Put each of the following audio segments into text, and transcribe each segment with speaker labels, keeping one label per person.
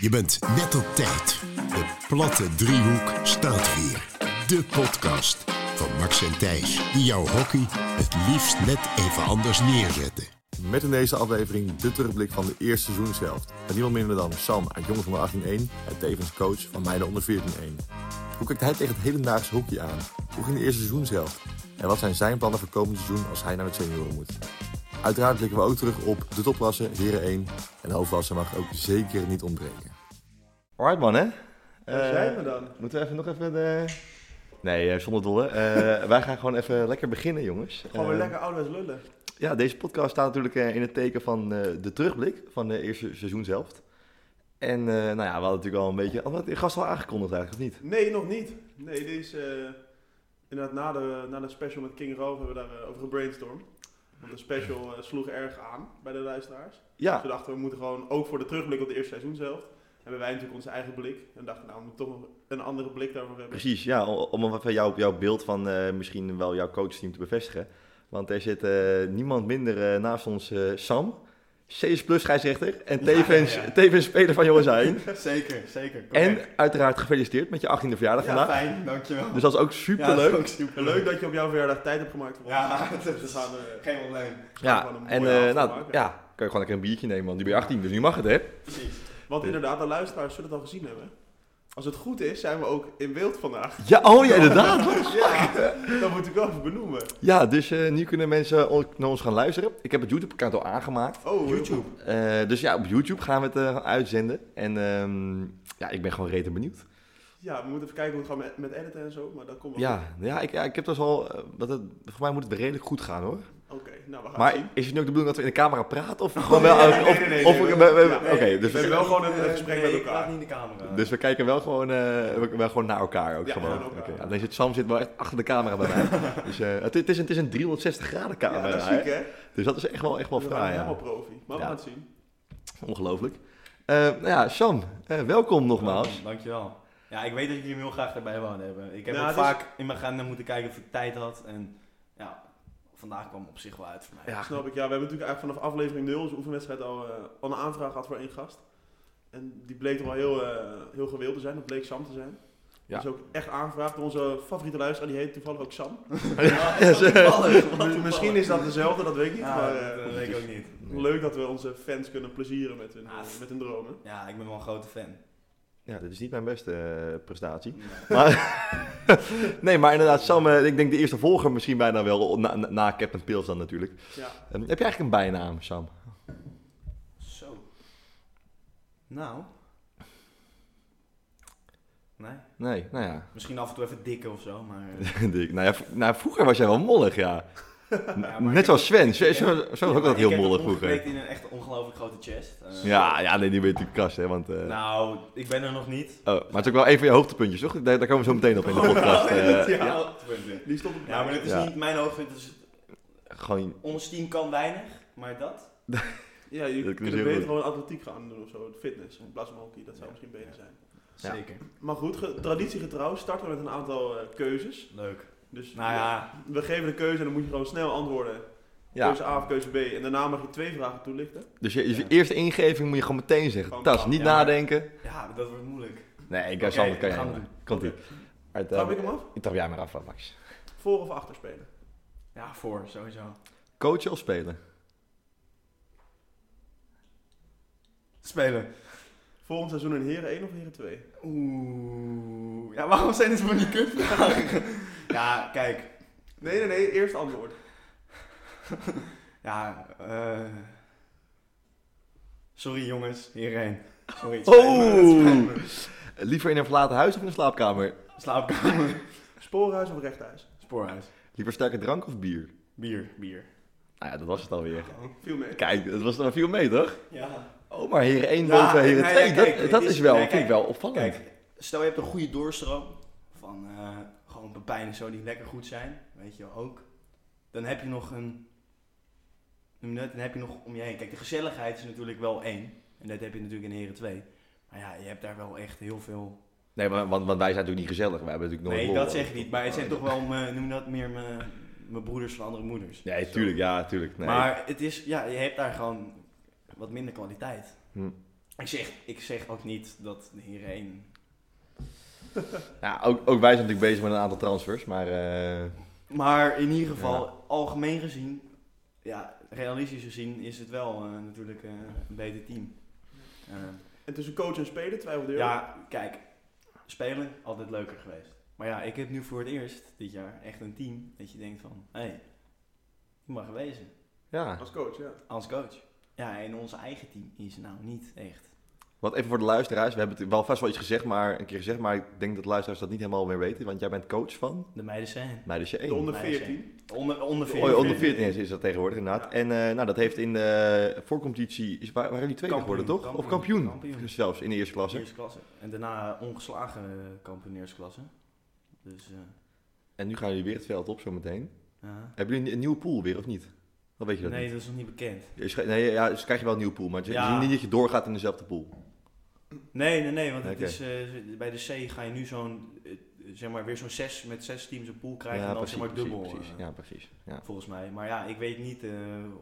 Speaker 1: Je bent net op tijd. De platte driehoek staat weer. De podcast van Max en Thijs, die jouw hockey het liefst net even anders neerzetten.
Speaker 2: Met in deze aflevering de terugblik van de eerste seizoenshelft. Met niemand minder dan Sam uit Jongens onder 18-1 en tevens coach van Meiden onder 14-1. Hoe kijkt hij tegen het hedendaagse hockey aan? Hoe ging de eerste seizoenshelft? En wat zijn zijn plannen voor komend seizoen als hij naar het senioren moet? Uiteraard blikken we ook terug op de topklasse, Heren 1. En de hoofdklasse mag ook zeker niet ontbreken. Alright man, hè? Eh,
Speaker 3: Waar zijn we dan?
Speaker 2: Moeten we even nog even de... Nee, eh, zonder dolle. Eh, wij gaan gewoon even lekker beginnen, jongens.
Speaker 3: Gewoon weer
Speaker 2: Eh,
Speaker 3: lekker ouderwets lullen.
Speaker 2: Ja, deze podcast staat natuurlijk eh, in het teken van eh, de terugblik van de eerste seizoenshelft. En eh, nou ja, we hadden natuurlijk al een beetje... Had de gast al aangekondigd eigenlijk, of niet?
Speaker 3: Nee, nog niet. Nee, dit is eh, inderdaad na de, na de special met King Rove hebben we daarover over gebrainstormd. Want de special eh, sloeg erg aan bij de luisteraars. Dus
Speaker 2: Ja,
Speaker 3: we dachten, we moeten gewoon ook voor de terugblik op de eerste seizoen zelf. Hebben wij natuurlijk onze eigen blik. En dachten, nou, we moeten toch nog een andere blik daarvoor hebben.
Speaker 2: precies. Ja, om- om even jouw, jouw beeld van eh, misschien wel jouw coachteam te bevestigen. Want er zit eh, niemand minder eh, naast ons eh, Sam. CS plus scheidsrechter en tevens,
Speaker 4: ja, ja.
Speaker 2: tevens speler van Jongens Heen.
Speaker 4: Zeker, zeker.
Speaker 2: En
Speaker 4: correct.
Speaker 2: uiteraard gefeliciteerd met je 18e verjaardag
Speaker 4: ja,
Speaker 2: vandaag.
Speaker 4: fijn, dankjewel.
Speaker 2: Dus dat is ook
Speaker 4: ja,
Speaker 2: superleuk.
Speaker 4: dat is ook superleuk.
Speaker 3: Leuk dat je op jouw verjaardag tijd hebt gemaakt voor ons.
Speaker 4: Ja, dat
Speaker 3: Dus we
Speaker 4: is
Speaker 3: gaan er...
Speaker 4: geen probleem.
Speaker 2: Ja,
Speaker 3: Gewoon een
Speaker 2: en
Speaker 3: mooie
Speaker 2: eh,
Speaker 3: avond
Speaker 2: nou,
Speaker 3: maken.
Speaker 2: ja, kan je gewoon lekker een biertje nemen, want nu ben je 18, dus nu mag het, hè?
Speaker 4: Precies.
Speaker 3: Want inderdaad, de luisteraars zullen het al gezien hebben. Als het goed is, zijn we ook in beeld vandaag.
Speaker 2: Ja, oh ja, inderdaad.
Speaker 3: Ja, dat moet ik wel even benoemen.
Speaker 2: Ja, dus eh, nu kunnen mensen ook naar ons gaan luisteren. Ik heb het YouTube-account al aangemaakt.
Speaker 3: Oh,
Speaker 4: YouTube.
Speaker 2: Eh, dus ja, op YouTube gaan we het eh, uitzenden. En ehm, ja, ik ben gewoon rete benieuwd.
Speaker 3: Ja, we moeten even kijken hoe het gaat met, met editen en zo, maar dat komt wel
Speaker 2: Ja, ja, ik, ja, ik heb dus al... eh, dat het, voor mij moet het redelijk goed gaan, hoor.
Speaker 3: goed. Oké, nou we gaan
Speaker 2: Maar
Speaker 3: het zien.
Speaker 2: is het nu ook de bedoeling dat we in de camera praten? Of gewoon wel...
Speaker 3: nee, nee,
Speaker 2: of-
Speaker 3: nee, nee,
Speaker 2: of-
Speaker 3: nee,
Speaker 2: we-
Speaker 3: nee.
Speaker 2: we-
Speaker 3: Ja,
Speaker 2: Oké,
Speaker 3: nee,
Speaker 2: dus,
Speaker 3: We hebben wel gewoon een
Speaker 4: Eh,
Speaker 3: gesprek
Speaker 4: nee,
Speaker 3: met
Speaker 4: Ik praat
Speaker 3: elkaar.
Speaker 4: niet in de camera.
Speaker 2: dus we kijken wel gewoon, eh, we, we gewoon naar elkaar ook
Speaker 3: Ja,
Speaker 2: gewoon.
Speaker 3: gewoon elkaar.
Speaker 2: Oké, Alleen zit Sam zit wel echt achter de camera bij mij. dus eh, het, het, is een, het is een 360 graden camera,
Speaker 3: ja, dat is
Speaker 2: hè?
Speaker 3: ziek, hè?
Speaker 2: Dus dat is echt wel, echt wel
Speaker 3: We gaan
Speaker 2: fraai, ja.
Speaker 3: helemaal profi. Maar we
Speaker 2: Ja.
Speaker 3: gaan het zien.
Speaker 2: Ongelooflijk. Eh, nou ja, Sam, eh, welkom nogmaals.
Speaker 4: Dankjewel. Ja, ik weet dat jullie hem heel graag erbij wouden hebben. Ik heb
Speaker 3: Ja,
Speaker 4: ook
Speaker 3: het is-
Speaker 4: vaak in mijn agenda moeten kijken of ik tijd had. En ja, vandaag kwam op zich wel uit voor mij.
Speaker 2: Ja,
Speaker 3: Snap ik, ja. We hebben natuurlijk eigenlijk vanaf aflevering 0, onze oefenwedstrijd, al, eh, al een aanvraag gehad voor één gast. En die bleek toch wel heel, eh, heel gewild te zijn, dat bleek Sam te zijn.
Speaker 2: Ja.
Speaker 3: Dus ook echt aangevraagd door onze favoriete luisteraar, die heet toevallig ook Sam.
Speaker 4: Ja, wat toevallig, wat toevallig.
Speaker 3: Misschien is dat dezelfde, dat weet ik niet.
Speaker 4: Ja,
Speaker 3: maar
Speaker 4: dat,
Speaker 3: eh,
Speaker 4: eh, weet ik ook niet.
Speaker 3: leuk dat we onze fans kunnen plezieren met hun,
Speaker 4: Ah,
Speaker 3: eh, met hun dromen.
Speaker 4: Ja, ik ben wel een grote fan.
Speaker 2: ja, dit is niet mijn beste eh, prestatie.
Speaker 4: Ja.
Speaker 2: Maar, nee, maar inderdaad, Sam, eh, ik denk de eerste volger misschien bijna wel, na, na- na Captain Pils dan natuurlijk.
Speaker 3: Ja.
Speaker 2: Eh, heb je eigenlijk een bijnaam, Sam?
Speaker 4: Zo. Nou. Nee.
Speaker 2: Nee, nou ja.
Speaker 4: Misschien af en toe even dikken of zo, maar... eh,
Speaker 2: Dik. nou ja, v- nou, vroeger was jij wel mollig, ja.
Speaker 4: maar ik
Speaker 2: Net
Speaker 4: heb-
Speaker 2: zoals Sven. Sven,
Speaker 4: ik
Speaker 2: Sven
Speaker 4: heb-
Speaker 2: was ook altijd heel mollig vroeger.
Speaker 4: Ik in een echt ongelooflijk grote chest. Eh,
Speaker 2: Ja, ja, nee, die ben je natuurlijk kast, hè, want... eh,
Speaker 4: Nou, ik ben er nog niet.
Speaker 2: oh, maar het is ook wel een van je hoogtepuntjes, toch? Daar, daar komen we zo meteen op
Speaker 4: Oh,
Speaker 2: in de podcast. eh.
Speaker 4: ja. oh, ja.
Speaker 3: Die stond op
Speaker 4: maar dat is
Speaker 2: Ja.
Speaker 4: niet mijn hoofdpunt. Dus
Speaker 2: gewoon,
Speaker 4: ons team kan weinig, maar dat...
Speaker 3: Ja, je
Speaker 2: Dat
Speaker 3: kunt
Speaker 2: klinkt
Speaker 3: beter
Speaker 2: heel goed.
Speaker 3: gewoon atletiek gaan doen of zo, fitness, in plaats van hockey, dat zou misschien beter zijn.
Speaker 2: Ja.
Speaker 4: Zeker.
Speaker 3: Maar goed, ge- traditiegetrouw starten we met een aantal eh, keuzes.
Speaker 4: Leuk.
Speaker 3: Dus
Speaker 4: Nou ja,
Speaker 3: we geven de keuze en dan moet je gewoon snel antwoorden.
Speaker 2: ja.
Speaker 3: Keuze A of keuze B. En daarna mag je twee vragen toelichten.
Speaker 2: Dus je, je
Speaker 4: Ja.
Speaker 2: eerste ingeving moet je gewoon meteen zeggen.
Speaker 3: Gewoon
Speaker 2: Tas,
Speaker 3: bam,
Speaker 2: niet
Speaker 4: ja.
Speaker 2: nadenken.
Speaker 4: ja, dat wordt moeilijk.
Speaker 2: Nee, ik
Speaker 4: Oké,
Speaker 2: zal het kan
Speaker 4: we
Speaker 2: jij.
Speaker 4: gaan
Speaker 2: maar.
Speaker 4: het
Speaker 2: Komt ie. Uit, eh,
Speaker 3: Trap ik hem af?
Speaker 2: ik trap jij maar af, Max.
Speaker 3: Voor of achter spelen?
Speaker 4: Ja, voor, sowieso.
Speaker 2: Coachen of spelen?
Speaker 4: Spelen.
Speaker 3: Volgend seizoen een heren 1 of heren 2?
Speaker 4: Oeh. Ja, waarom zijn dit voor die kutvragen? ja, kijk.
Speaker 3: Nee, nee, nee, eerst antwoord.
Speaker 4: Ja, eh... Sorry jongens, hierheen. Sorry. het spijt me, het spijt
Speaker 2: Oh!
Speaker 4: me.
Speaker 2: Liever in een verlaten huis of in een slaapkamer?
Speaker 4: Slaapkamer.
Speaker 3: Spoorhuis of rechthuis?
Speaker 4: Spoorhuis.
Speaker 2: Liever sterke drank of bier?
Speaker 4: Bier. Bier.
Speaker 2: Nou ja, dat was het alweer.
Speaker 3: Viel mee.
Speaker 2: Kijk, dat was er veel mee, toch?
Speaker 4: Ja.
Speaker 2: Oh, maar heren 1
Speaker 4: Ja,
Speaker 2: boven heren
Speaker 4: nee,
Speaker 2: 2.
Speaker 4: ja,
Speaker 2: dat
Speaker 4: kijk,
Speaker 2: dat
Speaker 4: het
Speaker 2: is
Speaker 4: is-
Speaker 2: wel,
Speaker 4: nee,
Speaker 2: vind ik
Speaker 4: kijk,
Speaker 2: wel opvallend.
Speaker 4: Kijk, stel je hebt een goede doorstroom van eh, gewoon pepijn en zo die lekker goed zijn, weet je wel, ook. Dan heb je nog een, noem je dat, dan heb je nog om je heen. Kijk, de gezelligheid is natuurlijk wel één. En dat heb je natuurlijk in Heren 2. Maar ja, je hebt daar wel echt heel veel...
Speaker 2: Nee, want, want, want wij zijn natuurlijk niet gezellig. Wij hebben natuurlijk nooit
Speaker 4: nee,
Speaker 2: lol.
Speaker 4: dat zeg ik niet. Maar het zijn toch wel, mijn, noem je dat, meer mijn, mijn broeders van andere moeders.
Speaker 2: Nee,
Speaker 4: Zo.
Speaker 2: tuurlijk, ja, tuurlijk. Nee.
Speaker 4: Maar het is, ja, je hebt daar gewoon wat minder kwaliteit.
Speaker 2: Hm.
Speaker 4: Ik zeg, ik zeg ook niet dat de heren één...
Speaker 2: Ja, ook, ook wij zijn natuurlijk bezig met een aantal transfers, maar eh,
Speaker 4: Maar in ieder geval, algemeen gezien, ja, realistisch gezien is het wel eh, natuurlijk eh, een beter team. Eh,
Speaker 3: En tussen coach en speler twijfelde je ook?
Speaker 4: ja, kijk, spelen altijd leuker geweest. Maar ja, ik heb nu voor het eerst dit jaar echt een team dat je denkt van, hé, hey, je mag wezen
Speaker 2: ja.
Speaker 3: als coach, ja.
Speaker 4: als coach. Ja, en ons eigen team is nou niet echt.
Speaker 2: Wat even voor de luisteraars, we hebben het wel vast wel iets gezegd, maar een keer gezegd, maar ik denk dat de luisteraars dat niet helemaal meer weten, want jij bent coach van
Speaker 4: De meiden zijn.
Speaker 2: Meidensje 1.
Speaker 3: De onder
Speaker 4: maar hij is
Speaker 3: 14.
Speaker 4: Onder, onder
Speaker 2: Oh, ja, onder
Speaker 4: 14.
Speaker 2: 14 is, is dat tegenwoordig inderdaad. En eh, nou, dat heeft in de voorcompetitie, is, waar- waren die tweede
Speaker 4: Kampioen,
Speaker 2: geworden toch? of
Speaker 4: kampioen,
Speaker 2: kampioen,
Speaker 4: kampioen.
Speaker 2: zelfs in de eerste klasse.
Speaker 4: Eerste klasse. En daarna ongeslagen eh, kampioeneersklasse. Dus eh,
Speaker 2: En nu gaan jullie weer het veld op zo meteen.
Speaker 4: ja.
Speaker 2: Hebben jullie een, een nieuwe pool weer of niet? Dan weet je dat
Speaker 4: Nee,
Speaker 2: niet.
Speaker 4: dat is nog niet bekend.
Speaker 2: Je schrijft- nee, ja, dus krijg je wel een nieuwe pool, maar het is
Speaker 4: Ja.
Speaker 2: niet dat je doorgaat in dezelfde pool.
Speaker 4: Nee, nee, nee, want het
Speaker 2: Oké.
Speaker 4: is, eh, bij de C ga je nu zo'n, eh, zeg maar, weer zo'n zes met zes teams een pool krijgen
Speaker 2: ja,
Speaker 4: en dan zeg maar dubbel.
Speaker 2: Precies,
Speaker 4: eh,
Speaker 2: ja, precies. Ja.
Speaker 4: Volgens mij. Maar ja, ik weet niet eh,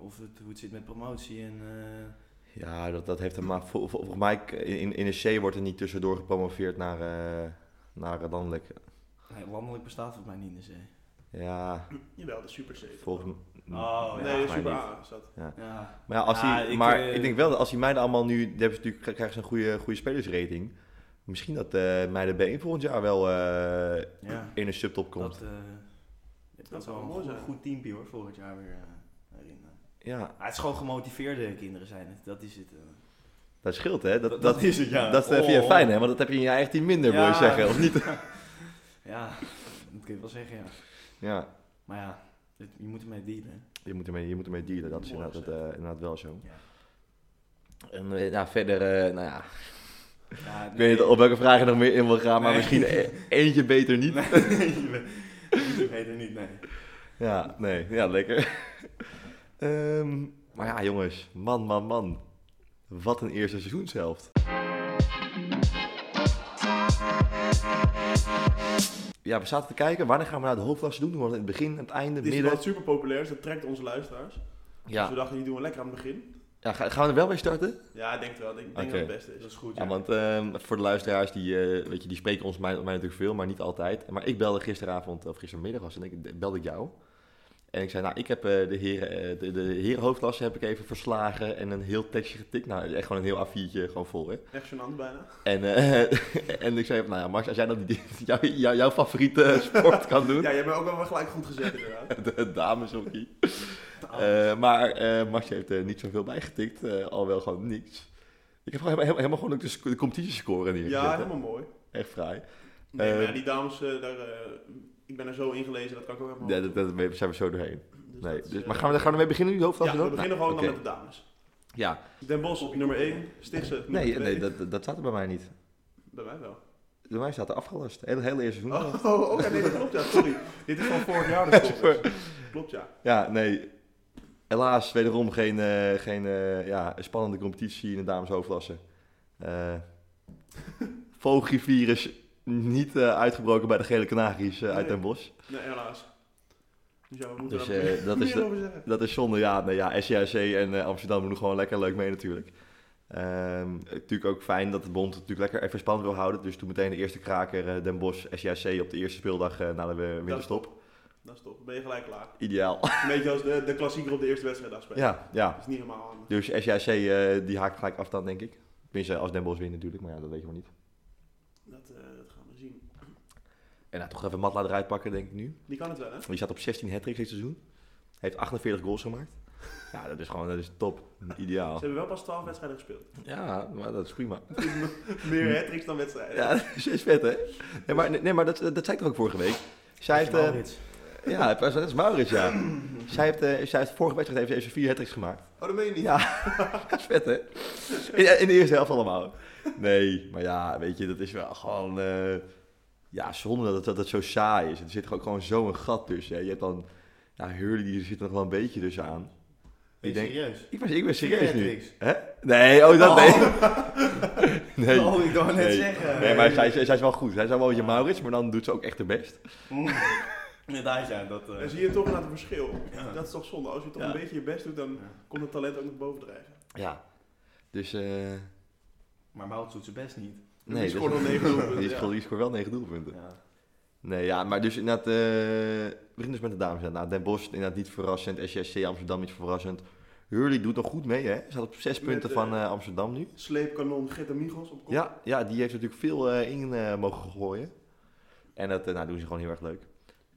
Speaker 4: of het, hoe het zit met promotie en... eh,
Speaker 2: Ja, dat, dat heeft hem maar. vol- vol- Volgens mij k- in, in de C wordt er niet tussendoor gepromoveerd naar, eh naar landelijk.
Speaker 4: nee, landelijk bestaat volgens mij niet in de C.
Speaker 2: Ja,
Speaker 3: Jawel, de Super C.
Speaker 2: volgens
Speaker 4: Oh,
Speaker 3: nee, de
Speaker 2: maar
Speaker 3: Super
Speaker 2: niet.
Speaker 3: A is dat.
Speaker 4: Ja,
Speaker 2: Maar, ja, als
Speaker 4: Ja,
Speaker 2: die,
Speaker 4: ik,
Speaker 2: maar
Speaker 4: eh,
Speaker 2: ik denk wel dat als die meiden allemaal nu. Die hebben ze natuurlijk, krijgen ze een goede, goede spelersrating. Misschien dat eh meiden B1 volgend jaar wel eh,
Speaker 4: ja.
Speaker 2: in een subtop komt.
Speaker 4: Dat, eh, dat
Speaker 3: zou
Speaker 4: is wel
Speaker 3: wel
Speaker 4: een
Speaker 3: mooi
Speaker 4: goed,
Speaker 3: zijn.
Speaker 4: goed teampje hoor, volgend jaar weer. eh, erin.
Speaker 2: Ja,
Speaker 4: Maar het is gewoon gemotiveerde kinderen zijn het, dat is het. eh.
Speaker 2: dat scheelt hè. Dat, dat, dat,
Speaker 4: is het, ja.
Speaker 2: eh, vind je
Speaker 4: Oh.
Speaker 2: fijn hè, want dat heb je in je eigen team minder, wil
Speaker 4: Ja.
Speaker 2: je zeggen, of niet?
Speaker 4: Ja, dat kun je wel zeggen, ja.
Speaker 2: Ja,
Speaker 4: Maar ja, het- je moet ermee dealen. hè.
Speaker 2: je moet ermee, je moet ermee dealen, dat is
Speaker 3: Mooi
Speaker 2: inderdaad, eh, inderdaad wel zo.
Speaker 4: Ja.
Speaker 2: En eh, nou, verder, eh, nou ja,
Speaker 4: Ja,
Speaker 2: Ik weet niet op welke vraag je nog meer in wil gaan, maar
Speaker 4: Nee.
Speaker 2: misschien e- eentje beter niet.
Speaker 4: Nee, je weet- je weet het niet, nee.
Speaker 2: Ja, nee. Ja, lekker. Ehm, maar ja, jongens. Man, man, man. Wat een eerste seizoenshelft. Ja, we zaten te kijken. Wanneer gaan we naar de hoofdklasse doen? Doen we dat in het begin, aan het einde,
Speaker 3: Die is
Speaker 2: midden?
Speaker 3: wat super populair, dus dat trekt onze luisteraars. Dus
Speaker 2: Ja.
Speaker 3: we dachten, die doen we lekker aan het begin.
Speaker 2: ja, ga- gaan we er wel mee starten?
Speaker 3: Ja, ik denk het wel. Ik denk, ik denk
Speaker 2: Oké.
Speaker 3: dat het beste is.
Speaker 4: Dat is goed,
Speaker 2: Ja,
Speaker 4: ja.
Speaker 2: want ehm, voor de luisteraars, die, eh, weet je, die spreken ons mij, mij natuurlijk veel, maar niet altijd. Maar ik belde gisteravond, of gistermiddag was het, denk ik, belde ik jou. En ik zei, nou, ik heb eh, de, heren, eh, de, de herenhoofdklasse heb ik even verslagen en een heel tekstje getikt. Nou, echt gewoon een heel A4'tje gewoon vol, hè.
Speaker 3: Echt gênant bijna.
Speaker 2: En, eh, en ik zei, nou ja, Max, als jij dan die, jou, jou- jouw favoriete sport kan doen,
Speaker 3: Ja, jij bent ook wel gelijk goed gezet inderdaad.
Speaker 2: de dameshockey. Eh, maar eh Max heeft er niet zoveel bij getikt, eh, al wel gewoon niks. Ik heb gewoon helemaal, helemaal gewoon ook de, sc- de competitiescore neergezet.
Speaker 3: Ja,
Speaker 2: hè.
Speaker 3: helemaal mooi.
Speaker 2: Echt fraai.
Speaker 3: Nee, maar
Speaker 2: Eh,
Speaker 3: ja, die dames, eh, daar, eh, ik ben er zo ingelezen, dat kan ik ook helemaal
Speaker 2: Ja, dat, dat daar zijn we zo doorheen.
Speaker 3: Oh. Dus
Speaker 2: Nee,
Speaker 3: dat is,
Speaker 2: dus,
Speaker 3: eh,
Speaker 2: maar gaan we, gaan we ermee beginnen nu, hoofdklasse
Speaker 3: ja,
Speaker 2: dan?
Speaker 3: we beginnen gewoon
Speaker 2: oké.
Speaker 3: dan met de dames.
Speaker 2: Ja,
Speaker 3: Den Bosch op nummer 1, Stichtse op nummer
Speaker 2: nee,
Speaker 3: twee.
Speaker 2: nee dat, dat staat er bij mij niet.
Speaker 3: Bij mij wel.
Speaker 2: Bij mij staat er afgelast. Het hele, hele eerste seizoen.
Speaker 3: Oh, oh oké, nee, dat klopt ja, sorry. Dit is van vorig jaar de podcast. Klopt ja.
Speaker 2: Ja, nee. Helaas, wederom geen, eh, geen eh, ja, spannende competitie in de dameshoofdklasse. Eh Vogelgriepvirus niet eh, uitgebroken bij de gele Canaries eh, uit
Speaker 3: Nee.
Speaker 2: Den Bosch.
Speaker 3: Nee, helaas. Dus ja, we moeten
Speaker 2: Dus
Speaker 3: daar
Speaker 2: eh, dat is
Speaker 3: meer
Speaker 2: de,
Speaker 3: over zeggen.
Speaker 2: Dat is zonde, ja. Nee, ja SJC en eh, Amsterdam doen gewoon lekker leuk mee natuurlijk. Ehm, natuurlijk ook fijn dat de bond het natuurlijk lekker even spannend wil houden. Dus toen meteen de eerste kraker eh, Den Bosch SJC op de eerste speeldag eh, na de eh, winterstop.
Speaker 3: Dat is top, ben je gelijk klaar.
Speaker 2: Ideaal.
Speaker 3: Een beetje als de, de klassieker op de eerste wedstrijd afspelen.
Speaker 2: ja, ja.
Speaker 3: Dat is niet helemaal handig.
Speaker 2: Dus SJC eh, die haakt gelijk af dan denk ik. Tenminste als Den Bosch wint natuurlijk, maar ja, dat weet je maar niet.
Speaker 3: Dat, eh, dat gaan we zien.
Speaker 2: En nou, toch even Matla eruit pakken denk ik nu.
Speaker 3: Die kan het wel hè?
Speaker 2: Die staat op 16 hat-tricks dit seizoen. Heeft 48 goals gemaakt. Ja, dat is gewoon dat is top.
Speaker 3: Ze
Speaker 2: Ideaal.
Speaker 3: hebben wel pas 12 wedstrijden gespeeld.
Speaker 2: Ja, maar dat is prima.
Speaker 3: Meer hat dan wedstrijden.
Speaker 2: Hm. Ja, dat is vet, hè? Nee, maar, nee, maar dat, eh, dat zei ik toch ook vorige week. Zij heeft, eh,
Speaker 4: Maurits.
Speaker 2: ja, dat is Maurits, ja. Zij heeft, eh, zij heeft vorige wedstrijd heeft, ze- heeft ze vier hat gemaakt.
Speaker 3: Oh, dat meen je niet.
Speaker 2: Ja, dat is vet, hè? In, in de eerste helft allemaal. Nee, maar ja, weet je, dat is wel gewoon... eh, ja, zonder dat het, dat het zo saai is. Er zit ook gewoon zo'n gat tussen. Hè. Je hebt dan... Ja, Hurley die zit er nog wel een beetje tussen aan.
Speaker 4: Ben
Speaker 2: Ik
Speaker 4: je
Speaker 2: denk...
Speaker 4: serieus?
Speaker 2: Ik ben, ik ben serieus nu.
Speaker 4: Hat-tricks.
Speaker 2: Hè? Nee, oh, dat nee. nee.
Speaker 4: Oh, ik wou net
Speaker 2: Nee.
Speaker 4: zeggen.
Speaker 2: Nee, maar zij, zij zij is wel goed. Zij is wel een beetje Maurits, maar dan doet ze ook echt haar best.
Speaker 4: Mm. Inderdaad, ja, dat... eh,
Speaker 3: Dan zie je toch inderdaad een verschil.
Speaker 4: Ja.
Speaker 3: Dat is toch zonde. Als je toch
Speaker 4: Ja.
Speaker 3: een beetje je best doet, dan komt het talent ook nog bovendrijven.
Speaker 2: Ja. Dus, eh,
Speaker 4: Maar Wout doet zijn best niet.
Speaker 3: die
Speaker 2: dat-
Speaker 3: scoort al negen doelpunten,
Speaker 2: Die
Speaker 3: ja.
Speaker 2: scoort, die scoort wel negen doelpunten.
Speaker 4: Ja.
Speaker 2: Nee, ja, maar dus inderdaad, eh we beginnen dus met de dames. Inderdaad. Den Bosch inderdaad niet verrassend, SJC Amsterdam niet verrassend. Hurley doet nog goed mee, hè? Ze staat op zes
Speaker 3: Met,
Speaker 2: punten
Speaker 3: eh,
Speaker 2: van eh, Amsterdam nu.
Speaker 3: Sleepkanon Gitte Migos op kop.
Speaker 2: Ja, ja, die heeft natuurlijk veel eh, in eh, mogen gooien. En dat eh, nou, doen ze gewoon heel erg leuk.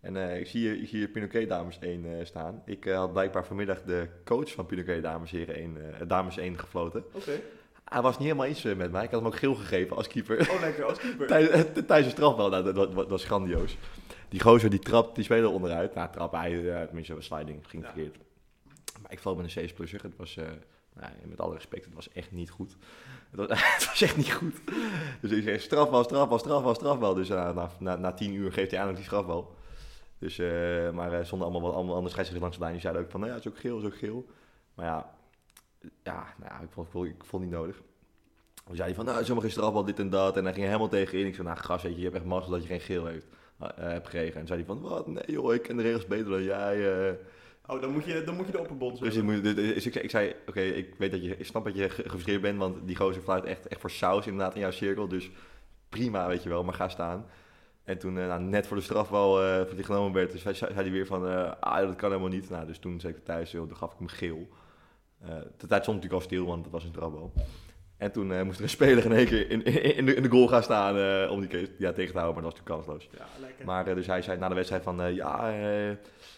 Speaker 2: En eh, ik zie hier, ik zie hier Pinoquet Dames 1 eh, staan. Ik eh, had blijkbaar vanmiddag de coach van Pinoquet Dames, heren 1, eh, Dames 1 gefloten.
Speaker 3: Oké.
Speaker 2: Hij was niet helemaal eens eh, met mij. Ik had hem ook geel gegeven als keeper.
Speaker 3: Oh, lekker, als keeper.
Speaker 2: Tijdens tijdens de strafbal, nou, dat, dat, dat was grandioos. Die gozer die trapt, die speler onderuit. Nou, trap, hij, eh, tenminste, sliding ging
Speaker 3: Ja.
Speaker 2: verkeerd. Maar ik val met een C-plusser. Het was, eh, nou, met alle respect, het was echt niet goed. Het was, het was echt niet goed. Dus ik zeg, strafbal, strafbal, strafbal, strafbal. Dus eh, na, na, na tien uur geeft hij aan ook die strafbal. Dus, eh, maar eh, stonden allemaal wat allemaal andere scheidsrechters langs de lijn. Die zeiden ook van, nou ja, het is ook geel, het is ook geel. Maar ja, ja, nou, ja, ik, vond, ik, vond, ik vond het niet nodig. Toen zei hij van, nou, zomaar geen strafbal, dit en dat. En hij ging helemaal tegenin. Ik zei, nou, gast, weet je, je hebt echt mazzel dat je geen geel heeft, eh, hebt gekregen. En toen zei hij van, wat, nee joh, ik ken de regels beter dan jij. eh.
Speaker 3: Oh, dan moet je, dan moet je de opperbond
Speaker 2: Dus,
Speaker 3: zeggen.
Speaker 2: je moet, dus- dus ik, zei- ik zei, oké, ik weet dat je, ik snap dat je ge- gefrustreerd bent, want die gozer fluit echt, echt voor saus inderdaad in jouw cirkel. Dus prima, weet je wel, maar ga staan. En toen, eh, nou, net voor de strafbal eh voor die genomen werd, dus zei, zei hij weer van, eh, ah, dat kan helemaal niet. Nou, dus toen zei ik thuis, joh, toen gaf ik hem geel. Eh de tijd stond natuurlijk al stil, want dat was een strafbal. En toen eh, moest er een speler in één keer in, in, in de, in de goal gaan staan eh, om die keer ja, tegen te houden, maar dat was natuurlijk kansloos.
Speaker 3: Ja, lekker.
Speaker 2: Maar eh, dus hij zei na de wedstrijd van, eh, ja, eh,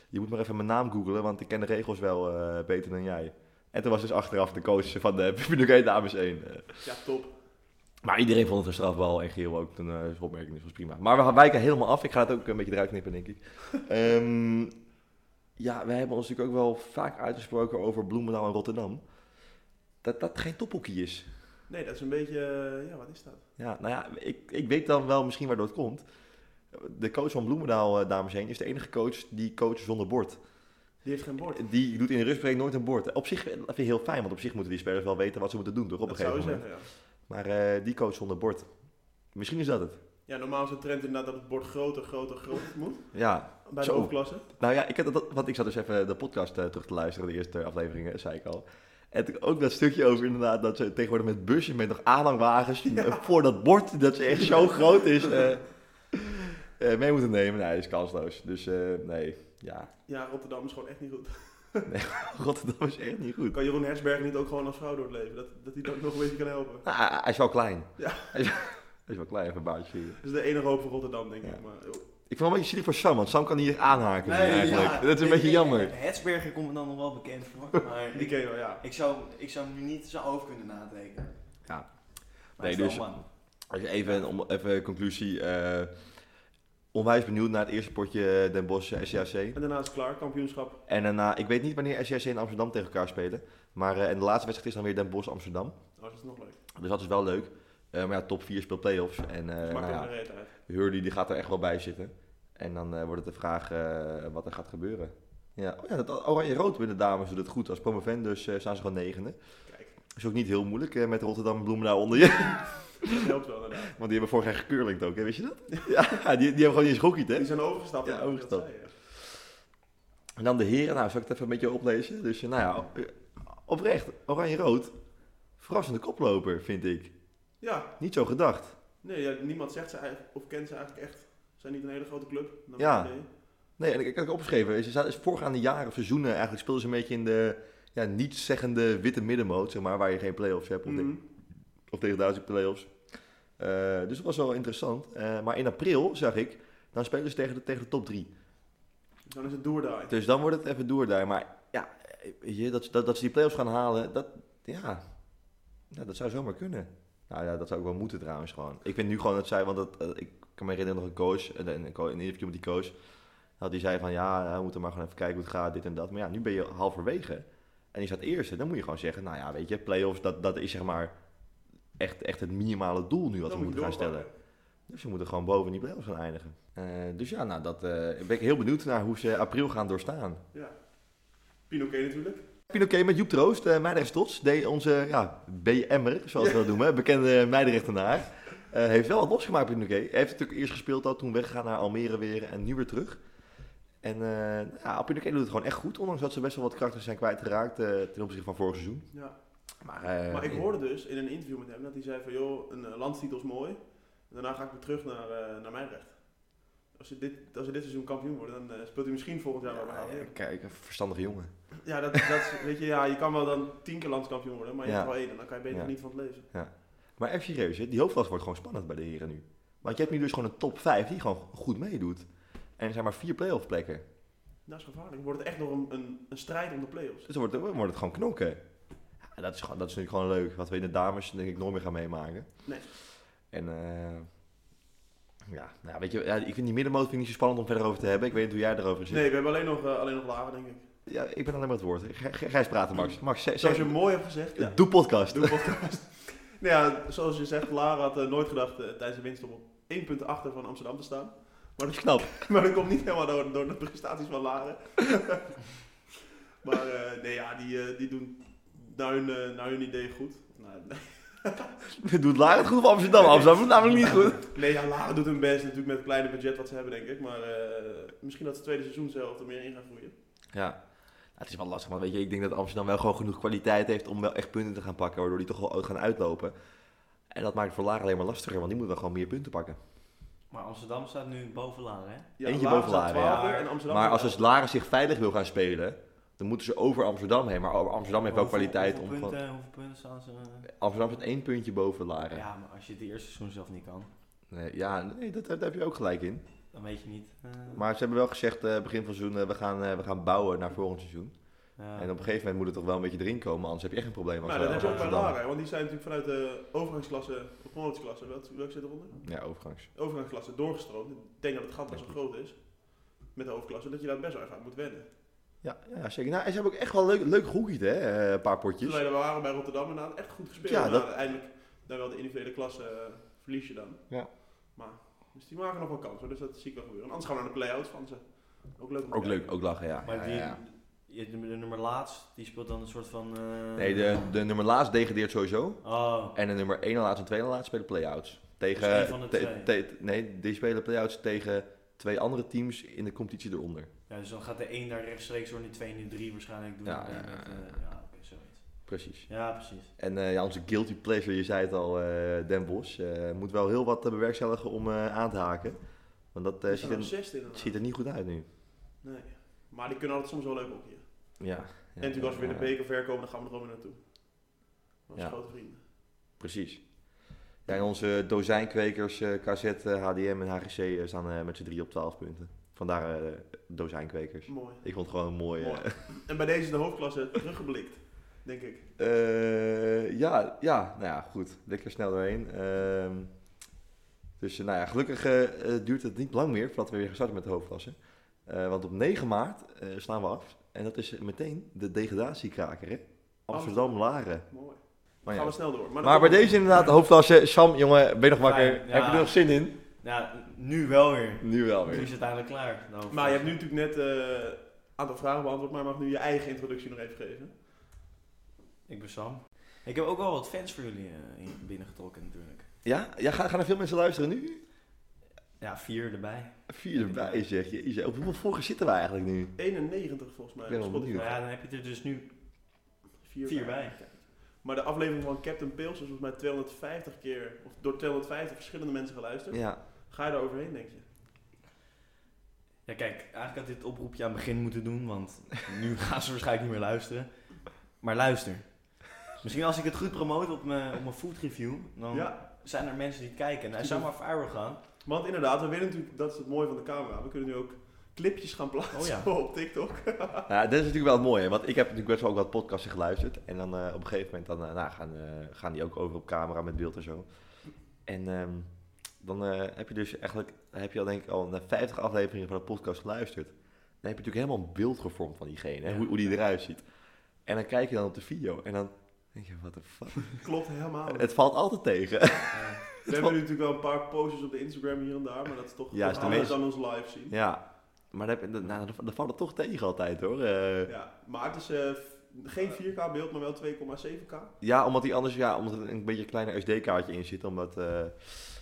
Speaker 2: je moet maar even mijn naam googlen, want ik ken de regels wel eh, beter dan jij. En toen was dus achteraf de coach van de Pinochet Dames 1. eh.
Speaker 3: Ja, top.
Speaker 2: maar iedereen vond het een strafbal en Geel ook een eh opmerking, dus was prima. Maar we wijken helemaal af, ik ga het ook een beetje eruit knippen, denk ik. Ehm, ja, we hebben ons natuurlijk ook wel vaak uitgesproken over Bloemendaal en Rotterdam. Dat dat geen tophockey is.
Speaker 3: Nee, dat is een beetje... eh, ja, wat is dat?
Speaker 2: Ja, nou ja, ik, ik weet dan wel misschien waardoor het komt. De coach van Bloemendaal, eh, dames en heren, is de enige coach die coacht zonder bord.
Speaker 3: Die heeft geen bord.
Speaker 2: Die doet in de rustbreek nooit een bord. Op zich eh, vind ik heel fijn, want op zich moeten die spelers wel weten wat ze moeten doen, toch? Op een
Speaker 3: dat zou
Speaker 2: gegeven
Speaker 3: je
Speaker 2: moment.
Speaker 3: zeggen, ja.
Speaker 2: Maar eh, die coach zonder bord. Misschien is dat het.
Speaker 3: Ja, normaal is de trend inderdaad dat het bord groter, groter, groter moet.
Speaker 2: Ja.
Speaker 3: Bij de
Speaker 2: Zo.
Speaker 3: hoofdklasse.
Speaker 2: Nou ja, ik, heb dat, want ik zat dus even de podcast eh, terug te luisteren, de eerste afleveringen, eh, zei ik al. En toen ook dat stukje over inderdaad dat ze tegenwoordig met busjes, met nog aanhangwagens, eh, voor dat bord, dat ze echt zo groot is, eh, eh, mee moeten nemen. Nee, dat is kansloos. Dus eh, nee, ja.
Speaker 3: Ja, Rotterdam is gewoon echt niet goed.
Speaker 2: Rotterdam is echt niet goed.
Speaker 3: Kan Jeroen Hersberg niet ook gewoon als vrouw door het leven? Dat, dat hij dat nog een beetje kan helpen.
Speaker 2: Nou, hij- hij is wel klein.
Speaker 3: Ja.
Speaker 2: Hij is, hij is wel klein, even een baantje.
Speaker 3: Dat is de enige hoop voor Rotterdam, denk
Speaker 2: Ja.
Speaker 3: ik. Maar, joh.
Speaker 2: Ik vond het een beetje zielig voor Sam, want Sam kan hier aanhaken.
Speaker 4: Nee,
Speaker 2: eigenlijk.
Speaker 4: ja,
Speaker 2: dat is een
Speaker 4: ik-
Speaker 2: beetje
Speaker 4: ik-
Speaker 2: jammer.
Speaker 4: Hetsberger komt me dan nog wel bekend voor, maar
Speaker 3: die
Speaker 4: ik,
Speaker 3: ken je wel, ja.
Speaker 4: ik, zou, ik zou hem nu niet zo over kunnen nadenken.
Speaker 2: Ja.
Speaker 4: Maar
Speaker 2: Nee,
Speaker 4: het is wel
Speaker 2: dus-
Speaker 4: man.
Speaker 2: Dus Even, om, even een conclusie. eh, onwijs benieuwd naar het eerste potje eh, Den Bosch eh, SJC.
Speaker 3: En daarna is het klaar, kampioenschap.
Speaker 2: En daarna, ik weet niet wanneer SJC en Amsterdam tegen elkaar spelen. Maar eh, en de laatste wedstrijd is dan weer Den Bosch Amsterdam.
Speaker 3: Oh, dat is nog leuk.
Speaker 2: Dus dat is wel leuk. Eh, maar ja, top 4 speelt playoffs. En eh,
Speaker 3: Dat
Speaker 2: nou
Speaker 3: maakt
Speaker 2: ja,
Speaker 3: er een reet uit.
Speaker 2: Hurley die gaat er echt wel bij zitten. En dan eh, wordt het de vraag eh, wat er gaat gebeuren. Ja, oh ja dat oranje-rood bij de dames doet het goed. Als promovendus dus staan ze gewoon negende.
Speaker 3: Kijk,
Speaker 2: Is ook niet heel moeilijk eh, met Rotterdam en Bloemendaal onder je.
Speaker 3: dat helpt wel inderdaad.
Speaker 2: Want die hebben vorig jaar gekeurlinkt ook, hè? weet je dat? Ja, die, die hebben gewoon niet eens gehockeyd, hè?
Speaker 3: Die zijn overgestapt.
Speaker 2: Ja,
Speaker 3: inderdaad, dat
Speaker 2: overgestapt.
Speaker 3: zei je.
Speaker 2: En dan de heren, nou, zal ik het even een beetje oplezen? Dus, eh, nou ja, eh, oprecht, oranje-rood. Verrassende koploper, vind ik.
Speaker 3: Ja,
Speaker 2: Niet zo gedacht.
Speaker 3: nee, ja, niemand zegt ze eigenlijk, of kent ze eigenlijk echt. Ze zijn niet een hele grote club. naar
Speaker 2: Ja.
Speaker 3: mijn idee.
Speaker 2: Nee, en ik, ik heb het opgeschreven, ze zaten- voorgaande jaren of seizoenen eigenlijk speelden ze een beetje in de ja, niet-zeggende witte middenmoot, zeg maar, waar je geen play-offs hebt. Of, de-
Speaker 3: Mhm.
Speaker 2: of tegen duizend play-offs. Eh, dus dat was wel interessant. Eh, maar in april, zag ik, dan spelen ze tegen de, tegen de top 3.
Speaker 3: Dus dan is het doordaai.
Speaker 2: Dus dan wordt het even door daar. Maar ja, weet je, dat, dat, dat ze die play-offs gaan halen, dat, ja, ja, dat zou zomaar kunnen. Nou ja, dat zou ook wel moeten trouwens gewoon. Ik vind nu gewoon dat zij, want dat, eh, ik kan me herinneren nog een coach, eh, een, een co- een interview met die coach, dat die zei van ja, eh, we moeten maar gewoon even kijken hoe het gaat, dit en dat. Maar ja, nu ben je halverwege en je staat eerste, dan moet je gewoon zeggen, nou ja, weet je, play-offs, dat, dat is zeg maar echt, echt het minimale doel nu wat
Speaker 3: Dan
Speaker 2: we
Speaker 3: moet je
Speaker 2: moeten gaan
Speaker 3: doorpakken.
Speaker 2: stellen. Dus we moeten gewoon boven in die play-offs gaan eindigen. Eh, dus ja, nou, dat, eh, ben ik heel benieuwd naar hoe ze april gaan doorstaan.
Speaker 3: Ja. Pinoquet natuurlijk.
Speaker 2: Pinoké met Joep Troost, uh, Meidrecht Tots, deed onze ja, BM'er, zoals we dat noemen, bekende Meidrechtenaar. eh, heeft wel wat losgemaakt, Pinoké. Hij heeft natuurlijk eerst gespeeld, al, toen weggegaan naar Almere weer en nu weer terug. En eh ja, Pinoké doet het gewoon echt goed, ondanks dat ze best wel wat krachten zijn kwijtgeraakt eh, ten opzichte van vorig seizoen.
Speaker 3: Ja.
Speaker 2: Maar, eh,
Speaker 3: Maar ik hoorde dus in een interview met hem dat hij zei van joh, een eh, landstitel is mooi. En daarna ga ik weer terug naar, eh, naar mijn recht. Als je, dit, als je dit seizoen kampioen wordt, dan eh, speelt hij misschien volgend jaar wel weer
Speaker 2: ja,
Speaker 3: AVL.
Speaker 2: ja, Eh, Kijk, een verstandige jongen.
Speaker 3: Ja, dat, dat is- weet je, ja, je kan wel dan tien keer landskampioen worden, maar je
Speaker 2: Ja.
Speaker 3: hebt wel één en dan kan je beter
Speaker 2: Ja.
Speaker 3: niet van het leven.
Speaker 2: Maar even serieus, hè, die hoofdklasse wordt gewoon spannend bij de heren nu. Want je hebt nu dus gewoon een top 5 die gewoon goed meedoet. En er zijn maar vier playoff plekken.
Speaker 3: Dat is gevaarlijk. Wordt het echt nog een, een, een strijd om de play-offs.
Speaker 2: Dus dan wordt, dan wordt het gewoon knokken. Ja, dat, is, gewoon- dat is natuurlijk gewoon leuk. Wat we in de dames denk ik nooit meer gaan meemaken.
Speaker 3: Nee.
Speaker 2: En eh, ja, nou, ja, weet je, ja, ik vind die middenmoot vind ik niet zo spannend om verder over te hebben. Ik weet niet hoe jij erover zit.
Speaker 3: Nee, we hebben alleen nog, eh, alleen nog lagen, denk ik.
Speaker 2: Ja, ik ben alleen maar het woord. Gij- Gij- Gijs praten, Max. Max, zeg,
Speaker 3: Zoals je
Speaker 2: zeg-
Speaker 3: mooi hebt gezegd, ja.
Speaker 2: doe podcast.
Speaker 3: Doe een podcast. nou ja, zoals je zegt, Lara had eh, nooit gedacht eh, tijdens de winst om op één punt achter van Amsterdam te staan.
Speaker 2: Dat is knap.
Speaker 3: Maar dat komt niet helemaal door, door de prestaties van Laren. maar eh, nee, ja, die, eh, die doen naar hun, eh, naar hun idee goed. Nou,
Speaker 2: Doet Lara het goed voor Amsterdam? Amsterdam doet het namelijk niet goed.
Speaker 3: nee, ja, Laren doet hun best natuurlijk met het kleine budget wat ze hebben, denk ik. Maar eh, misschien dat ze tweede seizoen zelf er meer in gaan groeien.
Speaker 2: Ja. Nou, het is wel lastig, maar weet je, ik denk dat Amsterdam wel gewoon genoeg kwaliteit heeft om wel echt punten te gaan pakken, waardoor die toch wel gaan uitlopen. En dat maakt het voor Lara alleen maar lastiger, want die moet dan gewoon meer punten pakken.
Speaker 4: Maar Amsterdam staat nu boven Laren, hè?
Speaker 3: Ja,
Speaker 2: Eentje
Speaker 3: Laren
Speaker 2: boven
Speaker 3: staat
Speaker 2: Laren, ja.
Speaker 3: 12e en Amsterdam
Speaker 2: maar als
Speaker 3: staat-
Speaker 2: dus Lara zich veilig wil gaan spelen, dan moeten ze over Amsterdam heen. Maar over Amsterdam heeft wel
Speaker 4: Hoeveel-
Speaker 2: kwaliteit om
Speaker 4: hoeveel
Speaker 2: gewoon...
Speaker 4: punten, Hoeveel punten staan ze? eh?
Speaker 2: Amsterdam zit één puntje boven Lara. Ja,
Speaker 4: Ja, maar als je het eerste seizoen zelf niet kan,
Speaker 2: nee, ja, nee dat, daar heb je ook gelijk in.
Speaker 4: dan weet je niet. eh,
Speaker 2: Maar ze hebben wel gezegd, eh, begin van het seizoen, eh, we, gaan, eh, we gaan bouwen naar volgend seizoen.
Speaker 4: ja.
Speaker 2: En op een gegeven moment moet het toch wel een beetje erin komen, anders heb je echt een probleem. als,
Speaker 3: Nou, dat
Speaker 2: eh,
Speaker 3: heb
Speaker 2: als
Speaker 3: je ook bij
Speaker 2: Amsterdam-
Speaker 3: Laren, want die zijn natuurlijk vanuit de overgangsklasse, of promotieklasse, welk, welk zit eronder?
Speaker 2: Ja, overgangs.
Speaker 3: Overgangsklasse doorgestroomd. Ik denk dat het gat best wel groot is met de hoofdklasse, dat je daar best wel even aan moet wennen.
Speaker 2: Ja, ja, zeker. Nou, en ze hebben ook echt wel leuk, leuk hoekied, hè? eh, Een paar potjes.
Speaker 3: Toen wij er waren bij Rotterdam inderdaad echt goed gespeeld.
Speaker 2: Ja,
Speaker 3: maar
Speaker 2: dat-
Speaker 3: uiteindelijk dan wel de individuele klasse eh, verlies je dan.
Speaker 2: Ja.
Speaker 3: Maar dus die maken nog wel kans hoor, dus dat zie ik wel gebeuren. Anders gaan we naar de play-outs van ze. Ook leuk. om te
Speaker 2: Ook
Speaker 3: kijken.
Speaker 2: leuk, ook lachen, ja.
Speaker 4: Maar
Speaker 2: Ja,
Speaker 4: die,
Speaker 2: Ah, ja, ja.
Speaker 4: je- de, de nummer laatst, die speelt dan een soort van... eh,
Speaker 2: Nee, de, de nummer laatst degradeert sowieso.
Speaker 4: Oh,
Speaker 2: En de nummer 1 en laatst en 2 en laatst spelen play-outs.
Speaker 4: Dus
Speaker 2: Tegen,
Speaker 4: één van de
Speaker 2: te-
Speaker 4: twee.
Speaker 2: te- nee, die spelen play-outs tegen twee andere teams in de competitie eronder.
Speaker 4: ja, dus dan gaat de 1 daar rechtstreeks door en die 2 en die 3 waarschijnlijk doen.
Speaker 2: Ja,
Speaker 4: Nee,
Speaker 2: ja,
Speaker 4: met,
Speaker 2: ja,
Speaker 4: eh,
Speaker 2: ja.
Speaker 4: ja, oké, zoiets.
Speaker 2: Precies.
Speaker 4: Ja, precies.
Speaker 2: En eh, ja, onze guilty pleasure, je zei het al, eh, Den Bosch, eh, moet wel heel wat eh, bewerkstelligen om eh, aan te haken. Want dat eh,
Speaker 3: Die
Speaker 2: ziet,
Speaker 3: staan er
Speaker 2: er,
Speaker 3: zesde nou inderdaad.
Speaker 2: ziet er niet goed uit nu.
Speaker 3: Nee. Maar die kunnen altijd soms wel leuk op je.
Speaker 2: Ja. ja,
Speaker 3: en natuurlijk als we weer
Speaker 2: ja.
Speaker 3: de beker ver komen, dan gaan we er gewoon weer naartoe. Als
Speaker 2: Ja.
Speaker 3: grote vrienden.
Speaker 2: Precies. Ja, en onze dozijnkwekers, eh, KZ, eh, HDM en HGC eh, staan eh, met z'n drie op 12 punten. Vandaar eh, dozijnkwekers.
Speaker 3: Mooi.
Speaker 2: Ik vond het gewoon mooi. eh.
Speaker 3: Mooi. En bij deze de hoofdklasse teruggeblikt, denk ik.
Speaker 2: Eh, ja, ja, nou ja, goed. Lekker snel doorheen. Ehm, dus eh, nou ja, gelukkig eh, eh, duurt het niet lang meer voordat we weer gaan starten met de hoofdklasse. Eh, want op 9 maart eh, slaan we af. En dat is meteen de degradatiekraker, hè? Amsterdam-Laren.
Speaker 3: Mooi.
Speaker 2: Maar, ja.
Speaker 3: Gaan we snel door. Maar,
Speaker 2: maar bij deze inderdaad, de hoofdklasse. Sam, jongen, ben je nog wakker?
Speaker 4: Fijn, ja.
Speaker 2: Heb je er nog zin in?
Speaker 4: Nou, nu wel weer.
Speaker 2: Nu wel
Speaker 4: Nu is
Speaker 2: weer.
Speaker 4: het eindelijk klaar. Nou,
Speaker 3: Maar je hebt nu natuurlijk net eh, een aantal vragen beantwoord, maar je mag nu je eigen introductie nog even geven.
Speaker 4: Ik ben Sam. Ik heb ook wel wat fans voor jullie eh, in- binnengetrokken natuurlijk.
Speaker 2: Ja? ja gaan, gaan er veel mensen luisteren nu?
Speaker 4: Ja, vier erbij.
Speaker 2: Vier erbij zeg je. Jezus, Op hoeveel volgers zitten we eigenlijk nu?
Speaker 3: 91 volgens mij.
Speaker 2: Ik ben
Speaker 3: op
Speaker 2: wel
Speaker 3: Spotify.
Speaker 2: benieuwd.
Speaker 4: Nou ja, dan heb je er dus nu
Speaker 3: Vier,
Speaker 4: vier
Speaker 3: bij.
Speaker 4: bij.
Speaker 3: Maar de aflevering van Captain Pils is volgens mij 250 keer, of door 250 verschillende mensen geluisterd.
Speaker 2: Ja.
Speaker 3: Ga je daar overheen, denk je?
Speaker 4: Ja, kijk, eigenlijk had dit het oproepje aan het begin moeten doen, want nu gaan ze waarschijnlijk niet meer luisteren. Maar luister. Misschien als ik het goed promote op mijn, op mijn food review, dan
Speaker 3: Ja,
Speaker 4: zijn er mensen die het kijken. Nou, zou maar viral gaan.
Speaker 3: want inderdaad, we willen natuurlijk, dat is het mooie van de camera. We kunnen nu ook clipjes gaan plaatsen
Speaker 4: Oh ja.
Speaker 3: op TikTok.
Speaker 2: Nou, dat is natuurlijk wel mooi, hè? want ik heb natuurlijk best wel ook wat podcasten geluisterd. En dan eh, op een gegeven moment dan, eh, nou, gaan, eh, gaan die ook over op camera met beeld en zo. En ehm, dan eh, heb je dus eigenlijk, heb je al denk ik al naar 50 afleveringen van de podcast geluisterd. Dan heb je natuurlijk helemaal een beeld gevormd van diegene, hè?
Speaker 4: Ja.
Speaker 2: Hoe, hoe die eruit ziet. En dan kijk je dan op de video en dan denk je, what the fuck.
Speaker 3: Klopt helemaal.
Speaker 2: Het valt altijd tegen.
Speaker 3: we hebben nu natuurlijk wel een paar posters op de Instagram hier en daar, maar dat is toch
Speaker 2: Ja, is
Speaker 3: toch
Speaker 2: de
Speaker 3: anders
Speaker 2: meest-
Speaker 3: dan ons live zien.
Speaker 2: ja, maar dan, heb, je- nou, dan, dan valt het toch tegen altijd hoor. Eh,
Speaker 3: Ja, maar het is eh, f- geen 4K beeld, maar wel 2,7K.
Speaker 2: Ja, omdat die anders, ja, omdat er een beetje een kleiner SD-kaartje in zit, omdat eh,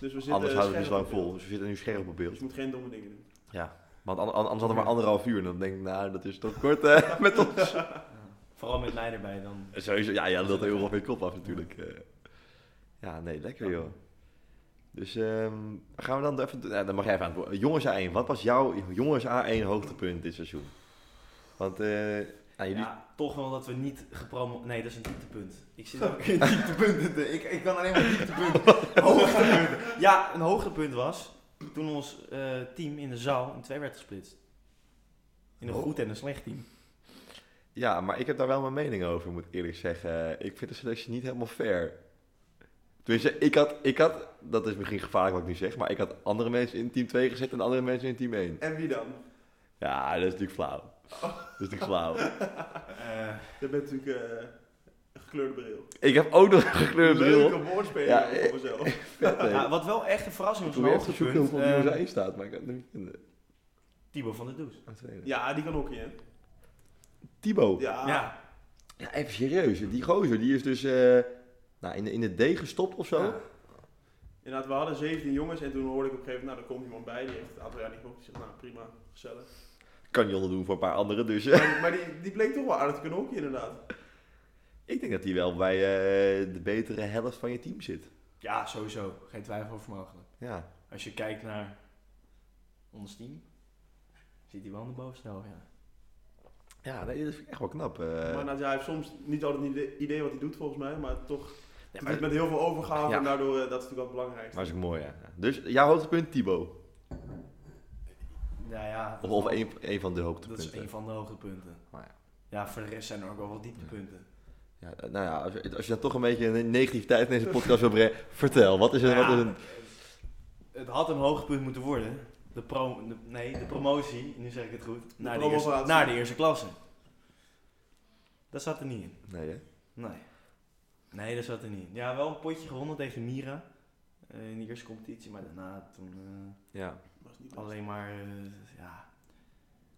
Speaker 3: Dus we zitten
Speaker 2: anders houdt het
Speaker 3: scherp
Speaker 2: niet zo lang
Speaker 3: op beeld.
Speaker 2: vol. Dus we zitten nu scherp op
Speaker 3: Dus
Speaker 2: beeld.
Speaker 3: je moet geen domme dingen doen.
Speaker 2: Ja, want an- an- anders hadden we maar anderhalf uur en dan denk ik, nou, dat is toch kort eh, met ons.
Speaker 4: Vooral met mij erbij dan.
Speaker 2: Sowieso, ja, jij lult heel erg op je kop af natuurlijk. Eh, Ja, nee, lekker joh. Dus ehm, gaan we dan even, ja, dan mag jij even aan het woord. Jongens A1, wat was jouw jongens A1 hoogtepunt dit seizoen? Want eh ja, jullie...
Speaker 4: Ja, toch wel dat we niet gepromo... Nee, dat is een dieptepunt. Ik zit ook in dieptepunten. Ik, ik kan alleen maar dieptepunten. Hoogtepunten. Ja, een hoogtepunt was toen ons eh, team in de zaal in twee werd gesplitst. In een
Speaker 2: Oh.
Speaker 4: goed en een slecht team.
Speaker 2: Ja, maar ik heb daar wel mijn mening over, moet ik eerlijk zeggen. Ik vind de selectie niet helemaal fair. Tenminste, ik had, ik had, dat is misschien gevaarlijk wat ik nu zeg, maar ik had andere mensen in team 2 gezet en andere mensen in team 1.
Speaker 3: En wie dan?
Speaker 2: Ja, dat is natuurlijk flauw. Dat is natuurlijk flauw.
Speaker 4: Eh,
Speaker 3: Je bent natuurlijk eh, een gekleurde bril.
Speaker 2: Ik heb ook nog een gekleurde bril.
Speaker 3: Leuke woordspeling
Speaker 2: Ja,
Speaker 3: voor mezelf.
Speaker 2: Vet, hè?
Speaker 4: nou, wat wel echt een verrassing
Speaker 2: Ik
Speaker 4: was, een
Speaker 2: probeer echt te zoeken
Speaker 4: hoogtepunt.
Speaker 2: hoeveel
Speaker 4: eh,
Speaker 2: nieuws erin staat, maar ik kan het niet vinden.
Speaker 4: Thibaut van der Does.
Speaker 3: Ja, die kan hockeyen. hè?
Speaker 2: Tibo. Ja.
Speaker 3: Ja.
Speaker 4: Ja,
Speaker 2: even serieus. Die gozer, die is dus eh, nou, in, de, in de D gestopt of zo.
Speaker 3: Ja. Inderdaad, we hadden 17 jongens en toen hoorde ik op een gegeven moment, nou, er komt iemand bij, die heeft het aantal jaar niet gehockeyd. Ik zeg, nou, prima, gezellig.
Speaker 2: Kan je onderdoen voor een paar anderen, dus... eh,
Speaker 3: Maar, maar die, die bleek toch wel aardig te kunnen hockeyen, inderdaad.
Speaker 2: ik denk dat hij wel bij eh, de betere helft van je team zit.
Speaker 4: ja sowieso. Geen twijfel over mogelijk.
Speaker 2: Ja.
Speaker 4: Als je kijkt naar ons team, zit hij wel aan de bovenste helft, ja.
Speaker 2: Ja, nee, dat vind ik echt wel knap. eh.
Speaker 3: maar nou, ja, hij heeft soms niet altijd een idee, idee wat hij doet, volgens mij, maar toch
Speaker 2: Ja,
Speaker 3: doet
Speaker 2: maar,
Speaker 3: het met heel veel overgave
Speaker 2: Ja.
Speaker 3: en daardoor, eh, dat is natuurlijk wel het belangrijkste.
Speaker 2: maar is ook mooi, ja. Dus jouw hoogtepunt, Tibo.
Speaker 4: Nou ja,
Speaker 2: Of, of een, een van de
Speaker 4: dat is
Speaker 2: hoogtepunten.
Speaker 4: een van de hoogtepunten.
Speaker 2: Maar ja.
Speaker 4: Ja, voor de rest zijn er ook wel wat dieptepunten.
Speaker 2: Ja, nou ja, als, als je dan toch een beetje een negativiteit in deze podcast wil brengen, vertel, wat is er...
Speaker 4: Ja,
Speaker 2: Wat is een,
Speaker 4: Het had een hoogtepunt moeten worden. De pro, de- nee, de promotie, nu zeg ik het goed, naar de,
Speaker 3: promovatie.
Speaker 4: eerste, naar de eerste klasse. Dat zat er niet in.
Speaker 2: nee, hè?
Speaker 4: Nee. Nee, dat zat er niet in. Ja, wel een potje gewonnen tegen Mira eh, in de eerste competitie, maar daarna toen eh,
Speaker 2: Ja.
Speaker 3: Maar is niet best.
Speaker 4: alleen maar, eh, ja,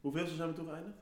Speaker 3: Hoeveel zijn we toen geëindigd?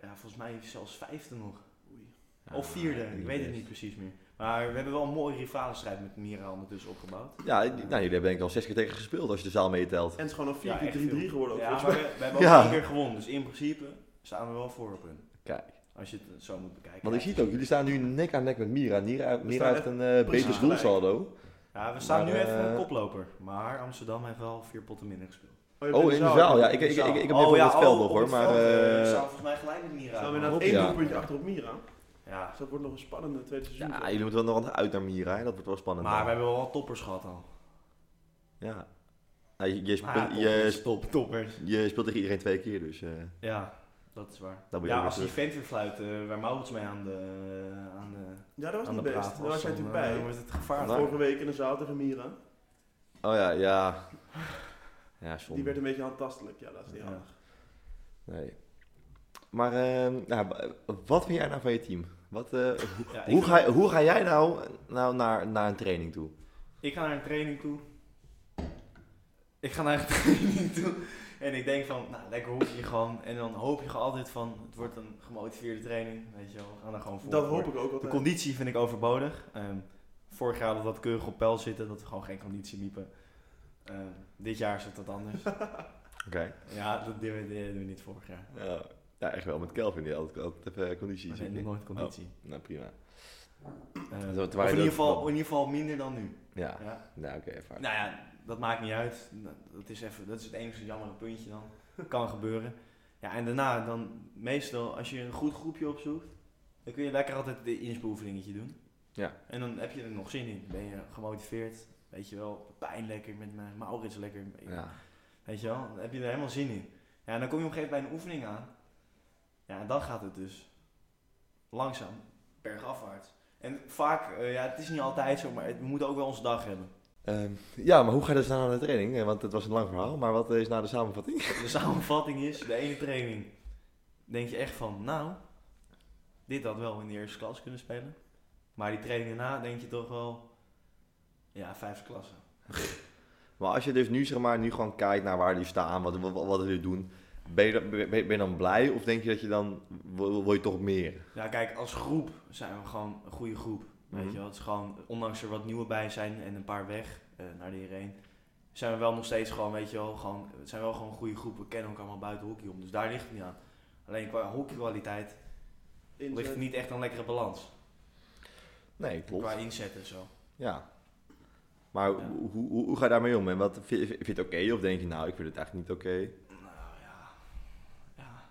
Speaker 4: ja, volgens mij zelfs vijfde nog.
Speaker 3: Oei.
Speaker 2: Ah,
Speaker 4: Of vierde,
Speaker 2: Ja,
Speaker 4: ik weet het
Speaker 2: best.
Speaker 4: niet precies meer. Maar we hebben wel een mooie rivalenstrijd met Mira ondertussen opgebouwd.
Speaker 2: Ja, nou, jullie hebben denk ik al zes keer tegen gespeeld als je de zaal meetelt.
Speaker 3: En het is gewoon al 4
Speaker 4: Ja,
Speaker 3: keer
Speaker 4: echt
Speaker 3: 3-3
Speaker 4: veel.
Speaker 3: geworden. ook,
Speaker 4: Ja,
Speaker 3: volgens
Speaker 4: maar
Speaker 3: mij.
Speaker 4: we, we hebben
Speaker 2: Ja.
Speaker 4: ook één keer gewonnen. Dus in principe staan we wel voor op hun.
Speaker 2: Kijk.
Speaker 4: Als je het zo moet bekijken.
Speaker 2: Want ik zie het ook, jullie staan nu nek aan nek met Mira. Mira, Mira
Speaker 3: staan
Speaker 2: heeft een eh
Speaker 3: precies
Speaker 2: beter
Speaker 3: gelijk.
Speaker 2: doelsaldo.
Speaker 4: Ja, we staan
Speaker 2: Maar, eh,
Speaker 4: nu even een koploper. Maar Amsterdam heeft wel vier potten minder gespeeld.
Speaker 3: je bent dus
Speaker 2: Oh, in de zaal. Ja, ik, ik, ik,
Speaker 4: Oh
Speaker 2: ik, heb even op het veld nog hoor. Maar
Speaker 4: we
Speaker 2: eh,
Speaker 4: staan volgens mij gelijk met Mira.
Speaker 3: Staan we
Speaker 4: man.
Speaker 3: inderdaad
Speaker 2: Ja.
Speaker 3: één doelpuntje achter op Mira.
Speaker 4: Ja,
Speaker 3: Dus dat wordt nog een spannende tweede seizoen.
Speaker 2: ja, jullie moeten wel nog uit naar Mira. Hè? Dat wordt wel spannend.
Speaker 4: maar
Speaker 2: dan.
Speaker 4: we hebben wel wat toppers gehad al.
Speaker 2: Ja. Nou, je, je,
Speaker 4: Maar ja, dus-
Speaker 2: speelt, je,
Speaker 4: toppers, top, toppers.
Speaker 2: sp- je speelt tegen iedereen twee keer, dus eh,
Speaker 4: Ja, dat is waar.
Speaker 2: dan moet je
Speaker 4: Ja,
Speaker 2: ook
Speaker 4: als
Speaker 2: weer
Speaker 4: die
Speaker 2: terug.
Speaker 4: vent weer fluit, eh, waar Maurits mee aan de, aan de,
Speaker 3: Ja, dat was
Speaker 4: aan
Speaker 3: niet
Speaker 4: de
Speaker 3: best.
Speaker 4: praat
Speaker 3: Daar was jij
Speaker 4: dan,
Speaker 3: natuurlijk
Speaker 4: eh,
Speaker 3: bij.
Speaker 4: wordt het gevaarlijk.
Speaker 2: Nou.
Speaker 3: Vorige week in de zaal tegen Mira.
Speaker 2: Oh ja, ja. Ja, zonde.
Speaker 3: Die werd een beetje handtastelijk. Ja, dat is niet
Speaker 4: Ja.
Speaker 3: handig.
Speaker 2: Nee. Maar eh, nou, w- wat vind jij nou van je team? Wat, eh,
Speaker 4: Ja, ik
Speaker 2: hoe,
Speaker 4: vind-
Speaker 2: ga, je- hoe ga jij nou, nou naar, naar een training toe?
Speaker 4: Ik ga naar een training toe. Ik ga naar een training toe. En ik denk van, nou, lekker hoef je gewoon. En dan hoop je gewoon altijd van, het wordt een gemotiveerde training. Weet je wel, we gaan er gewoon voor.
Speaker 3: Dat hoop ik ook
Speaker 4: De
Speaker 3: altijd.
Speaker 4: conditie vind ik overbodig. Ehm, vorig jaar had dat keurig op peil zitten, dat we gewoon geen conditie liepen. Ehm, dit jaar zit dat anders.
Speaker 2: Oké.
Speaker 4: ja, dat deden we, deden we niet vorig jaar.
Speaker 2: Ja, ja, echt wel. Met Kelvin die altijd, altijd even conditie.
Speaker 4: We
Speaker 2: zeg je.
Speaker 4: zijn nooit conditie.
Speaker 2: Nou, prima.
Speaker 4: Ehm,
Speaker 2: Dat
Speaker 4: of
Speaker 2: waren
Speaker 4: in ieder,
Speaker 2: ook-
Speaker 4: geval, in ieder geval minder dan nu.
Speaker 2: Ja,
Speaker 4: Ja.
Speaker 2: nou oké, ervaar.
Speaker 4: Nou ja, dat maakt niet uit. Dat is, even, dat is het enige jammere puntje dan. Kan gebeuren. Ja, en daarna dan meestal, als je een goed groepje opzoekt, dan kun je lekker altijd de inspoefeningetje doen.
Speaker 2: Ja.
Speaker 4: En dan heb je er nog zin in. Dan ben je gemotiveerd. Weet je wel, pijn lekker met me, Maurits lekker.
Speaker 2: Ja.
Speaker 4: Weet je wel, dan heb je er helemaal zin in. Ja, en dan kom je op een gegeven moment bij een oefening aan. Ja, en dan gaat het dus langzaam bergafwaarts. En vaak, eh, ja, het is niet altijd zo, maar het- we moeten ook wel onze dag hebben.
Speaker 2: Ehm, ja, maar hoe ga je dus nou naar de training? Eh, Want het was een lang verhaal, maar wat is nou de samenvatting?
Speaker 4: Dus De samenvatting is, de ene training denk je echt van, nou, dit had wel in de eerste klas kunnen spelen. Maar die training daarna denk je toch wel, ja, vijfde klasse.
Speaker 2: Maar als je dus nu, zeg maar, nu gewoon kijkt naar waar jullie staan, wat, wat, wat jullie doen, ben je, dan- ben, ben je dan blij of denk je dat je dan, wil, wil je toch meer?
Speaker 4: Ja, kijk, als groep zijn we gewoon een goede groep. Weet
Speaker 2: Mhm.
Speaker 4: je wel, het is gewoon, ondanks er wat nieuwe bij zijn en een paar weg eh, naar de hierheen, zijn we wel nog steeds gewoon, weet je wel, gewoon, het zijn wel gewoon een goede groep. We kennen elkaar allemaal buiten hockey om, dus daar ligt het niet aan. Alleen qua hockeykwaliteit ligt er
Speaker 3: inzet.
Speaker 4: niet echt een lekkere balans.
Speaker 2: Nee, klopt.
Speaker 4: Qua inzet en zo.
Speaker 2: Ja. Maar ho- Hoe, hoe, hoe ga je daarmee om? En wat, vind vind je het oké? Of denk je, nou, ik vind het eigenlijk niet oké?
Speaker 4: Nou ja. Ja,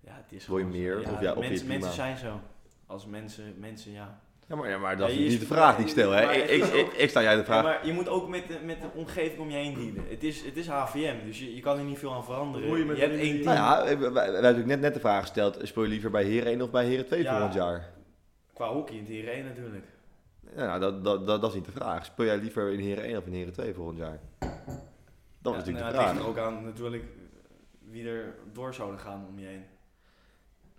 Speaker 4: ja het is
Speaker 2: Wil je
Speaker 4: gewoon
Speaker 2: meer?
Speaker 4: zo.
Speaker 2: Of ja, of
Speaker 4: mensen,
Speaker 2: je prima?
Speaker 4: mensen zijn zo. Als mensen, mensen ja.
Speaker 2: Ja, maar, ja, maar dat
Speaker 4: Ja,
Speaker 2: is
Speaker 4: je is-
Speaker 2: niet de vraag die ik stel, hè?
Speaker 4: maar
Speaker 2: Ik,
Speaker 4: het
Speaker 2: ik,
Speaker 4: is
Speaker 2: ik,
Speaker 4: ook-
Speaker 2: ik sta jij de
Speaker 4: Ja,
Speaker 2: vraag.
Speaker 4: maar je moet ook met de, met de omgeving om je heen dealen. Het is, het is HVM, dus je, je kan er niet veel aan veranderen.
Speaker 3: Hoe je met
Speaker 4: hebt
Speaker 3: de-
Speaker 4: één team.
Speaker 2: Nou ja, wij, wij- wij hebben natuurlijk net, net de vraag gesteld, speel je liever bij Heren 1 of bij Heren 2
Speaker 4: Ja.
Speaker 2: volgend jaar?
Speaker 4: Qua hockey in het Heren natuurlijk.
Speaker 2: Ja, nou, dat, dat, dat, dat is niet de vraag. Speel jij liever in Heren 1 of in Heren 2 volgend jaar? Dat
Speaker 4: Ja,
Speaker 2: was natuurlijk
Speaker 4: nou,
Speaker 2: de
Speaker 4: het
Speaker 2: vraag.
Speaker 4: ligt er ook aan natuurlijk wie er door zouden gaan om je heen.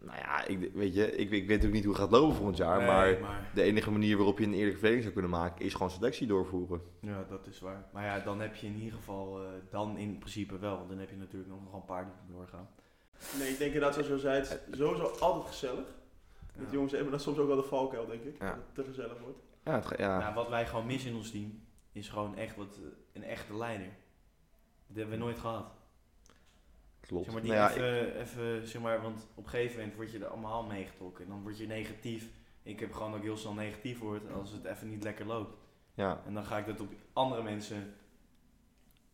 Speaker 2: Nou ja, ik, weet je, ik, ik weet natuurlijk niet hoe het gaat lopen volgend jaar, maar...
Speaker 4: Nee, maar...
Speaker 2: De enige manier waarop je een eerlijke verdeling zou kunnen maken is gewoon selectie doorvoeren.
Speaker 4: Ja, dat is waar. Maar ja, dan heb je in ieder geval, eh, dan in principe wel. Want dan heb je natuurlijk nog gewoon een paar die doorgaan.
Speaker 3: Nee, ik denk inderdaad, zoals je zei, het
Speaker 2: Eh,
Speaker 3: is sowieso altijd gezellig. Met
Speaker 4: Ja.
Speaker 3: de jongens hebben dat soms ook wel de valkuil, denk ik.
Speaker 2: Ja.
Speaker 3: Dat het te gezellig wordt.
Speaker 2: Ja, het, ge- ja.
Speaker 4: Ja, Nou, wat wij gewoon missen in ons team, is gewoon echt wat, eh, een echte leider. Dat hebben we nooit gehad.
Speaker 2: klopt.
Speaker 4: Zeg maar, die
Speaker 2: Nou ja, ik-
Speaker 4: even, even, zeg maar, want op een gegeven moment word je er allemaal meegetrokken. En dan word je negatief. Ik heb gewoon ook heel snel negatief wordt als het even niet lekker loopt.
Speaker 2: ja.
Speaker 4: En dan ga ik dat op andere mensen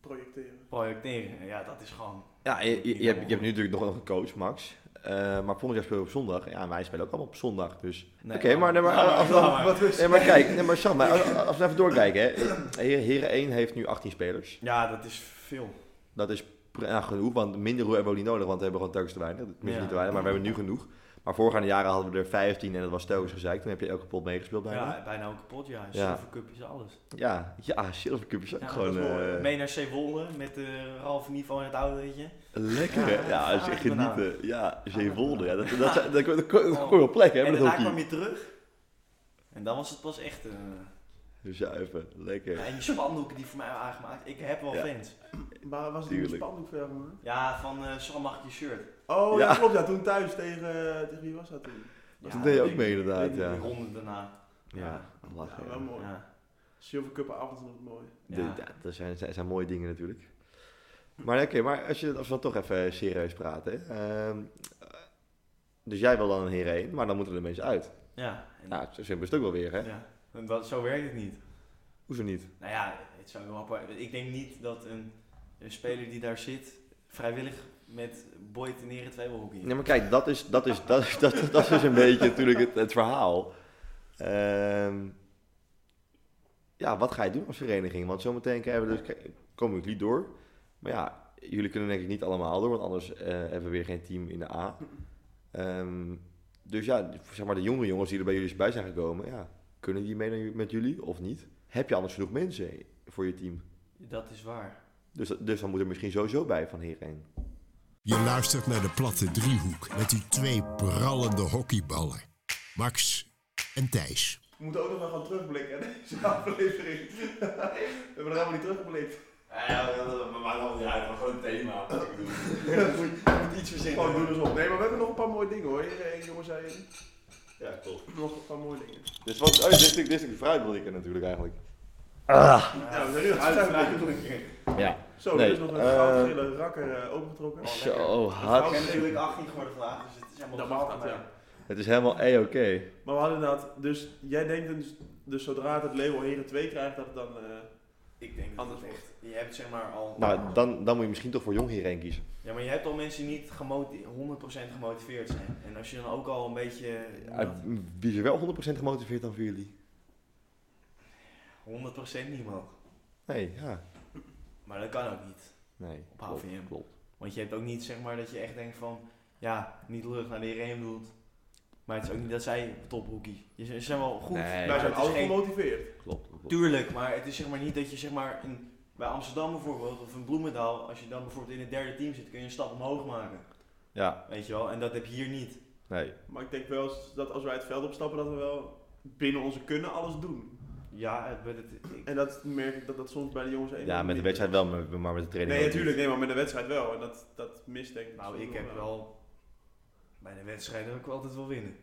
Speaker 3: Projecteren.
Speaker 4: projecteren. En ja, dat is gewoon...
Speaker 2: ja je, je- je hebt, je hebt nu natuurlijk nog een coach, Max. Eh, maar volgend jaar spelen we op zondag. Ja, en wij spelen ook allemaal op zondag. Dus.
Speaker 4: Nee,
Speaker 2: Oké, maar- nee, maar- als-
Speaker 4: laat maar.
Speaker 3: Wat is
Speaker 2: Nee, maar kijk, nee, maar Sam, maar als, als we even doorkijken. Hè. Heren, Heren 1 heeft nu 18 spelers.
Speaker 4: Ja, dat is veel.
Speaker 2: Dat is pr- ja, genoeg, want minder hebben we ook niet nodig, want we hebben gewoon telkens te weinig. Tenminste,
Speaker 4: Ja.
Speaker 2: niet te weinig, maar we hebben nu genoeg. Maar voorgaande jaren hadden we er 15 en dat was telkens gezeikt. Toen heb je elke pot meegespeeld bijna.
Speaker 4: Ja, bijna ook kapot, ja.
Speaker 2: Ja.
Speaker 4: Zilvercup is alles.
Speaker 2: Ja, ja, Silver Cup is ook
Speaker 4: Ja,
Speaker 2: gewoon...
Speaker 3: dat is wel,
Speaker 2: eh,
Speaker 3: eh,
Speaker 4: Mee naar Zeewolde met de halve niveau in het oude, weet je.
Speaker 2: Lekker,
Speaker 4: Ja,
Speaker 2: hè? Ja, dus dat is echt
Speaker 4: aardappelen.
Speaker 2: genieten. eh, Ja, Zeewolde. Ja, dat, dat, dat, dat, dat kon dat kon je op plek
Speaker 4: en
Speaker 2: hebben, dat
Speaker 4: daarna kwam
Speaker 2: hockey.
Speaker 4: je terug. En dan was het pas echt... eh,
Speaker 2: Zuiven,
Speaker 4: ja,
Speaker 2: lekker.
Speaker 4: en je spandoeken die voor mij waren aangemaakt. Ik heb wel
Speaker 2: Ja.
Speaker 4: fans.
Speaker 3: Maar was het niet een
Speaker 2: Tuurlijk.
Speaker 3: spandoek voor jou, man?
Speaker 4: Ja, van eh, Sam mag ik je shirt.
Speaker 3: Oh, ja.
Speaker 2: Ja.
Speaker 3: klopt. Ja, toen thuis tegen... Tegen wie was dat toen?
Speaker 4: Ja,
Speaker 2: Dat deed je ook
Speaker 4: ik-
Speaker 2: mee,
Speaker 4: ik-
Speaker 2: inderdaad,
Speaker 4: die
Speaker 2: ja.
Speaker 4: ronde daarna.
Speaker 2: Ja, lachen.
Speaker 3: Ja, wel mooi.
Speaker 4: Ja.
Speaker 3: Silvercup avond is mooi.
Speaker 2: De-
Speaker 4: Ja.
Speaker 2: ja, dat zijn, zijn, zijn mooie dingen natuurlijk. Maar oké, maar als, je, als we dan toch even serieus praten. hè. Ehm, dus jij wil dan een heren heen, maar dan moeten er mensen uit.
Speaker 4: Ja. En,
Speaker 2: Nou, zo simpel is het ook wel weer, hè?
Speaker 4: ja. En dat, zo werkt het niet.
Speaker 2: Hoezo niet?
Speaker 4: Nou ja, het zou wel apart. Ik denk niet dat een, een speler die daar zit vrijwillig met Boy ten Heren 2 wil hockeyen.
Speaker 2: Nee, maar kijk, dat is, dat is, dat is, dat, dat is dus een beetje natuurlijk het, het verhaal. Ehm, ja, wat ga je doen als vereniging? Want zometeen krijgen we dus, k- komen jullie door. Maar ja, jullie kunnen denk ik niet allemaal door, want anders eh, hebben we weer geen team in de A. Ehm, dus ja, zeg maar de jongere jongens die er bij jullie bij zijn gekomen, ja, kunnen die mee naar- met jullie of niet? Heb je anders genoeg mensen voor je team?
Speaker 4: Dat is waar.
Speaker 2: Dus, dus dan moet er misschien sowieso bij van hierheen.
Speaker 1: Je luistert naar de platte driehoek met uw twee prallende hockeyballen. Max en Thijs.
Speaker 3: We moeten ook nog wel gaan terugblikken, hè, deze aflevering. we hebben er helemaal niet teruggeblikt.
Speaker 4: Ja, we maken al niet uit, maar gewoon een thema.
Speaker 3: moet, iets verzinnen. Gewoon doen eens op. Nee, maar we hebben nog een paar mooie dingen hoor. Iedereen, eh, jongens, zei
Speaker 2: Ja, klopt.
Speaker 3: nog een paar mooie dingen.
Speaker 2: Dus wat, oh, dit is natuurlijk- dit is natuurlijk fruitbrikken natuurlijk eigenlijk.
Speaker 3: Nou, we zijn heel
Speaker 2: Ja.
Speaker 3: Zo,
Speaker 2: Nee,
Speaker 3: er is nog een
Speaker 2: eh,
Speaker 3: goudgele rakker eh, opengetrokken.
Speaker 2: Zo,
Speaker 4: Ik
Speaker 2: hard.
Speaker 4: ben natuurlijk 18 geworden vandaag, dus het is helemaal
Speaker 3: Dat
Speaker 4: goed
Speaker 3: mag
Speaker 4: aan
Speaker 3: dat,
Speaker 4: mij.
Speaker 3: ja.
Speaker 2: Het is helemaal e-oké.
Speaker 3: Maar we hadden dat, dus jij denkt dus, dus zodra het het label Heren 2 krijgt, dat het dan... eh,
Speaker 4: Ik denk dat
Speaker 3: Anders
Speaker 4: het echt... Je hebt zeg maar al...
Speaker 2: Nou, dan, dan moet je misschien toch voor jong hierheen kiezen.
Speaker 4: Ja, maar je hebt al mensen die niet gemoti- 100% gemotiveerd zijn. En als je dan ook al een beetje...
Speaker 2: Ja, Wie is er wel 100% gemotiveerd dan voor jullie?
Speaker 4: 100% niemand.
Speaker 2: Nee, ja.
Speaker 4: Maar dat kan ook niet.
Speaker 2: Nee.
Speaker 4: Op HVM.
Speaker 2: Klopt.
Speaker 4: Want je hebt ook niet zeg maar dat je echt denkt van... Ja, niet lullig naar de iedereen bedoelt. Maar het is ook niet dat zij tophookie. Je ze zijn wel goed.
Speaker 2: Nee.
Speaker 4: maar
Speaker 3: wij
Speaker 4: het
Speaker 3: zijn
Speaker 4: is
Speaker 3: altijd
Speaker 4: geen-
Speaker 3: gemotiveerd.
Speaker 2: Klopt. klopt.
Speaker 4: Tuurlijk, maar het is zeg maar niet dat je zeg maar een, bij Amsterdam bijvoorbeeld of een Bloemendaal, als je dan bijvoorbeeld in het derde team zit, kun je een stap omhoog maken.
Speaker 2: Ja,
Speaker 4: Weet je wel, en dat heb je hier niet.
Speaker 2: nee.
Speaker 3: Maar ik denk wel eens dat als wij het veld opstappen, dat we wel binnen onze kunnen alles doen.
Speaker 4: Ja, het- het, ik-
Speaker 3: En dat merk ik dat dat soms bij de jongens even
Speaker 2: Ja, met de
Speaker 3: niet-
Speaker 2: wedstrijd wel, maar maar met de training
Speaker 3: Nee,
Speaker 2: ook niet.
Speaker 3: natuurlijk, nee, maar met de wedstrijd wel. En dat, dat mist denk ik.
Speaker 4: nou,
Speaker 3: soms
Speaker 4: ik heb
Speaker 3: nog
Speaker 4: wel bij de wedstrijden wil ik wel altijd wel winnen.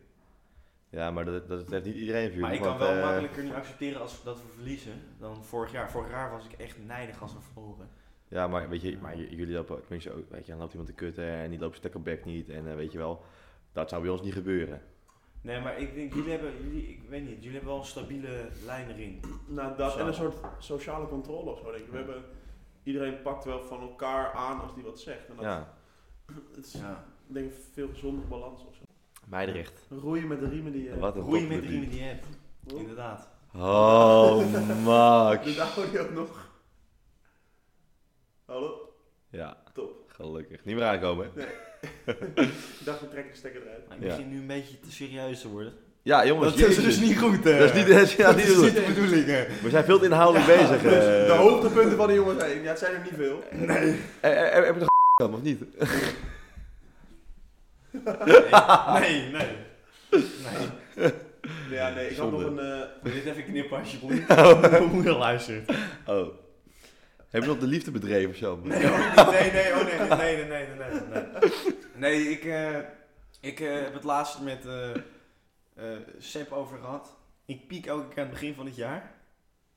Speaker 2: Ja, maar dat, dat heeft niet iedereen voor jullie.
Speaker 4: Maar ik kan
Speaker 2: want,
Speaker 4: wel
Speaker 2: eh,
Speaker 4: makkelijker nu accepteren als dat we verliezen dan vorig jaar. Vorig jaar was ik echt nijdig als we verloren.
Speaker 2: Ja, maar weet je, maar j- jullie lopen, tenminste ook, weet je, dan loopt iemand te kutten en die loopt zijn tackleback niet en eh, weet je wel. Dat zou bij ons niet gebeuren.
Speaker 4: Nee, maar ik denk, jullie hebben, jullie, ik weet niet, jullie hebben wel een stabiele lijn erin.
Speaker 3: Nou, dat,
Speaker 4: Zo.
Speaker 3: en een soort sociale controle of zo, denk ik. We hebben, iedereen pakt wel van elkaar aan als die wat zegt. En dat,
Speaker 2: Ja,
Speaker 3: het is,
Speaker 4: Ja.
Speaker 3: ik denk, een veel gezondere balans of zo.
Speaker 2: Meidrecht.
Speaker 3: Roeien met de riemen die je...
Speaker 2: Wat een
Speaker 4: Roeien met de
Speaker 2: topclub
Speaker 4: riemen
Speaker 2: die-
Speaker 4: die je hebt,
Speaker 3: Hoe?
Speaker 4: inderdaad.
Speaker 2: Oh,
Speaker 3: Doet
Speaker 2: Max.
Speaker 3: de audio nog? Hallo?
Speaker 2: Ja,
Speaker 3: Top.
Speaker 2: gelukkig. Niet meer aankomen. hè?
Speaker 3: Ik dacht, we trekken de stekker eruit.
Speaker 4: Maar ik
Speaker 2: Ja.
Speaker 4: begin nu een beetje te serieus te worden.
Speaker 2: Ja, jongens.
Speaker 4: dat is
Speaker 2: jezus.
Speaker 4: dus niet goed, hè?
Speaker 2: Dat is niet, ja,
Speaker 4: dat
Speaker 2: niet
Speaker 4: is
Speaker 2: te
Speaker 4: niet
Speaker 2: doen.
Speaker 4: de bedoeling, hè?
Speaker 2: We zijn veel te inhoudelijk bezig.
Speaker 3: Dus
Speaker 2: eh.
Speaker 3: de hoogtepunten van de jongens heen. Ja, het zijn er niet veel.
Speaker 2: Eh, eh, eh, Heb je nog kan, of niet? Ah.
Speaker 4: Nee, nee. Nee.
Speaker 3: Ja, nee, ik
Speaker 2: Zonde.
Speaker 3: had nog een... eh,
Speaker 4: Wil je dit even knippen alsjeblieft?
Speaker 3: Oh.
Speaker 4: Mijn moeder luistert.
Speaker 2: Oh. Heb je nog de liefde bedreven of zo?
Speaker 4: Nee, oh, nee, nee, oh, nee, nee, nee, nee, nee, nee, nee. Nee, ik, eh, ik eh, heb het laatst met eh eh Sepp over gehad. Ik piek elke keer aan het begin van het jaar.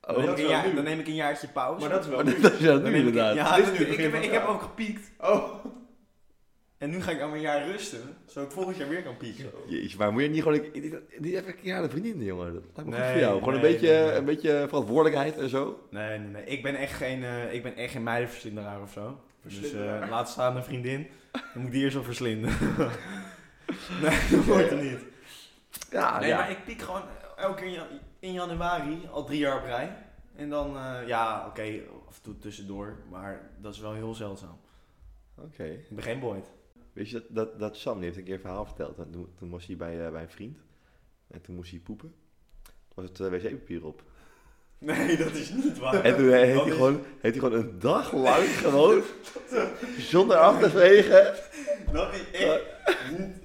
Speaker 4: Dan,
Speaker 2: Oh,
Speaker 4: neem,
Speaker 3: dat
Speaker 4: ik
Speaker 3: is
Speaker 4: een
Speaker 3: wel
Speaker 4: jaar,
Speaker 3: nu.
Speaker 4: dan neem ik een jaartje pauze.
Speaker 3: maar dat is wel
Speaker 2: Oh,
Speaker 3: nu.
Speaker 2: dat is ja,
Speaker 4: Dan
Speaker 2: nu
Speaker 4: neem ik-
Speaker 2: inderdaad.
Speaker 4: Ja,
Speaker 3: Dit
Speaker 4: dat
Speaker 3: is
Speaker 4: is
Speaker 3: nu
Speaker 4: nu.
Speaker 3: het
Speaker 4: Ik
Speaker 3: begin
Speaker 4: heb,
Speaker 3: van
Speaker 4: ik
Speaker 3: het
Speaker 4: heb
Speaker 3: jaar.
Speaker 4: ook gepiekt.
Speaker 3: Oh.
Speaker 4: En nu ga ik allemaal een jaar rusten. Zodat ik volgend jaar weer kan pieken.
Speaker 2: Jeetje, maar moet je niet gewoon... Ik, ik- niet even een keer aan de vriendin, jongen. Dat lijkt me goed
Speaker 4: Nee,
Speaker 2: voor jou. Gewoon een,
Speaker 4: nee,
Speaker 2: beetje,
Speaker 4: nee, nee.
Speaker 2: een beetje verantwoordelijkheid en zo.
Speaker 4: Nee, nee, nee. Ik ben echt geen, eh, ik ben echt geen meidenverslinderaar of zo. Dus
Speaker 3: Verslinderaar.
Speaker 4: eh, laat staan een vriendin. Dan moet ik die eerst wel verslinden. nee, dat wordt er niet.
Speaker 2: Ja,
Speaker 4: nee,
Speaker 2: Ah, ja.
Speaker 4: maar ik piek gewoon elke keer in jan- in januari, al drie jaar op rij. En dan, eh, ja, oké, af en toe tussendoor. Maar dat is wel heel zeldzaam.
Speaker 2: Oké.
Speaker 4: Ik ben geen boyd.
Speaker 2: Weet je, dat, dat, dat Sam die heeft een keer een verhaal verteld. En Toen, toen was hij bij, eh, bij een vriend. En toen moest hij poepen. Toen was het eh, wc-papier op.
Speaker 4: Nee, dat is niet waar.
Speaker 2: En toen eh, heeft
Speaker 4: Dat
Speaker 2: hij,
Speaker 4: is-
Speaker 2: gewoon, heeft hij gewoon een dag lang gewoon... zonder af te vegen.
Speaker 4: Dat is echt...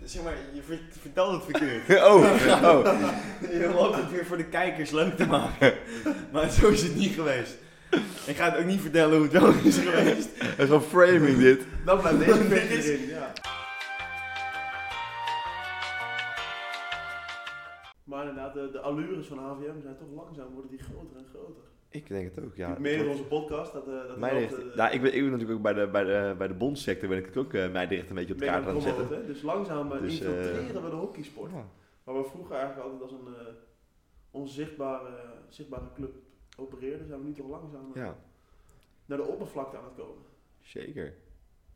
Speaker 4: Zeg maar, je ver- vertelt het verkeerd.
Speaker 2: Oh, oh.
Speaker 4: Je hoopt het weer voor de kijkers leuk te maken. Maar zo is het niet geweest. Ik ga het ook niet vertellen hoe het wel is geweest.
Speaker 2: Dat is gewoon framing dit.
Speaker 3: Dan blijft deze
Speaker 4: Dit
Speaker 3: beetje
Speaker 4: is-
Speaker 3: erin, ja. Maar inderdaad, de, de allures van HVM zijn toch langzaam, worden die groter en groter.
Speaker 2: Ik denk het ook, ja.
Speaker 3: Mede door onze podcast, dat, eh dat
Speaker 2: Meidrecht.
Speaker 3: loopt, eh,
Speaker 2: nou, ik ben, ik ben natuurlijk ook bij de, bij de, bij de bondsector ben ik natuurlijk ook eh Meidrecht een beetje op de
Speaker 3: mede
Speaker 2: kaart aan het
Speaker 3: promoten,
Speaker 2: zetten.
Speaker 3: hè. Dus langzaam eh,
Speaker 2: Dus, eh,
Speaker 3: infiltreren we de hockeysport.
Speaker 2: Ja.
Speaker 3: Waar we vroeger eigenlijk altijd als een eh, onzichtbare eh, zichtbare club opereerden, zijn we nu toch langzaam eh,
Speaker 2: ja,
Speaker 3: naar de oppervlakte aan het komen.
Speaker 2: zeker.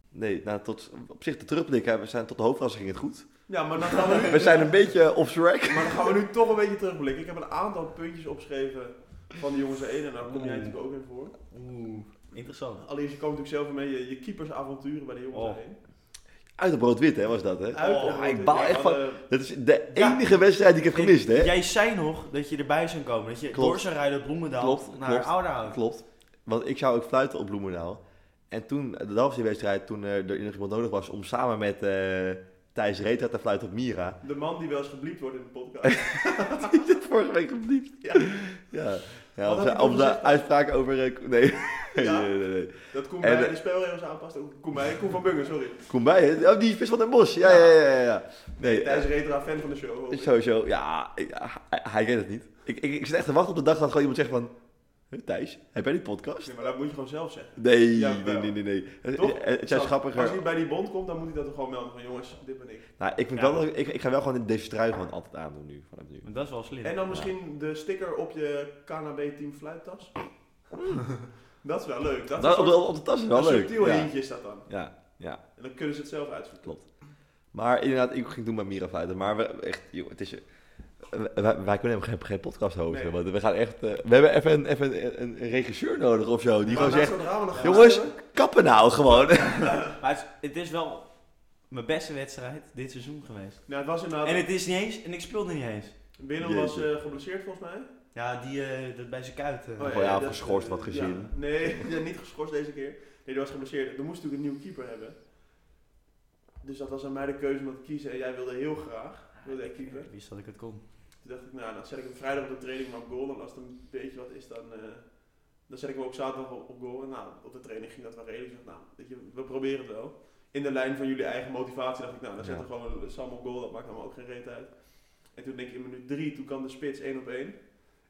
Speaker 2: Nee, nou, tot, op zich de terugblik, hè, we zijn tot de hoofdklasse ging het goed.
Speaker 3: Ja, maar dan gaan we nu...
Speaker 2: We zijn een beetje off track.
Speaker 3: Maar dan gaan we nu toch een beetje terugblikken. Ik heb een aantal puntjes opgeschreven van de jongens één en daar kom jij natuurlijk ook in voor.
Speaker 4: Oeh, interessant.
Speaker 3: Allereerst, je komt natuurlijk zelf mee je, je keepersavonturen bij de jongens
Speaker 4: Oh.
Speaker 3: heen.
Speaker 2: Uit op rood-wit, hè, was dat, hè?
Speaker 3: Uit-
Speaker 4: Oh,
Speaker 3: en-
Speaker 2: ik baal
Speaker 3: ja,
Speaker 2: echt van-
Speaker 3: eh,
Speaker 2: Dat is de
Speaker 4: Ja.
Speaker 2: enige wedstrijd die ik heb gemist, hè?
Speaker 4: Jij zei nog dat je erbij zou komen. Dat je
Speaker 2: Klopt.
Speaker 4: door zou rijden op Bloemendaal
Speaker 2: Klopt,
Speaker 4: naar
Speaker 2: klopt.
Speaker 4: Ouderhout.
Speaker 2: Klopt. Want ik zou ook fluiten op Bloemendaal. En toen, dat was die wedstrijd, toen eh, er nog iemand nodig was om samen met eh, Thijs Reta te fluiten op Mira.
Speaker 3: De man die wel eens gebliept wordt in de podcast.
Speaker 2: Die is dit vorige week gebliept.
Speaker 3: Ja.
Speaker 2: Ja,
Speaker 3: Wat
Speaker 2: ja
Speaker 3: had
Speaker 2: op
Speaker 3: hij
Speaker 2: zijn-
Speaker 3: toen
Speaker 2: op zijn
Speaker 3: gezegd?
Speaker 2: uitspraak over... eh, nee.
Speaker 3: Ja?
Speaker 2: nee, nee, nee.
Speaker 3: Dat Koen
Speaker 2: En
Speaker 3: bij
Speaker 2: de-
Speaker 3: de spelregels aanpast. Ook Koen bij, Koen van Bungen, sorry.
Speaker 2: Kom bij, hè? Oh, die is best van Den Bos. Ja, ja, ja, ja. ja. Nee, eh,
Speaker 3: Thijs Retra, fan van de show. hoop ik.
Speaker 2: sowieso. Ja, ik- ja, hij, hij kent het niet. Ik, ik, ik zit echt te wachten op de dag dat gewoon iemand zegt van... "Huh, Thijs, heb jij die podcast?
Speaker 3: Nee, maar dat moet je gewoon zelf zeggen.
Speaker 2: Nee,
Speaker 3: Jawel.
Speaker 2: nee, nee, nee. nee. Het,
Speaker 3: Toch?
Speaker 2: het- het zijn
Speaker 3: Zo, Als hij
Speaker 2: schappiger...
Speaker 3: bij die bond komt, dan moet hij dat toch gewoon melden van jongens, dit ben ik.
Speaker 2: Nou, ik, vind
Speaker 4: Ja.
Speaker 2: wel, dat- ik, ik ga wel gewoon deze trui gewoon altijd aandoen nu. Vanaf nu.
Speaker 4: Maar dat is wel slim.
Speaker 3: En dan misschien de sticker op je KNB Team Fluittas. dat is wel leuk. Dat,
Speaker 2: Hmm. Dat,
Speaker 3: is een
Speaker 2: op, de,
Speaker 3: soort,
Speaker 2: op de tas is
Speaker 3: een
Speaker 2: wel leuk.
Speaker 3: subtiel
Speaker 2: Ja.
Speaker 3: hintje is dat dan.
Speaker 2: ja, ja.
Speaker 3: En dan kunnen ze het zelf uitzoeken.
Speaker 2: Klopt. Maar inderdaad, ik ging doen met Mira fluiten. Maar we, echt, joh, het is... eh, Wij, wij kunnen hem geen, geen podcast hosten.
Speaker 3: Nee.
Speaker 2: Want we gaan echt... eh, we hebben even, een, even een, een regisseur nodig of zo. Die
Speaker 3: Maar
Speaker 2: gewoon
Speaker 3: na
Speaker 2: zegt...
Speaker 3: zo'n drama nog
Speaker 2: Jongens,
Speaker 3: gaan hebben,
Speaker 2: kappen nou gewoon.
Speaker 4: Maar het, is- het is wel mijn beste wedstrijd dit seizoen geweest.
Speaker 3: Nou, het was inderdaad...
Speaker 4: En het is niet eens, en ik speelde niet eens.
Speaker 3: Willem was
Speaker 2: Jeetje.
Speaker 3: eh, geblesseerd volgens mij.
Speaker 4: Ja, die eh, dat bij zijn kuit. eh.
Speaker 3: Oh
Speaker 2: ja,
Speaker 3: dat-
Speaker 2: geschorst, wat gezien.
Speaker 3: ja. nee, ja, niet geschorst deze keer. Nee, die was geblesseerd. Er moest natuurlijk een nieuwe keeper hebben. Dus dat was aan mij de keuze om dat te kiezen. En jij wilde heel graag. Wilde jij keeper?
Speaker 4: Ik wist dat ik het kon.
Speaker 3: Toen dacht ik, nou, dan zet ik hem vrijdag op de training maar op goal. En als het een beetje wat is, dan, eh, dan zet ik hem ook zaterdag op, op goal. En nou, op de training ging dat wel redelijk. Ik dacht, nou, weet je, we proberen het wel. In de lijn van jullie eigen motivatie dacht ik, nou, dan
Speaker 2: Ja.
Speaker 3: zetten we gewoon Sam op goal. Dat maakt allemaal ook geen reet uit. En toen denk ik in minuut drie, toen kwam de spits één op één.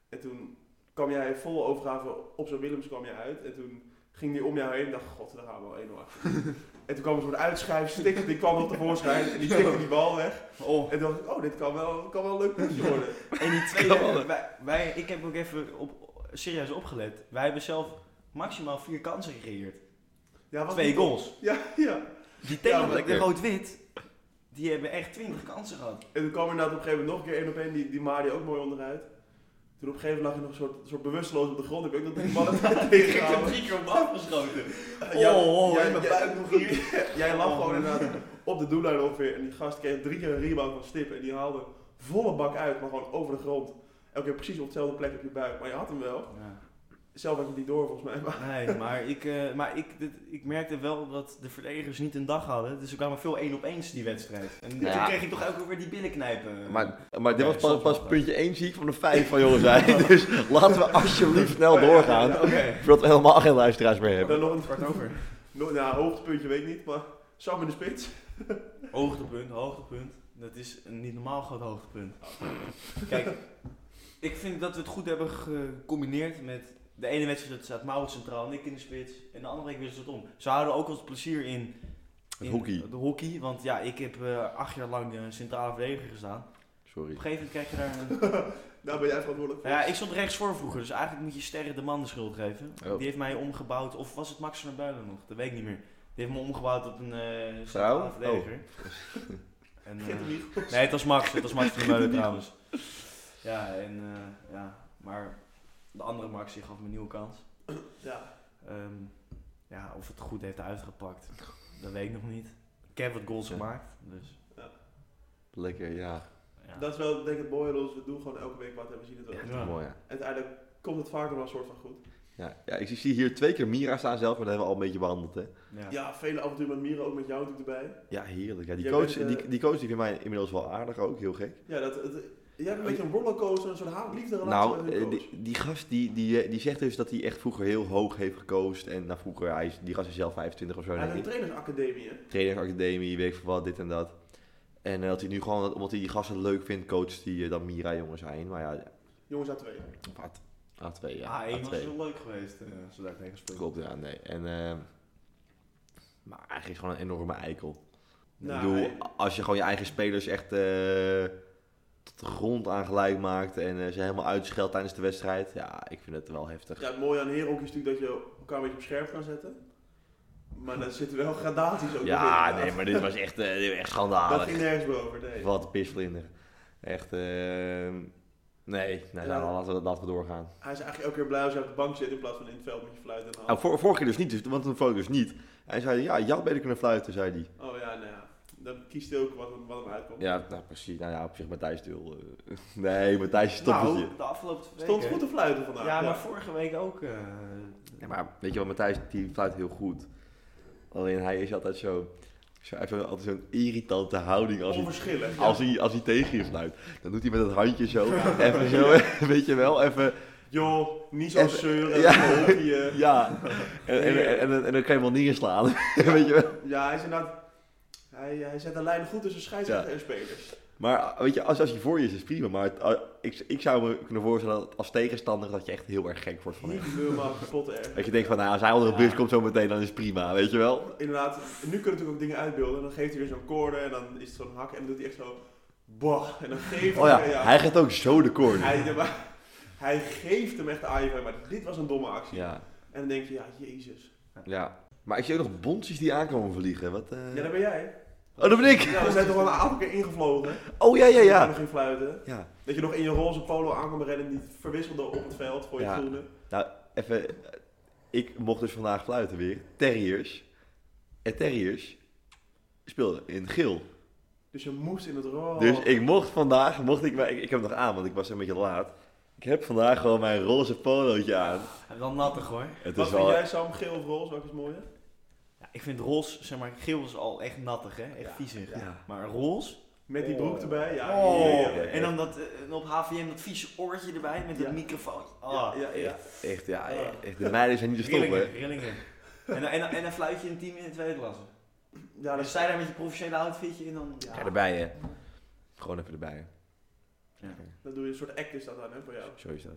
Speaker 3: En toen kwam jij vol overgave op zijn Willems kwam je uit. En toen ging die om jou heen en dacht, god, daar gaan we al 1-0 achter. en toen kwam een soort uitschuifstikker, die kwam op de voorschijn en die tikte die bal weg.
Speaker 4: Oh,
Speaker 3: En toen dacht ik, oh, dit kan wel, kan wel een leuk puntje worden.
Speaker 4: en die
Speaker 2: Kom.
Speaker 4: tweede, wij, wij, ik heb ook even op, serieus opgelet. Wij hebben zelf maximaal vier kansen gecreëerd.
Speaker 3: Ja, wat
Speaker 4: Twee
Speaker 3: Oh, die-
Speaker 4: goals.
Speaker 3: Ja, ja.
Speaker 4: Die
Speaker 3: Ja,
Speaker 4: tegen
Speaker 3: maar
Speaker 4: de
Speaker 2: lekker.
Speaker 4: rood-wit, die hebben echt twintig kansen gehad.
Speaker 3: En toen kwam inderdaad op een gegeven moment nog een keer één op één, die, die Mari ook mooi onderuit. Toen op een gegeven moment lag je nog een soort, soort bewusteloos op de grond. Ik weet nog dat die ballen
Speaker 4: Ik heb
Speaker 3: tegenhouden.
Speaker 4: drie keer op de afgeschoten.
Speaker 3: Ja,
Speaker 4: Oh, oh,
Speaker 3: jij-
Speaker 4: en mijn
Speaker 3: jij-
Speaker 4: buik nog hier.
Speaker 3: Jij lag
Speaker 4: Oh.
Speaker 3: gewoon inderdaad op de doellijn ongeveer. En die gast kreeg drie keer een rebound van Stip. En die haalde volle bak uit, maar gewoon over de grond. Elke keer precies op dezelfde plek op je buik. Maar je had hem wel.
Speaker 4: Ja.
Speaker 3: Zelf had je die door volgens mij. Maar
Speaker 4: Nee, maar, ik, eh, maar ik, dit- ik merkte wel dat de verdedigers niet een dag hadden. Dus er kwamen veel één op eens die wedstrijd. En
Speaker 2: Nou
Speaker 4: toen
Speaker 2: ja.
Speaker 4: kreeg ik toch elke keer weer die billen knijpen.
Speaker 2: Maar, maar dit
Speaker 4: Nee,
Speaker 2: was pas,
Speaker 4: soms
Speaker 2: pas
Speaker 4: wel.
Speaker 2: puntje 1 zie ik van de 5 van jongens zijn. Dus laten we alsjeblieft snel doorgaan.
Speaker 4: Ja, Oké.
Speaker 2: Voordat we helemaal geen luisteraars meer hebben.
Speaker 3: dan nog een
Speaker 4: Kwart over.
Speaker 3: nog, nou, hoogtepuntje weet ik niet. Maar Sam in de spits.
Speaker 4: Hoogtepunt, hoogtepunt. Dat is een niet normaal groot hoogtepunt. Kijk, ik vind dat we het goed hebben gecombineerd met de ene wedstrijd staat Maurits centraal en ik in de spits. En de andere week weer het om. Ze houden ook ons plezier in, in
Speaker 2: hockey.
Speaker 4: de hockey. Want ja, ik heb eh, acht jaar lang eh, centrale verdediger gestaan. Op
Speaker 2: Sorry.
Speaker 4: een gegeven moment krijg je daar een
Speaker 3: Daar ben jij verantwoordelijk voor.
Speaker 4: Nou ja, ik stond rechts voor vroeger, dus eigenlijk moet je Sterren de man de schuld geven.
Speaker 2: Oh.
Speaker 4: Die heeft mij omgebouwd, of was het Max van der Builen nog? Dat weet ik niet meer. Die heeft me omgebouwd op een eh
Speaker 2: Oh,
Speaker 4: centrale verdediger. En, eh,
Speaker 3: Vergeet hem niet.
Speaker 4: nee, het was Max, het was Max van der Builen trouwens. Ja, en, eh, ja, maar de andere Max die gaf me een nieuwe kans.
Speaker 3: Ja.
Speaker 4: Ehm, ja, of het goed heeft uitgepakt, dat weet ik nog niet. Ik heb wat goals
Speaker 2: Ja.
Speaker 4: gemaakt, dus
Speaker 2: Lekker, ja.
Speaker 4: ja.
Speaker 3: Dat is wel denk ik het mooie. Dus we doen gewoon elke week wat en we zien het wel.
Speaker 4: Ja.
Speaker 2: Mooi, ja.
Speaker 3: Uiteindelijk komt het vaker wel een soort van goed.
Speaker 2: ja. ja ik zie- zie hier twee keer Mira staan zelf, maar dat hebben we al een beetje behandeld, hè.
Speaker 4: ja.
Speaker 3: Ja, vele avonturen met Mieren, ook met jou natuurlijk erbij.
Speaker 2: Ja, heerlijk. Ja, die,
Speaker 3: Jij
Speaker 2: coach,
Speaker 3: bent, eh,
Speaker 2: die, die coach die vindt mij inmiddels wel aardig ook, heel gek.
Speaker 3: Ja, dat, het, jij hebt een beetje een rollercoaster, een soort haatliefde relatie
Speaker 2: Nou,
Speaker 3: met hun
Speaker 2: eh,
Speaker 3: coach.
Speaker 2: die, die gast die, die, eh, die zegt dus dat hij echt vroeger heel hoog heeft gecoacht. En nou, vroeger, hij is, die gast is zelf 25 of zo,
Speaker 3: Hij
Speaker 2: denk
Speaker 3: heeft een
Speaker 2: ik.
Speaker 3: trainersacademie, hè?
Speaker 2: Trainersacademie, weet ik veel wat, dit en dat. En eh, dat hij nu gewoon, omdat hij die gasten leuk vindt, coacht die eh, dan Mira jongens heen. Maar ja,
Speaker 3: Jongens A2.
Speaker 2: wat? A2, ja.
Speaker 4: Ah, ik was
Speaker 2: A2.
Speaker 4: heel leuk geweest, eh als we daar tegen spelen.
Speaker 2: Klopt, ja, nee. En, eh, maar eigenlijk is gewoon een enorme eikel.
Speaker 3: Nou,
Speaker 2: ik bedoel,
Speaker 3: hij-
Speaker 2: als je gewoon je eigen spelers echt eh, tot de grond aan gelijk maakt en eh, ze helemaal uitscheldt tijdens de wedstrijd. Ja, ik vind het wel heftig.
Speaker 3: Ja, het mooie aan herenhockey is natuurlijk dat je elkaar een beetje op scherp kan zetten. Maar daar zitten wel gradaties ook nog
Speaker 2: Ja,
Speaker 3: in,
Speaker 2: nee, maar dit was echt, eh, dit was echt
Speaker 3: Dat
Speaker 2: schandalig.
Speaker 3: ging nergens meer over, nee.
Speaker 2: Wat een pisvlinder. Echt, ehm nee, nee nou, laten, we, laten we doorgaan.
Speaker 3: Hij is eigenlijk elke keer blij als je op de bank zit in plaats van in het veld met je fluit en
Speaker 2: Nou, vor- vorige keer dus niet, dus, want toen vloog ik dus niet. Hij zei, ja, je had beter kunnen fluiten, zei hij.
Speaker 3: Oh ja, nou ja. Dan kiest hij ook wat, wat hem uitkomt.
Speaker 2: Ja, nou precies. Nou ja, op zich Matthijs Dul. eh, nee, Matthijs stop het je.
Speaker 4: Nou, de afgelopen twee
Speaker 3: Stond
Speaker 4: weken-
Speaker 3: goed te fluiten vandaag.
Speaker 4: Ja, maar vorige week ook. eh,
Speaker 2: Ja, maar weet je wel, Matthijs die fluit heel goed. Alleen hij is altijd zo, zo hij heeft altijd zo'n irritante houding als hij,
Speaker 3: Onverschillig.
Speaker 2: als, hij, als hij tegen je fluit. Dan doet hij met dat handje zo, even zo, weet je wel, even...
Speaker 3: Joh, niet zo
Speaker 2: Even-
Speaker 3: zeuren.
Speaker 2: ja.
Speaker 3: even hockey, eh.
Speaker 2: Ja, en, en, en, en, en dan kan je hem wel neerslaan. Weet je wel.
Speaker 3: Ja, hij is inderdaad... Hij, eh, hij zet de lijn goed tussen scheidsrechter
Speaker 2: Ja.
Speaker 3: en spelers.
Speaker 2: Maar eh, weet je, als, als hij voor je is, is het prima. Maar het- ah, ik, ik zou me kunnen voorstellen dat als tegenstander dat je echt heel erg gek wordt van hem.
Speaker 3: Niet helemaal kapot erg.
Speaker 2: Dat je denkt van, nou, als hij onder de
Speaker 4: Ja.
Speaker 2: bus komt zo meteen, dan is het prima, weet je wel.
Speaker 3: Inderdaad, en nu kunnen we natuurlijk ook dingen uitbeelden. En dan geeft hij weer zo'n koorde en dan is het zo'n hak en dan doet hij echt zo... Bah, en dan geeft
Speaker 2: Oh ja,
Speaker 3: hij...
Speaker 2: hij gaat ook zo de corner.
Speaker 3: hij, ja, maar, hij geeft hem echt de AIV, maar dit was een domme actie.
Speaker 2: Ja,
Speaker 3: En dan denk je, ja, jezus.
Speaker 2: ja. Maar ik zie ook nog bontjes die aankomen vliegen. Wat, eh?
Speaker 3: Ja, daar ben jij.
Speaker 2: Oh, dat ben ik!
Speaker 3: Ja, we zijn toch wel een aantal keer ingevlogen.
Speaker 2: Oh ja, ja,
Speaker 3: Dat je
Speaker 2: ja.
Speaker 3: nog ging fluiten.
Speaker 2: ja.
Speaker 3: Dat je nog in je roze polo aankwam rennen en die verwisselde op het veld voor je
Speaker 2: Ja.
Speaker 3: groene.
Speaker 2: Nou, even. eh, Ik mocht dus vandaag fluiten weer. Terriers. En Terriers speelde in geel.
Speaker 3: Dus je moest in het rood.
Speaker 2: Dus ik mocht vandaag, mocht ik, maar ik, ik heb hem nog aan, want ik was een beetje laat. Ik heb vandaag gewoon mijn roze polootje aan.
Speaker 4: hij is wel nattig hoor.
Speaker 2: Het
Speaker 3: Wat
Speaker 2: is
Speaker 3: vind
Speaker 2: wel,
Speaker 3: jij, Sam? Geel of roze? Welke is mooier?
Speaker 4: Ja, ik vind roze, zeg maar, geel is al echt nattig hè, echt
Speaker 3: Ja,
Speaker 4: viezig.
Speaker 2: ja.
Speaker 4: Maar roze.
Speaker 3: Met die broek
Speaker 2: Oh.
Speaker 3: erbij? Ja.
Speaker 4: oh,
Speaker 3: heerlijk.
Speaker 4: En dan dat, eh, op HVM dat vieze oortje erbij met
Speaker 3: Ja.
Speaker 4: dat microfoon. Ah,
Speaker 3: Ja, ja, ja.
Speaker 2: echt, echt, ja, echt, de meiden zijn niet te
Speaker 4: rillingen,
Speaker 2: stoppen.
Speaker 4: rillingen. En, dan- en, dan- en dan fluit je een team in de tweede klasse.
Speaker 3: Ja,
Speaker 4: Ja,
Speaker 3: dat
Speaker 4: dan sta je daar met je professionele outfitje en dan...
Speaker 2: Ja, erbij hè. Gewoon even erbij.
Speaker 3: Dan doe je een soort act is dat dan, hè, voor jou.
Speaker 2: Zo is dat.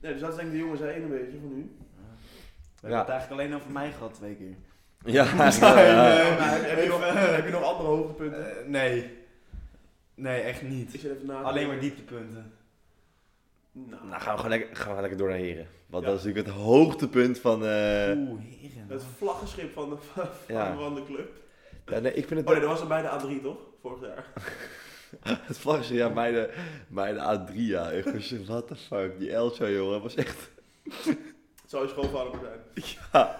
Speaker 3: Nee, dus dat is denk ik de jongens zijn een beetje van nu.
Speaker 4: We
Speaker 2: Ja.
Speaker 4: hebben het eigenlijk alleen over mij gehad twee keer.
Speaker 2: Ja,
Speaker 4: Ja,
Speaker 2: ja.
Speaker 4: ja.
Speaker 3: maar eh, heb, je nog,
Speaker 4: Even-
Speaker 3: heb je nog andere hoogtepunten?
Speaker 4: Eh, nee. Nee, echt niet.
Speaker 3: ik zit even na. te
Speaker 4: Alleen maar
Speaker 3: denken.
Speaker 4: dieptepunten.
Speaker 3: Nou,
Speaker 2: Nou, gaan we, gewoon lekker, gaan we lekker door naar Heren. Want
Speaker 3: Ja.
Speaker 2: dat is natuurlijk het hoogtepunt van... eh,
Speaker 4: Oeh, heren.
Speaker 3: het vlaggenschip van de, van,
Speaker 2: Ja.
Speaker 3: van de club.
Speaker 2: ja, nee, ik vind het...
Speaker 3: Oh nee, dat was er bij de A3 toch? Vorig jaar.
Speaker 2: Het vlaggetje, ja, bij de, bij de Adria. Ik was zo, what the fuck. Die Elcho, jongen, was echt
Speaker 3: Het zou je schoonvader maar zijn.
Speaker 2: Ja,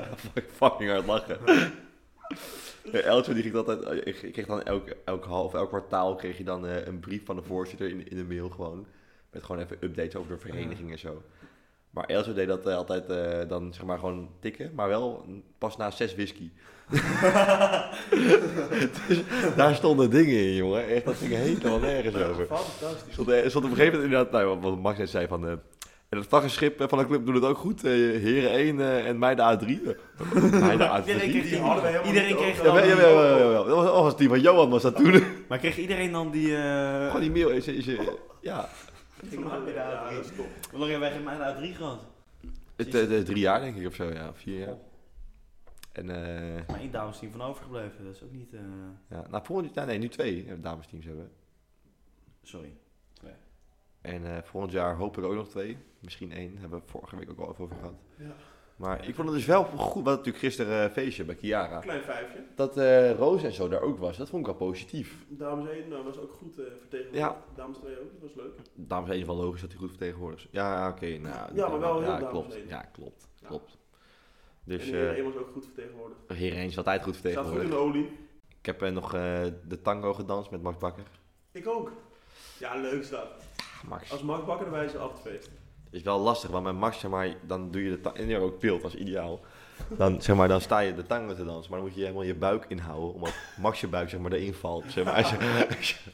Speaker 2: fuck- fucking hard lachen. Ja, Elcho die kreeg altijd, eh, ik ik kreeg dan elk, elk half, elk kwartaal kreeg je dan eh, een brief van de voorzitter in, in de mail gewoon. Met gewoon even updates over de vereniging en zo. Maar Elcho deed dat eh, altijd eh, dan zeg maar gewoon tikken, maar wel pas na zes whisky. dus daar stonden dingen in jongen, echt dat ging helemaal nergens over. Er
Speaker 3: Fantastisch.
Speaker 2: stond, eh, er stond op een gegeven moment inderdaad, nou, wat Max net zei van... eh, en het vlaggenschip eh, van de club doet het ook goed. eh heren 1 eh, en mij de A3. mij de A3?
Speaker 4: Iedereen kreeg,
Speaker 3: Die hadden we
Speaker 4: die,
Speaker 3: helemaal
Speaker 4: iedereen
Speaker 3: niet
Speaker 4: kreeg
Speaker 3: over.
Speaker 2: Jawel,
Speaker 4: dan...
Speaker 2: jawel, jawel, jawel. Dat was, dat was het team van Johan was dat toen.
Speaker 4: Maar kreeg iedereen dan die... eh,
Speaker 2: Gewoon die mail is... is, eh, ja,
Speaker 4: Ik maak weer de
Speaker 3: Ja,
Speaker 4: A3.
Speaker 3: dat is top.
Speaker 4: Hoe lang hebben wij geen mij de A3 gehad?
Speaker 2: het, eh, het- drie jaar denk ik of zo, ja. Vier jaar. En eh
Speaker 4: Maar één damesteam van overgebleven, dat is ook niet... eh,
Speaker 2: ja, nou, volgend jaar... Nee, nu twee eh, damesteams hebben.
Speaker 4: Sorry.
Speaker 2: En eh, volgend jaar hopelijk ook nog twee. Misschien één. Hebben we vorige week ook al even over gehad.
Speaker 3: Ja.
Speaker 2: Maar ik vond het dus wel goed. We hadden natuurlijk gisteren eh, feestje bij Kiara.
Speaker 3: Klein vijfje.
Speaker 2: Dat eh Roos en zo daar ook was, dat vond ik wel positief.
Speaker 3: Dames 1 nou, was ook goed eh, vertegenwoordigd. Dames 2 ook, dat was leuk.
Speaker 2: Dames in ieder geval logisch dat hij goed vertegenwoordigd is. Ja, ja, oké. nou,
Speaker 3: Ja, maar wel heel
Speaker 2: ja,
Speaker 3: dames
Speaker 2: klopt.
Speaker 3: één.
Speaker 2: Ja, klopt.
Speaker 3: Ja.
Speaker 2: Klopt.
Speaker 3: en
Speaker 2: Dus
Speaker 3: de
Speaker 2: eh
Speaker 3: Heren was ook goed vertegenwoordigd.
Speaker 2: hierheen is altijd goed
Speaker 3: Staat goed in
Speaker 2: vertegenwoordigd.
Speaker 3: de olie.
Speaker 2: Ik heb eh, nog eh, de tango gedanst met Max Bakker.
Speaker 3: Ik ook. Ja, leuk is dat.
Speaker 2: Ah, Max.
Speaker 3: Als Mark Bakker erbij is, een afterfeest.
Speaker 2: is wel lastig, want met Max, zeg maar, dan doe je de tango... En ja, ook beeld was ideaal. Dan, zeg maar, dan sta je de tango te dansen, maar dan moet je helemaal je buik inhouden, omdat Max je buik, zeg maar, erin valt. Zeg maar, als je- als je-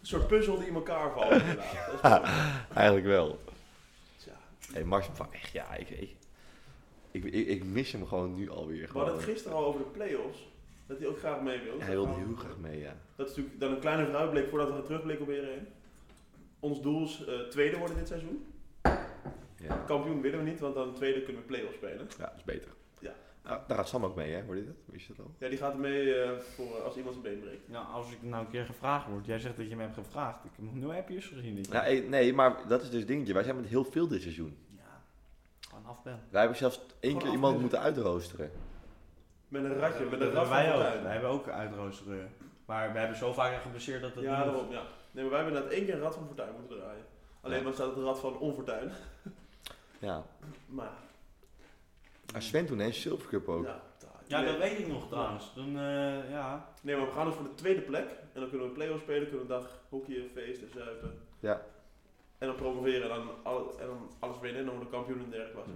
Speaker 3: Een soort puzzel die in elkaar valt. inderdaad. Dat is mooi.
Speaker 2: eigenlijk wel.
Speaker 3: Tja.
Speaker 2: Hey, Max, van- echt, ja, ik, ik, ik, ik, ik mis hem gewoon nu alweer.
Speaker 3: We hadden
Speaker 2: Gewoon.
Speaker 3: het gisteren al over de play-offs. Dat hij ook graag mee wil.
Speaker 2: Ja, Hij wilde heel graag mee, ja.
Speaker 3: Dat is natuurlijk dan een kleine vooruitblik voordat we gaan terugblikken op Heren Ons doel is eh, tweede worden dit seizoen.
Speaker 2: Ja,
Speaker 3: Kampioen willen we niet, want dan tweede kunnen we play-offs spelen.
Speaker 2: ja dat is beter.
Speaker 3: Ja.
Speaker 2: Nou, daar gaat Sam ook mee, hè? Hoorde je dat? Wist je dat al?
Speaker 3: Ja, die gaat mee eh, voor eh, als iemand zijn been breekt.
Speaker 4: Nou, als ik nou een keer gevraagd word, jij zegt dat je me hebt gevraagd. Ik heb nog nul appjes gezien. dit
Speaker 2: Ja,
Speaker 4: jaar.
Speaker 2: hey, nee, maar dat is dus het dingetje. Wij zijn met heel veel dit seizoen.
Speaker 4: ja, gewoon afbellen.
Speaker 2: Wij hebben zelfs één keer
Speaker 3: Gewoon
Speaker 2: iemand
Speaker 3: afbellen.
Speaker 2: moeten uitroosteren.
Speaker 3: Met een ratje, met een
Speaker 4: Dat
Speaker 3: rat
Speaker 4: hebben
Speaker 3: van
Speaker 4: wij ook.
Speaker 3: Fortuin.
Speaker 4: Wij hebben ook uitroosteren. Maar we hebben zo vaak geblesseerd dat het
Speaker 3: Ja,
Speaker 4: niet
Speaker 3: daarom, ja. Nee, maar wij hebben net één keer een rat van Fortuin moeten draaien. Alleen
Speaker 2: Ja.
Speaker 3: dan staat het rad van onfortuin.
Speaker 2: Ja.
Speaker 3: Maar,
Speaker 2: Maar Sven toen, hè? Silver Cup ook.
Speaker 3: ja.
Speaker 4: Ja,
Speaker 3: nee.
Speaker 4: dat weet ik nog trouwens. Dan, eh, ja.
Speaker 3: nee, maar we gaan dus voor de tweede plek. En dan kunnen we play-offs spelen, kunnen we een dag hockeyen, feesten, zuipen.
Speaker 2: Ja.
Speaker 3: En dan promoveren en dan, al, en dan alles winnen en dan worden we kampioen in de derde klas.
Speaker 2: Hm.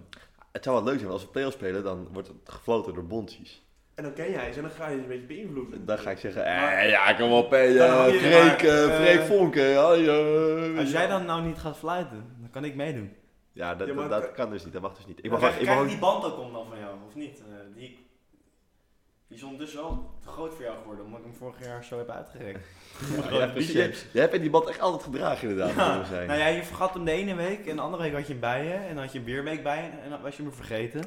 Speaker 2: Het zou wel leuk zijn, want als we play-offs spelen, dan wordt het gefloten door bonties.
Speaker 3: En dan ken jij ze en dan ga je ze een beetje beïnvloeden.
Speaker 2: Dan ga ik zeggen, eh, ja, kom op, hè.
Speaker 4: Dan
Speaker 2: eh,
Speaker 4: hou je-
Speaker 2: Freek,
Speaker 4: maar,
Speaker 2: eh,
Speaker 4: eh,
Speaker 2: Freek Vonken. Ja, ja,
Speaker 4: Als jij dan nou niet gaat fluiten, dan kan ik meedoen.
Speaker 2: Ja, dat,
Speaker 3: Ja, maar
Speaker 2: dat, dat
Speaker 3: kan-
Speaker 2: kan dus niet. Dat mag dus niet. Ik
Speaker 4: Ik
Speaker 2: mag,
Speaker 4: krijg,
Speaker 2: ik
Speaker 4: krijg
Speaker 2: mag,
Speaker 4: die band ook om dan van jou, of niet? Eh, die, die is ondertussen wel te groot voor jou geworden, omdat ik hem vorig jaar zo heb uitgerekt.
Speaker 2: Ja,
Speaker 4: Grote
Speaker 2: precies.
Speaker 4: biceps.
Speaker 2: Jij hebt die band echt altijd gedragen inderdaad.
Speaker 4: Ja,
Speaker 2: moet ik Zijn.
Speaker 4: Nou ja, je vergat hem de ene week en de andere week had je hem bij je. En dan had je hem weer een week bij je en dan was je hem weer vergeten.
Speaker 2: Ja.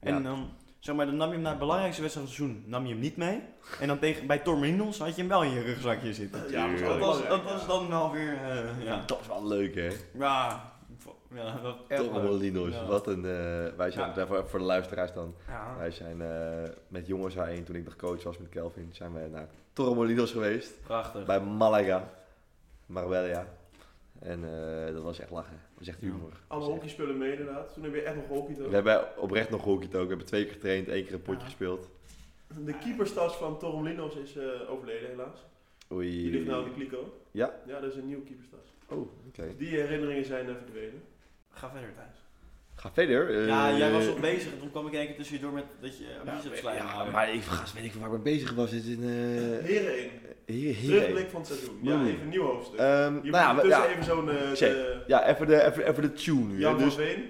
Speaker 4: En dan, zeg maar, dan nam je hem naar de belangrijkste wedstrijd van het seizoen nam je hem niet mee. En dan tegen, bij Torminos had je hem wel in je rugzakje zitten.
Speaker 3: Ja, maar
Speaker 4: Dat
Speaker 2: Tuurlijk.
Speaker 4: was, dat was dan wel weer, eh, ja.
Speaker 2: Dat is wel leuk, hè?
Speaker 4: Ja, vo- ja, dat echt leuk.
Speaker 2: Torremolinos.
Speaker 4: Ja.
Speaker 2: Wat een... eh, wij zijn, voor, voor de luisteraars dan.
Speaker 4: Ja.
Speaker 2: Wij zijn eh, met jongens heen, toen ik nog coach was met Kelvin, zijn we naar Torremolinos geweest.
Speaker 4: Prachtig.
Speaker 2: Bij Malaga. Marbella. En eh, dat was echt lachen. Dat was echt
Speaker 4: Ja.
Speaker 2: humor. Dat
Speaker 3: Alle
Speaker 2: was echt-
Speaker 3: hockeyspullen mee inderdaad. Toen heb je echt nog hockey
Speaker 2: We
Speaker 3: toch?
Speaker 2: hebben oprecht nog hockey ook. We hebben twee keer getraind, één keer een potje
Speaker 4: Ja.
Speaker 2: gespeeld.
Speaker 3: De keeperstas van Torremolinos is eh, overleden helaas. Die ligt
Speaker 2: Oei.
Speaker 3: nou in de kliko.
Speaker 2: Ja?
Speaker 3: Ja, dat is een nieuwe keeperstas.
Speaker 2: Oh, oké.
Speaker 3: Die herinneringen zijn eh, verdwenen.
Speaker 4: Ga verder thuis.
Speaker 2: Ga verder. eh,
Speaker 4: ja, jij was nog bezig en toen kwam ik in één keer tussendoor met dat je een bicep slijm
Speaker 2: ja,
Speaker 4: had.
Speaker 2: maar ik gast, weet ik waar ik mee bezig was. Dit is een eh,
Speaker 3: Heren in.
Speaker 2: hier, hierheen.
Speaker 3: Terugblik van het seizoen. Ja,
Speaker 2: Mm.
Speaker 3: even een nieuw hoofdstuk.
Speaker 2: Ehm,
Speaker 3: Je
Speaker 2: nou
Speaker 3: moet
Speaker 2: ja, we-
Speaker 3: tussen
Speaker 2: ja,
Speaker 3: even zo'n... eh,
Speaker 2: Check.
Speaker 3: de-
Speaker 2: ja even, de, even, even de tune nu. hè.
Speaker 3: Jan van
Speaker 2: Dus
Speaker 3: Veen.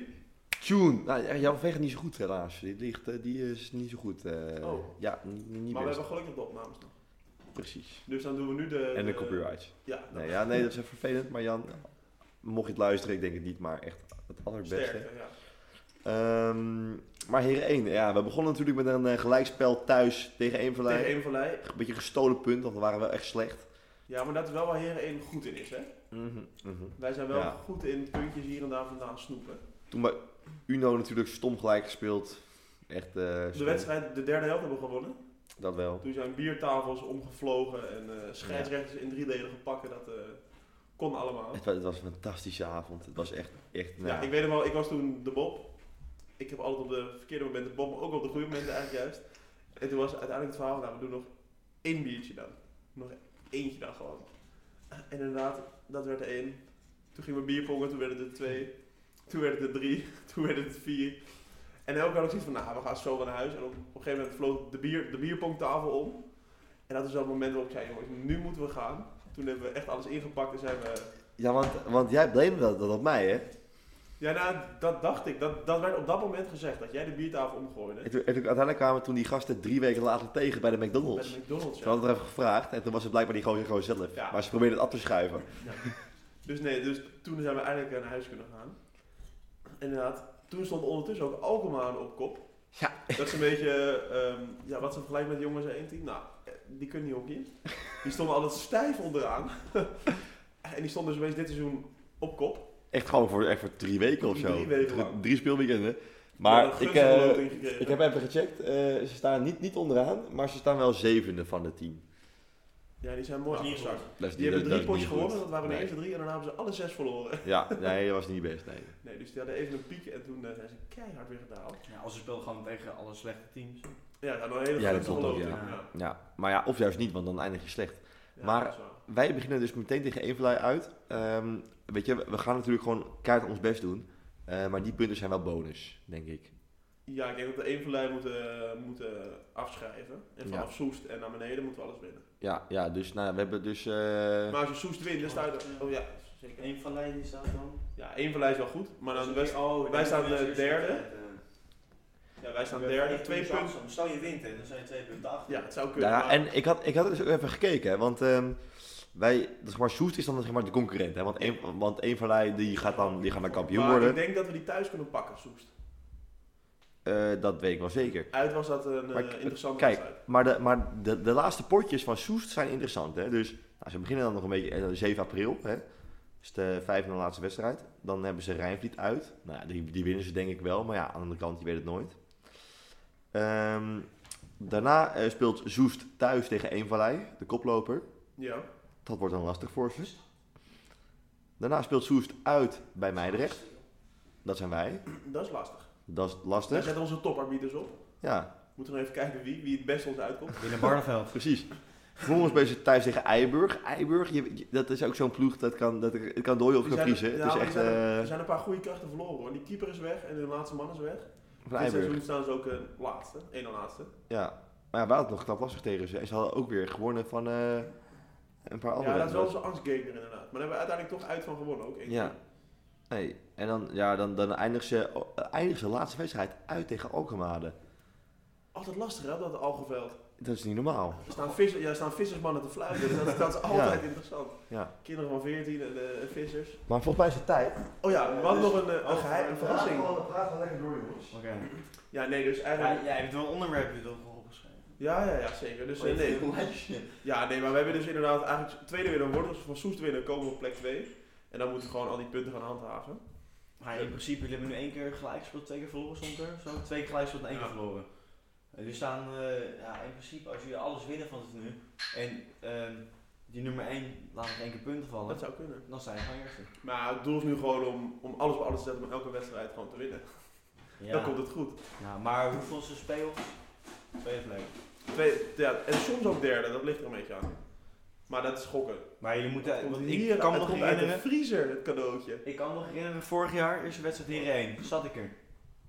Speaker 2: tune. Nou, ja, Jan van Veen gaat niet zo goed helaas. Die, ligt, eh, die is niet zo goed. eh,
Speaker 3: Oh.
Speaker 2: Ja, niet, niet
Speaker 3: Maar we
Speaker 2: best.
Speaker 3: hebben gelukkig de opnames nog.
Speaker 2: Precies.
Speaker 3: Dus dan doen we nu de...
Speaker 2: En de copyrights.
Speaker 3: Ja, dat
Speaker 2: Nee, ja, nee, dat is even vervelend. Maar Jan, mocht je het luisteren, ik denk het niet. Maar echt het allerbeste.
Speaker 3: sterker, ja.
Speaker 2: Ehm, maar heren 1, ja, we begonnen natuurlijk met een eh, gelijkspel thuis tegen Eemverlei.
Speaker 3: Tegen Eemverlei.
Speaker 2: Een beetje gestolen punt, want we waren wel echt slecht. Mhm,
Speaker 3: Ja, maar dat is wel waar Heren 1 goed in is, hè? Wij zijn wel
Speaker 2: Ja.
Speaker 3: goed in puntjes hier en daar vandaan snoepen.
Speaker 2: Toen bij Uno natuurlijk stom gelijk gespeeld. Echt eh,
Speaker 3: De
Speaker 2: stom.
Speaker 3: wedstrijd, de derde helft hebben we gewonnen.
Speaker 2: Dat wel.
Speaker 3: Toen zijn biertafels omgevlogen en eh, scheidsrechters in driedelige pakken, dat eh, kon allemaal.
Speaker 2: Het was, het was een fantastische avond. Het was echt, echt nou,
Speaker 3: Ja, ik weet hem wel, ik was toen de Bob. Ik heb altijd op de verkeerde momenten de Bob, maar ook op de goede momenten eigenlijk juist. En toen was uiteindelijk het verhaal, nou we doen nog één biertje dan. Nog eentje dan gewoon. En inderdaad, dat werd er één. Toen gingen we bier pongen, toen werden het er twee. Toen werden het er drie, toen werden het er vier. En elke keer had ik zoiets van, nou we gaan zo wel naar huis. En op, op een gegeven moment vloog de, bier, de bierpongtafel om. En dat is wel het moment waarop ik zei, jongens, nu moeten we gaan. Toen hebben we echt alles ingepakt en zijn we
Speaker 2: ja want, want jij bleef dat, dat op mij, hè?
Speaker 3: Ja, nou, dat dacht ik. Dat, dat werd op dat moment gezegd, dat jij de biertafel omgooide.
Speaker 2: En toen, en toen- uiteindelijk kwamen toen die gasten drie weken later tegen bij de
Speaker 3: Bij
Speaker 2: McDonald's.
Speaker 3: de McDonald's,
Speaker 2: Ze
Speaker 3: ja.
Speaker 2: hadden er even gevraagd en toen was het blijkbaar die gozer gewoon zelf.
Speaker 3: Ja.
Speaker 2: Maar ze probeerden het af te schuiven.
Speaker 3: Dus nee, dus toen zijn we eindelijk eh, naar huis kunnen gaan. Inderdaad, toen stond ondertussen ook Alkmaar op kop.
Speaker 2: Ja.
Speaker 3: Dat is een beetje, ehm, ja, wat ze vergelijken met jongens 1 team. Nou, eh, die kunnen niet hockeyen. Die stonden altijd stijf onderaan. en die stonden dus opeens dit seizoen op kop.
Speaker 2: Echt gewoon voor, echt voor drie weken of zo.
Speaker 3: Drie weken lang.
Speaker 2: Drie speelweekenden. Maar
Speaker 3: Die
Speaker 2: ik,
Speaker 3: hadden een
Speaker 2: eh,
Speaker 3: gunstige loting gekregen.
Speaker 2: ik heb even gecheckt. eh, ze staan niet, niet onderaan, maar ze staan wel zevende van het team.
Speaker 3: Ja, die zijn mooi
Speaker 4: Dat is niet
Speaker 3: afgezakt.
Speaker 2: Dat is
Speaker 3: Die hebben
Speaker 2: dat- dat
Speaker 3: drie
Speaker 2: is
Speaker 3: potjes
Speaker 2: niet goed.
Speaker 3: gewonnen, dat waren de
Speaker 2: Nee.
Speaker 3: eerste drie. En daarna hebben ze alle zes verloren.
Speaker 2: Ja, nee, dat was niet best. Nee.
Speaker 3: Nee, dus die hadden even een piek en toen eh, zijn ze keihard weer gedaald.
Speaker 4: Ja, als ze speelden gewoon tegen alle slechte teams.
Speaker 3: Ja, dan een hele
Speaker 2: Ja, dat
Speaker 3: grote
Speaker 2: klopt ook,
Speaker 3: loting,
Speaker 4: ja.
Speaker 3: ja.
Speaker 2: Ja, maar ja, of juist niet, want dan eindig je slecht.
Speaker 3: Ja,
Speaker 2: Maar-
Speaker 3: dat is waar.
Speaker 2: Wij beginnen dus meteen tegen Evenlei uit. Ehm, weet je, we gaan natuurlijk gewoon keihard ons best doen. Eh, maar die punten zijn wel bonus, denk ik.
Speaker 3: Ja, ik denk dat we één verlei moeten, eh, moeten afschrijven. En vanaf
Speaker 2: Ja.
Speaker 3: Soest en naar beneden moeten we alles winnen.
Speaker 2: Ja, ja dus nou, we hebben dus... eh,
Speaker 3: Maar als je Soest wint, dan sta je er- Oh ja,
Speaker 4: Zeker. Eén van Leiden die staat dan.
Speaker 3: ja één verlei is wel goed. Maar dan best,
Speaker 4: oh,
Speaker 3: wij staan, eh, derde. ja, wij staan derde, twee punten.
Speaker 4: Stel je wint, hè, dan zijn je twee punten achter.
Speaker 3: Ja, het zou kunnen.
Speaker 2: Nou ja,
Speaker 3: maar-
Speaker 2: en ik had, ik had er dus ook even gekeken, hè, want ehm, wij, zeg maar, Soest is dan zeg maar, de concurrent. Hè, want één want één van wij die gaat dan die gaat dan kampioen
Speaker 3: maar
Speaker 2: worden.
Speaker 3: ik denk dat we die thuis kunnen pakken, Soest.
Speaker 2: Eh, dat weet ik wel zeker.
Speaker 3: Uit was dat een
Speaker 2: Maar
Speaker 3: eh,
Speaker 2: k-
Speaker 3: interessante
Speaker 2: kijk,
Speaker 3: wedstrijd.
Speaker 2: Maar de, maar de, de laatste potjes van Soest zijn interessant. Hè? Dus nou, ze beginnen dan nog een beetje eh, 7 april. Hè? is de vijfde en laatste wedstrijd. Dan hebben ze Rijnvliet uit. Nou, ja, die, die winnen ze denk ik wel. Maar ja, aan de andere kant, je weet het nooit. Ehm, daarna eh, speelt Soest thuis tegen Eemvallei, de koploper.
Speaker 3: Ja,
Speaker 2: Dat wordt dan lastig voor ze. Daarna speelt Soest uit bij Meidrecht. Dat zijn wij.
Speaker 3: dat is lastig.
Speaker 2: Dat is
Speaker 3: Daar
Speaker 2: lastig.
Speaker 3: zetten onze toparbieders op.
Speaker 2: Ja,
Speaker 3: Moeten we nog even kijken wie, wie het beste ons uitkomt.
Speaker 4: Binnen Barneveld.
Speaker 2: precies. Vervolgens ben je thuis tegen Eiburg. Eiburg, je- je- dat is ook zo'n ploeg, dat kan, dat het kan dooien of
Speaker 3: Die
Speaker 2: kan
Speaker 3: zijn-
Speaker 2: vriezen.
Speaker 3: ja,
Speaker 2: het is
Speaker 3: maar
Speaker 2: echt
Speaker 3: die zijn
Speaker 2: eh,
Speaker 3: Er zijn een paar goede krachten verloren hoor. Die keeper is weg en de laatste man is weg.
Speaker 2: van
Speaker 3: Dit
Speaker 2: Eiburg.
Speaker 3: seizoen staan ze ook een laatste, één na laatste.
Speaker 2: Ja. Maar ja, wij hadden het nog knap lastig tegen ze. En ze hadden ook weer gewonnen van eh, een paar andere.
Speaker 3: ja, dat is wel onze angstgegner inderdaad. Maar daar hebben we uiteindelijk toch uit van gewonnen ook. één
Speaker 2: Ja.
Speaker 3: keer.
Speaker 2: Nee. En dan, ja, dan, dan eindigen ze, eh, eindigen ze de laatste wedstrijd uit tegen Alkmaar.
Speaker 3: Altijd lastig hè, Oh, dat Algeveld.
Speaker 2: Dat is niet normaal.
Speaker 3: Er staan, vissers, ja, er staan vissersmannen te fluiten, dus dat, dat is altijd interessant.
Speaker 2: Ja.
Speaker 3: Kinderen van 14 en eh, vissers.
Speaker 2: Maar volgens mij is het tijd.
Speaker 3: Oh ja, we hadden nog een, eh, een geheim, een verrassing.
Speaker 2: Praat wel lekker door, jongens.
Speaker 4: Oké.
Speaker 3: Ja, nee, dus
Speaker 4: Ja,
Speaker 3: eigenlijk...
Speaker 4: jij hebt wel een onderwerp hier toch opgeschreven.
Speaker 3: Ja, ja, ja, zeker. Dus, eh, nee. Ja, nee, maar we hebben dus inderdaad eigenlijk tweede weer een worden. Dus van Soest winnen komen we op plek 2. En dan moeten we gewoon al die punten gaan handhaven.
Speaker 4: Maar in principe, jullie hebben nu één keer gelijk gespeeld, twee keer verloren stond er. Zo, twee keer gelijk gespeeld en één
Speaker 3: Ja.
Speaker 4: keer verloren. Eh, Jullie staan, eh, ja, in principe, als jullie alles winnen van het nu. En ehm, die nummer 1 laat nog één keer punten vallen.
Speaker 3: Dat zou kunnen.
Speaker 4: Dan zijn je gewoon eerste.
Speaker 3: Maar het doel is nu gewoon om, om alles op alles te zetten om elke wedstrijd gewoon te winnen.
Speaker 4: Ja.
Speaker 3: Dan komt het goed.
Speaker 4: ja Nou, maar hoeveel ze spelen? Twee of leuk.
Speaker 3: Twee, ja, en soms ook derde, dat ligt er een beetje aan. Maar dat is schokken.
Speaker 4: Maar jullie moeten, want
Speaker 3: Hier,
Speaker 4: ik kan
Speaker 3: het
Speaker 4: me nog
Speaker 3: komt uit
Speaker 4: herinneren.
Speaker 3: de vriezer, het cadeautje.
Speaker 4: Ik kan me nog herinneren, vorig jaar is de wedstrijd hierheen. Zat ik er.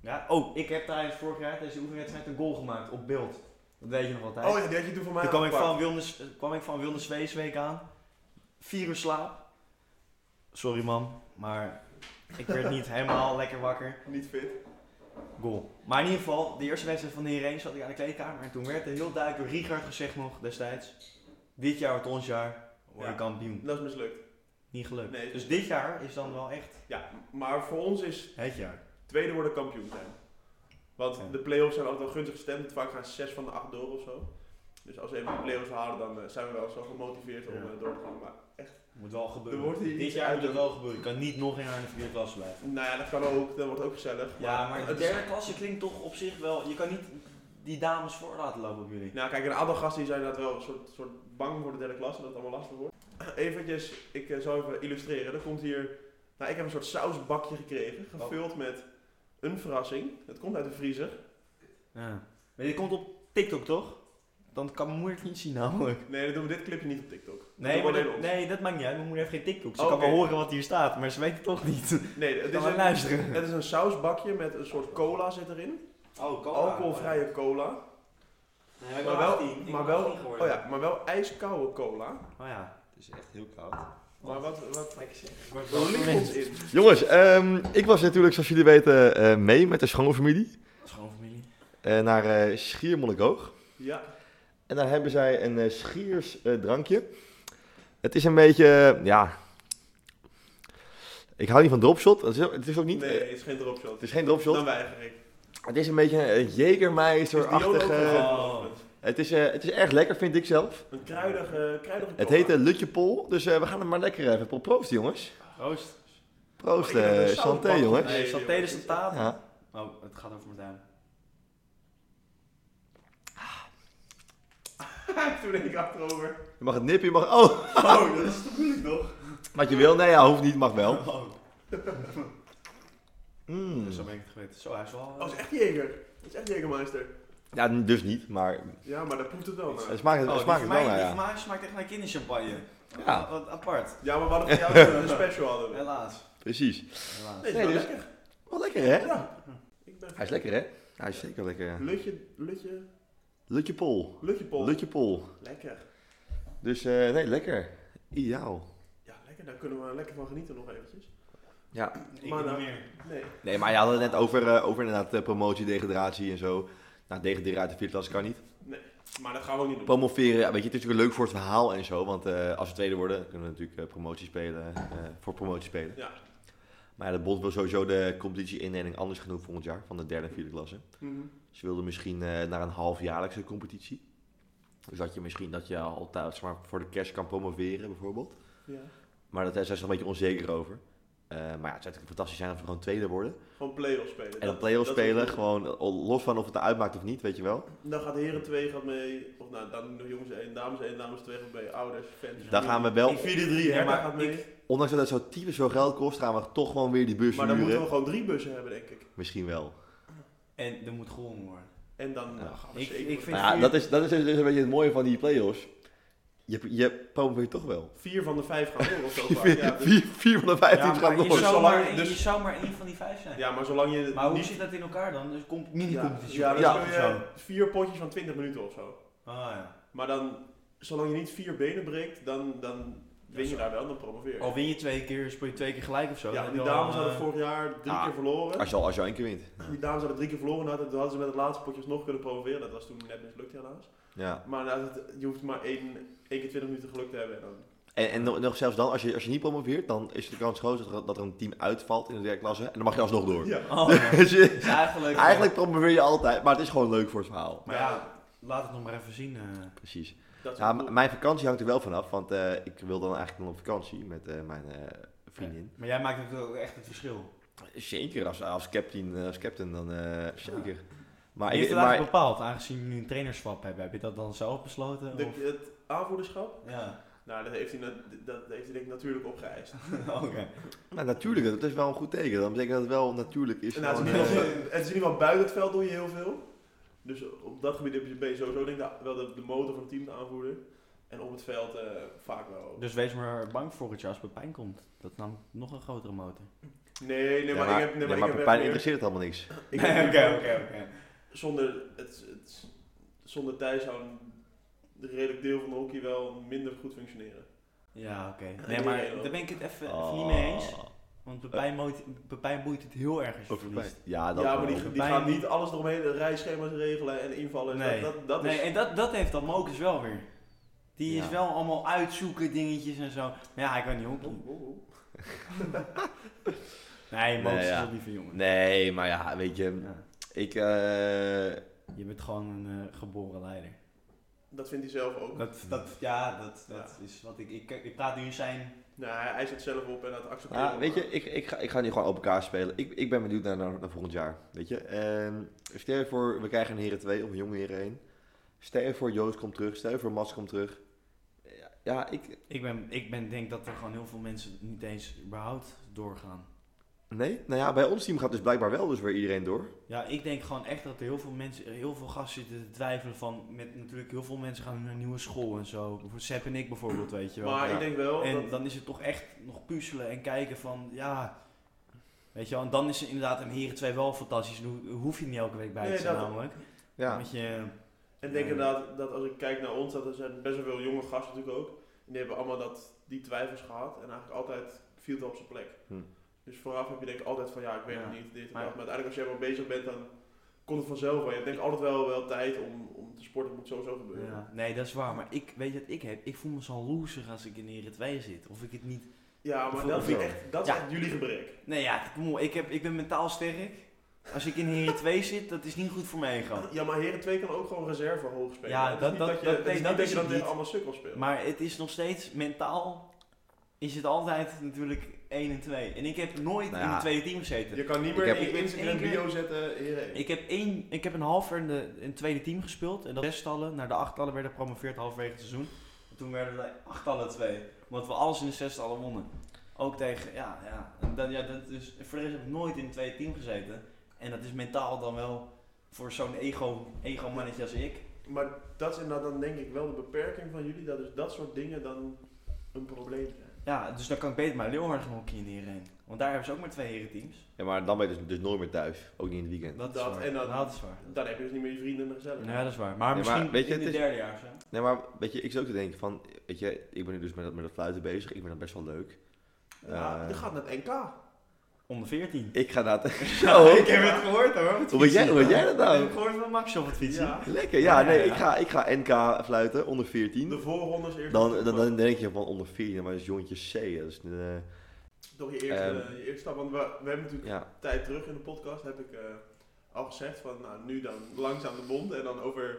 Speaker 4: Ja, oh, ik heb tijdens vorig jaar deze oefenwedstrijd een goal gemaakt op beeld. Dat weet je nog altijd.
Speaker 3: Oh ja, die had je toen voor mij
Speaker 4: Toen kwam ik,
Speaker 3: aangepakt.
Speaker 4: van Wilnes, eh, kwam ik van Wilnes Zweesweek aan. Vier uur slaap. Sorry man, maar ik werd niet helemaal lekker wakker.
Speaker 3: Niet fit.
Speaker 4: Goal. Maar in ieder geval, de eerste wedstrijd van de Heerenveen zat ik aan de kleedkamer. En toen werd er heel duidelijk door Richard gezegd nog destijds. Dit jaar wordt ons jaar. We worden
Speaker 3: Ja.
Speaker 4: kampioen.
Speaker 3: Dat is mislukt.
Speaker 4: Niet gelukt.
Speaker 3: Nee.
Speaker 4: Dus dit jaar is dan wel echt
Speaker 3: Ja, maar voor ons is
Speaker 4: het jaar.
Speaker 3: tweede worden kampioen zijn. Want
Speaker 4: Ja.
Speaker 3: de play-offs zijn altijd wel gunstig gestemd. Vaak gaan zes van de acht door of zo. Dus als we even de play-offs halen, dan eh, zijn we wel zo gemotiveerd om
Speaker 4: Ja.
Speaker 3: eh, door te gaan. Maar
Speaker 4: Moet wel gebeuren.
Speaker 3: Er wordt hier
Speaker 4: Dit
Speaker 3: iets
Speaker 4: jaar moet het
Speaker 3: uit-
Speaker 4: wel gebeuren. Je kan niet nog een jaar in de vierde klasse blijven.
Speaker 3: nou ja, dat kan ook. Dat wordt ook gezellig.
Speaker 4: Ja, maar de
Speaker 3: het is-
Speaker 4: derde klasse klinkt toch op zich wel... Je kan niet die dames voor laten lopen op jullie.
Speaker 3: Nou, kijk, een aantal gasten die zijn dat wel een soort, soort bang voor de derde klas, dat het allemaal lastig wordt. Eventjes, ik eh, zal even illustreren. Er komt hier, nou, ik heb een soort sausbakje gekregen,
Speaker 4: Oh.
Speaker 3: gevuld met een verrassing. Het komt uit de vriezer.
Speaker 4: Ja. Maar dit komt op TikTok, toch? Dan kan mijn moeder het niet zien namelijk.
Speaker 3: Nee, dan doen we dit clipje niet op TikTok. Dat
Speaker 4: Nee,
Speaker 3: doen we
Speaker 4: maar
Speaker 3: alleen
Speaker 4: dat,
Speaker 3: ons.
Speaker 4: nee, dat maakt niet uit. Mijn moeder heeft geen TikTok. Ze
Speaker 3: Oké.
Speaker 4: kan wel horen wat hier staat, maar ze weet Oh, het toch niet. Ze
Speaker 3: nee het, is
Speaker 4: kan maar
Speaker 3: een,
Speaker 4: luisteren.
Speaker 3: het is een sausbakje met een soort cola zit erin.
Speaker 4: Oh,
Speaker 3: Alcoholvrije cola.
Speaker 4: Nee,
Speaker 3: Maar wel, maar, wel, oh ja, maar wel ijskoude cola.
Speaker 4: Oh ja.
Speaker 5: Het is echt heel koud.
Speaker 3: Maar wat, wat,
Speaker 4: Lekker zeg.
Speaker 3: wat ligt ons in?
Speaker 2: Jongens, ehm, ik was natuurlijk, zoals jullie weten, eh, mee met de schoonfamilie
Speaker 4: Schoonfamilie.
Speaker 2: eh, naar eh, Schiermonnikoog.
Speaker 3: Ja,
Speaker 2: En daar hebben zij een eh, Schiers eh, drankje. Het is een beetje, eh, ja... Ik hou niet van dropshot. Het is, ook- het is ook niet...
Speaker 3: nee,
Speaker 2: eh,
Speaker 3: het is geen dropshot.
Speaker 2: het is geen dropshot.
Speaker 3: Dan weiger ik.
Speaker 2: Het is een beetje een
Speaker 3: Is die ook
Speaker 2: Jägermeister-achtige...
Speaker 3: een
Speaker 4: Oh.
Speaker 3: dropshot?
Speaker 2: Het is, eh, het is erg lekker, vind ik zelf.
Speaker 3: Een kruidige, kruidige
Speaker 2: Het
Speaker 3: cola.
Speaker 2: heet een Lutjepol, dus eh, we gaan hem maar lekker even pro- proosten, jongens.
Speaker 4: Proost.
Speaker 2: Proost,
Speaker 3: Oh, Ik heb
Speaker 2: eh,
Speaker 3: een
Speaker 2: santé,
Speaker 3: zoutbak.
Speaker 2: jongens.
Speaker 4: Nee,
Speaker 3: Nee,
Speaker 4: staat
Speaker 3: joh.
Speaker 4: tijdens de tafel.
Speaker 2: Ja.
Speaker 4: Oh, het gaat over mijn duim.
Speaker 3: Toen denk ik achterover.
Speaker 2: Je mag het nippen, je mag... Oh,
Speaker 4: Oh, dat is toch moeilijk toch?
Speaker 2: wat je wil? Nee, ja, hoeft niet, mag wel.
Speaker 4: Oh.
Speaker 2: Mm.
Speaker 4: Zo ben ik het geweten. Zo, hij is wel... eh,
Speaker 3: Oh, het is echt Jeger. Het is echt Jegermeister.
Speaker 2: Ja, dus niet, maar
Speaker 3: Ja, maar dat proeft het wel naar.
Speaker 2: het smaakt, het
Speaker 4: Oh, die
Speaker 2: smaakt
Speaker 4: voor
Speaker 2: het
Speaker 4: mij,
Speaker 2: wel naar,
Speaker 4: die
Speaker 2: ja.
Speaker 4: voor mij smaakt echt naar kinderchampagne.
Speaker 2: Ja.
Speaker 4: Wat apart.
Speaker 3: Ja, maar we hadden voor jou een special hadden we.
Speaker 4: Helaas.
Speaker 2: Precies.
Speaker 4: Helaas.
Speaker 3: Nee, het is
Speaker 2: Nee,
Speaker 3: wel
Speaker 2: dus-
Speaker 3: lekker.
Speaker 2: Wel lekker, hè?
Speaker 3: Ja. Ik ben
Speaker 2: Hij is lekker, hè? Hij is zeker lekker, ja.
Speaker 3: Lutje, lutje,
Speaker 2: Lutjepol.
Speaker 3: lutje pol.
Speaker 2: Lutjepol.
Speaker 3: Lekker.
Speaker 2: Dus, eh, nee, lekker. Ideaal.
Speaker 3: Ja, lekker. Daar kunnen we lekker van genieten nog eventjes.
Speaker 2: Ja.
Speaker 4: Ik
Speaker 3: Maar
Speaker 4: niet
Speaker 3: nou-
Speaker 4: meer.
Speaker 3: Nee.
Speaker 2: Nee, maar je had het net over, eh, over inderdaad eh, promotie, degradatie en zo. Nou, degraderen uit de vierde klasse kan niet.
Speaker 3: Maar dat gaan we ook niet doen.
Speaker 2: Promoveren, ja, weet je, het is natuurlijk leuk voor het verhaal en zo. Want eh, als we tweede worden, kunnen we natuurlijk eh, promotie spelen, eh, voor promotie spelen.
Speaker 3: Ja.
Speaker 2: Maar ja, de bond wil sowieso de competitie-indeling anders genoeg volgend jaar, van de derde en vierde klasse.
Speaker 3: Mhm.
Speaker 2: Ze wilden misschien eh, naar een halfjaarlijkse competitie. Dus dat je misschien dat je al thuis zeg maar, voor de kerst kan promoveren bijvoorbeeld.
Speaker 3: Ja.
Speaker 2: Maar daar zijn ze nog een beetje onzeker over. Eh, maar ja, het zou natuurlijk fantastisch zijn als we gewoon tweede worden.
Speaker 3: Gewoon play-off spelen.
Speaker 2: En
Speaker 3: Dat-
Speaker 2: dan play-off
Speaker 3: dat-
Speaker 2: spelen, gewoon eh, los van of het nou uitmaakt of niet, weet je wel.
Speaker 3: Dan gaat Heren 2 gaat mee. Of nou, dan de jongens 1, dames 1, dames 2 gaat mee. Ouders, fans.
Speaker 2: Dan gaan we wel,
Speaker 4: Ik 4-3, hè,
Speaker 3: Herta
Speaker 4: maar
Speaker 3: gaat mee.
Speaker 2: ondanks dat het zo typisch veel geld kost, gaan we toch gewoon weer die bus
Speaker 3: Maar dan moeten
Speaker 2: huren.
Speaker 3: we gewoon drie bussen hebben, denk ik.
Speaker 2: Misschien wel. Nou
Speaker 4: En er moet gewonnen worden.
Speaker 3: En dan
Speaker 2: Ja.
Speaker 3: nou, gaan we
Speaker 4: Ik-
Speaker 3: zeker...
Speaker 4: ik vind-
Speaker 2: Nou ja, dat is, dat is dus een beetje het mooie van die play-offs. Je, je promoveert toch wel.
Speaker 3: Vier van de vijf gaan door of zo. vaak. Ja,
Speaker 2: Vier,
Speaker 3: dus-
Speaker 2: vier, vier van de vijf teams gaan
Speaker 4: je,
Speaker 2: door.
Speaker 4: zou
Speaker 3: Zolang-
Speaker 4: maar,
Speaker 3: dus-
Speaker 4: je zou maar één van die vijf zijn.
Speaker 3: Ja, maar zolang je
Speaker 4: Maar hoe
Speaker 3: niet...
Speaker 4: zit dat in elkaar dan? Dus komt
Speaker 3: Ja,
Speaker 4: mini-competitie
Speaker 3: ja,
Speaker 4: of
Speaker 3: dan
Speaker 2: Ja.
Speaker 4: iets
Speaker 3: speel
Speaker 4: of
Speaker 3: je
Speaker 4: zo?
Speaker 3: vier potjes van 20 minuten of zo.
Speaker 4: Ah ja.
Speaker 3: Maar dan, zolang je niet vier benen breekt, dan, dan win je
Speaker 4: zo.
Speaker 3: daar wel, dan promoveer je.
Speaker 4: Al win je twee keer, speel je twee keer gelijk of zo.
Speaker 3: ja,
Speaker 4: dan
Speaker 3: die
Speaker 4: heb je al,
Speaker 3: dames hadden
Speaker 4: eh,
Speaker 3: vorig jaar drie
Speaker 2: Ah.
Speaker 3: keer verloren.
Speaker 2: Als je al, als je al één keer wint.
Speaker 3: Die dames hadden drie keer verloren, en hadden- toen hadden ze met het laatste potje nog kunnen promoveren. Dat was toen net mislukt helaas.
Speaker 2: Ja.
Speaker 3: Maar nou, dat- je hoeft maar één, één keer 20 minuten geluk te hebben. En dan,
Speaker 2: En, en nog, nog zelfs dan, als je, als je niet promoveert, dan is de kans groot dat er, dat er een team uitvalt in de derde klasse. En dan mag je alsnog door.
Speaker 3: ja.
Speaker 4: Oh, ja.
Speaker 2: Dus je-
Speaker 4: Dus eigenlijk...
Speaker 2: eigenlijk promoveer je altijd, maar het is gewoon leuk voor het verhaal.
Speaker 4: Maar ja, laat het nog maar even zien. eh.
Speaker 2: Precies.
Speaker 3: Dat is
Speaker 2: Ja,
Speaker 3: cool.
Speaker 2: m- mijn vakantie hangt er wel van af, want eh, ik wil dan eigenlijk nog op vakantie met eh, mijn eh, vriendin.
Speaker 4: Maar jij maakt natuurlijk ook echt het verschil.
Speaker 2: Zeker, als, als, captain, eh, als captain dan eh, zeker. Maar,
Speaker 4: je
Speaker 2: ik,
Speaker 4: hebt het
Speaker 2: maar
Speaker 4: eigenlijk bepaald, aangezien jullie een trainerswap hebben. Heb je dat dan zelf besloten?
Speaker 3: De-
Speaker 4: of?
Speaker 3: het aanvoerderschap,
Speaker 4: Ja,
Speaker 3: nou, dat heeft hij, nat- dat heeft hij denk ik natuurlijk opgeëist.
Speaker 4: oké.
Speaker 2: nou, natuurlijk, dat is wel een goed teken. Dan betekent dat het wel natuurlijk is.
Speaker 3: En nou, het,
Speaker 4: Oh,
Speaker 3: is in
Speaker 2: van,
Speaker 3: ieder
Speaker 2: eh,
Speaker 3: geval, het is in ieder geval buiten het veld doe je heel veel. Dus op dat gebied heb je- ben je sowieso denk ik wel de, de motor van het team te aanvoerder. En op het veld eh, vaak wel. ook.
Speaker 4: Dus wees maar bang voor het jaar als Pepijn komt. Dat is namelijk nog een grotere motor.
Speaker 3: Nee, nee,
Speaker 2: ja,
Speaker 3: maar,
Speaker 2: maar-
Speaker 3: ik heb... Nee,
Speaker 2: ja,
Speaker 3: maar,
Speaker 2: maar
Speaker 3: ik heb echt
Speaker 2: Pepijn
Speaker 3: meer-
Speaker 2: interesseert het allemaal niks.
Speaker 3: ik heb meer-
Speaker 4: oké.
Speaker 3: Zonder, het, het, zonder Thijs zou een redelijk deel van de hockey wel minder goed functioneren.
Speaker 4: Ja, oké. Nee, maar daar ben ik het even, even niet mee eens. Want Pepijn, moeit- Pepijn boeit het heel erg als je
Speaker 2: Over
Speaker 4: verliest.
Speaker 2: Oh, Ja, dat
Speaker 3: ja,
Speaker 2: wel.
Speaker 3: maar die, die
Speaker 4: Pepijn-
Speaker 3: gaan niet alles eromheen, de rijschema's regelen en invallen.
Speaker 4: Nee.
Speaker 3: Dat, dat, dat
Speaker 4: nee,
Speaker 3: is,
Speaker 4: en dat, dat heeft dan Mokus wel weer. Die is
Speaker 2: Ja.
Speaker 4: wel allemaal uitzoeken dingetjes en zo. Maar ja, hij kan niet
Speaker 3: Oh,
Speaker 4: honkelen.
Speaker 3: oh, oh.
Speaker 4: Nee, Mozes
Speaker 2: Nee, ja.
Speaker 4: is een lieve jongen.
Speaker 2: Nee, maar ja, weet je,
Speaker 4: Ja.
Speaker 2: ik... eh,
Speaker 4: Je bent gewoon een eh, geboren leider.
Speaker 3: Dat vindt hij zelf ook.
Speaker 4: Dat, dat, ja, dat, dat is wat ik, ik... Ik praat nu in zijn...
Speaker 3: Nou, hij, hij zet zelf op en dat accepteert
Speaker 2: nou,
Speaker 3: hij
Speaker 2: weet
Speaker 3: maar.
Speaker 2: je, ik, ik, ga, ik ga nu gewoon open kaart spelen. Ik, ik ben benieuwd naar, naar, naar volgend jaar, weet je. En stel je voor, we krijgen een heren 2 of een jonge heren 1. Stel je voor, Joost komt terug. Stel je voor, Mats komt terug. Ja, Ja, ik...
Speaker 4: Ik, ben, ik ben, denk dat er gewoon heel veel mensen niet eens überhaupt doorgaan.
Speaker 2: Nee? Nou ja, bij ons team gaat dus blijkbaar wel dus weer iedereen door.
Speaker 4: Ja, ik denk gewoon echt dat er heel veel mensen, er heel veel gasten zitten te twijfelen van, met natuurlijk heel veel mensen gaan naar een nieuwe school en zo. Bijvoorbeeld Sepp en ik bijvoorbeeld, weet je wel.
Speaker 3: Maar
Speaker 2: Ja.
Speaker 3: ik denk wel
Speaker 4: en
Speaker 3: dat...
Speaker 4: dan is het toch echt nog puzzelen en kijken van, ja, weet je wel. En dan is er inderdaad een heren 2 wel fantastisch, dan ho- hoef je niet elke week bij
Speaker 3: Nee,
Speaker 4: te zijn
Speaker 3: dat-
Speaker 4: namelijk.
Speaker 2: Ja.
Speaker 4: Want je,
Speaker 3: En ik denk
Speaker 4: Ja.
Speaker 3: inderdaad dat als ik kijk naar ons, dat er zijn best wel veel jonge gasten natuurlijk ook. En die hebben allemaal dat, die twijfels gehad. En eigenlijk altijd viel het op zijn plek.
Speaker 2: Hm.
Speaker 3: Dus vooraf heb je denk ik altijd van ja, ik weet
Speaker 4: Ja,
Speaker 3: het niet, dit en
Speaker 4: maar-
Speaker 3: dat. Maar uiteindelijk als je ermee bezig bent, dan komt het vanzelf wel. Je hebt denk ik altijd wel, wel tijd om, om te sporten. Het moet sowieso gebeuren. Ja,
Speaker 4: ja, nee, dat is waar. Maar ik, weet je wat ik heb? Ik voel me zo'n loser als ik in heren 2 zit. Of ik het niet
Speaker 3: maar
Speaker 4: Bijvoorbeeld
Speaker 3: dat, vind ik
Speaker 2: wel.
Speaker 3: echt, dat
Speaker 4: Ja.
Speaker 3: is echt jullie gebrek.
Speaker 4: Nee, ja, kom op. Ik, heb, ik ben mentaal sterk. Als ik in Heren 2 zit, dat is niet goed voor mij gewoon.
Speaker 3: Ja, maar Heren 2 kan ook gewoon reserve hoog spelen.
Speaker 4: Ja,
Speaker 3: het is
Speaker 4: dat-
Speaker 3: niet
Speaker 4: dat-
Speaker 3: dat je,
Speaker 4: dat-
Speaker 3: het
Speaker 4: nee,
Speaker 3: is
Speaker 4: dat
Speaker 3: niet dat
Speaker 4: is
Speaker 3: je dan
Speaker 4: het
Speaker 3: tegen
Speaker 4: niet.
Speaker 3: allemaal sukkel speelt.
Speaker 4: Maar het is nog steeds mentaal. Is het altijd natuurlijk 1 en 2. En ik heb nooit
Speaker 2: Nou
Speaker 4: in
Speaker 2: ja.
Speaker 4: het tweede team gezeten.
Speaker 3: je kan niet
Speaker 2: Ik
Speaker 3: meer
Speaker 2: heb-
Speaker 3: in
Speaker 4: ik
Speaker 3: je
Speaker 4: heb
Speaker 3: Instagram
Speaker 4: één keer-
Speaker 3: bio zetten, Heren 1.
Speaker 4: Ik heb, één, ik heb een half jaar in, de, in het tweede team gespeeld. En dat zestallen naar de achttallen werden gepromoveerd halverwege het seizoen. En toen werden de achttallen twee. Omdat we alles in de zestallen wonnen. Ook tegen, ja, ja. En Dan, ja dat is, voor de rest heb ik nooit in het tweede team gezeten. En dat is mentaal dan wel voor zo'n ego, ego-mannetje als ik.
Speaker 3: Maar dat is inderdaad dan denk ik wel de beperking van jullie, dat dus dat soort dingen dan een probleem zijn.
Speaker 4: Ja, dus dan kan ik beter maar Leeuwarden gaan hockeyen hierheen. Want daar hebben ze ook maar twee herenteams.
Speaker 2: Ja, maar dan ben je dus, dus nooit meer thuis. Ook niet in het weekend.
Speaker 4: Dat,
Speaker 3: Dat
Speaker 4: is waar.
Speaker 3: en dat-
Speaker 4: dat is waar.
Speaker 3: Dan heb je dus niet meer je vrienden en de gezelligheid.
Speaker 4: Ja, dat is waar. Maar
Speaker 2: Nee, maar
Speaker 4: misschien
Speaker 2: weet je,
Speaker 4: in
Speaker 2: het
Speaker 4: het
Speaker 2: is-
Speaker 4: derde jaar of zo.
Speaker 2: Nee, maar weet je, ik zit ook te denken van... Weet je, ik ben nu dus met dat, met dat fluiten bezig. Ik vind dat best wel leuk.
Speaker 3: Ja,
Speaker 2: Eh,
Speaker 3: dat Ah, gaat naar het NK.
Speaker 4: Onder 14.
Speaker 2: Ik ga dat...
Speaker 4: Ja,
Speaker 2: Zo,
Speaker 4: ik heb het gehoord hoor. op het
Speaker 2: Hoe weet jij-
Speaker 4: fietsen.
Speaker 2: hoe weet jij dat nou?
Speaker 4: Ik heb het gehoord van Max op het fietsen.
Speaker 3: Ja.
Speaker 2: Lekker, ja.
Speaker 4: Ja, ja,
Speaker 2: nee,
Speaker 4: ja.
Speaker 2: Ik, ga, ik ga NK fluiten, onder 14.
Speaker 3: De voorrondes eerst.
Speaker 2: Dan, dan, dan denk je van onder 14, maar dat is jongetje C. Dat is, eh,
Speaker 3: Toch je eerste,
Speaker 2: Ehm.
Speaker 3: je eerste stap. Want we, we hebben natuurlijk
Speaker 2: ja.
Speaker 3: een tijd terug in de podcast, heb ik eh, al gezegd van nou, nu dan langzaam de bond en dan over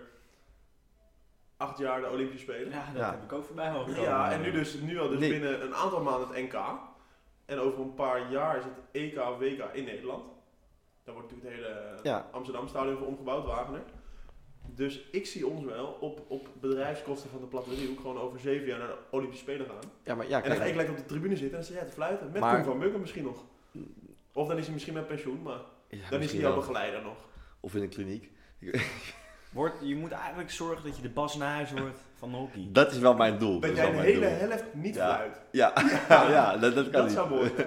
Speaker 3: acht jaar de Olympische Spelen.
Speaker 4: Ja, dat
Speaker 2: Ja.
Speaker 4: heb ik ook voorbij horen komen.
Speaker 3: Ja,
Speaker 2: eh,
Speaker 3: en nu dus nu al dus
Speaker 2: Nee.
Speaker 3: binnen een aantal maanden het NK. En over een paar jaar is het E EK WK in Nederland. Daar wordt natuurlijk het hele eh,
Speaker 2: Ja.
Speaker 3: Amsterdam Stadion voor omgebouwd, Wagener. Dus ik zie ons wel op, op bedrijfskosten van de platte driehoek gewoon over zeven jaar naar de Olympische Spelen gaan.
Speaker 2: ja, maar ja,
Speaker 3: en dan ga ik
Speaker 2: kijk.
Speaker 3: lekker op de tribune zitten en dan zit jij te fluiten. Met
Speaker 2: Maar-
Speaker 3: Koen van Muggen misschien nog. Of dan is hij misschien met pensioen, maar
Speaker 2: ja,
Speaker 3: dan is
Speaker 2: misschien
Speaker 3: hij jouw
Speaker 2: wel.
Speaker 3: begeleider nog.
Speaker 2: Of in een kliniek.
Speaker 4: Word, je moet eigenlijk zorgen dat je de Bas Nijhuis wordt van de hockey.
Speaker 2: Dat is wel mijn doel.
Speaker 3: Dat
Speaker 2: dat is
Speaker 3: jij
Speaker 2: wel
Speaker 3: de
Speaker 2: mijn
Speaker 3: hele
Speaker 2: doel.
Speaker 3: helft niet
Speaker 2: Ja.
Speaker 3: fluit.
Speaker 2: Ja, ja, dat, dat kan
Speaker 3: Dat
Speaker 2: niet.
Speaker 3: zou mooi zijn.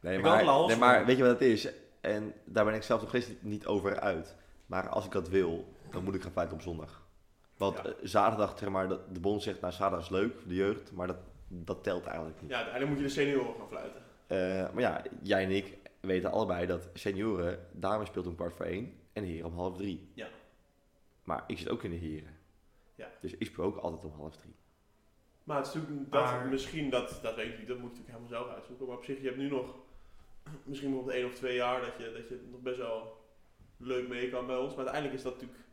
Speaker 2: Nee,
Speaker 4: Ik wil wel
Speaker 2: maar,
Speaker 4: hals
Speaker 2: nee, maar
Speaker 4: worden.
Speaker 2: weet je wat het is? En daar ben ik zelf nog steeds niet over uit. Maar als ik dat wil, dan moet ik gaan fluiten op zondag. Want
Speaker 3: Ja.
Speaker 2: eh, zaterdag, zeg maar, dat- de bond zegt, nou, zaterdag is leuk voor de jeugd, maar dat, dat telt eigenlijk niet.
Speaker 3: Ja, uiteindelijk moet je de senioren gaan fluiten.
Speaker 2: Eh, maar ja, jij en ik weten allebei dat senioren, dames speelt om kwart voor één en heren om half drie.
Speaker 3: Ja.
Speaker 2: Maar ik zit ook in de heren.
Speaker 3: Ja.
Speaker 2: Dus ik speel ook altijd om half drie.
Speaker 3: Maar het is natuurlijk dat,
Speaker 4: Maar-
Speaker 3: misschien, dat, dat weet ik niet, dat moet je natuurlijk helemaal zelf uitzoeken. Maar op zich, je hebt nu nog misschien bijvoorbeeld één of twee jaar dat je, dat je nog best wel leuk mee kan bij ons. Maar uiteindelijk is dat natuurlijk...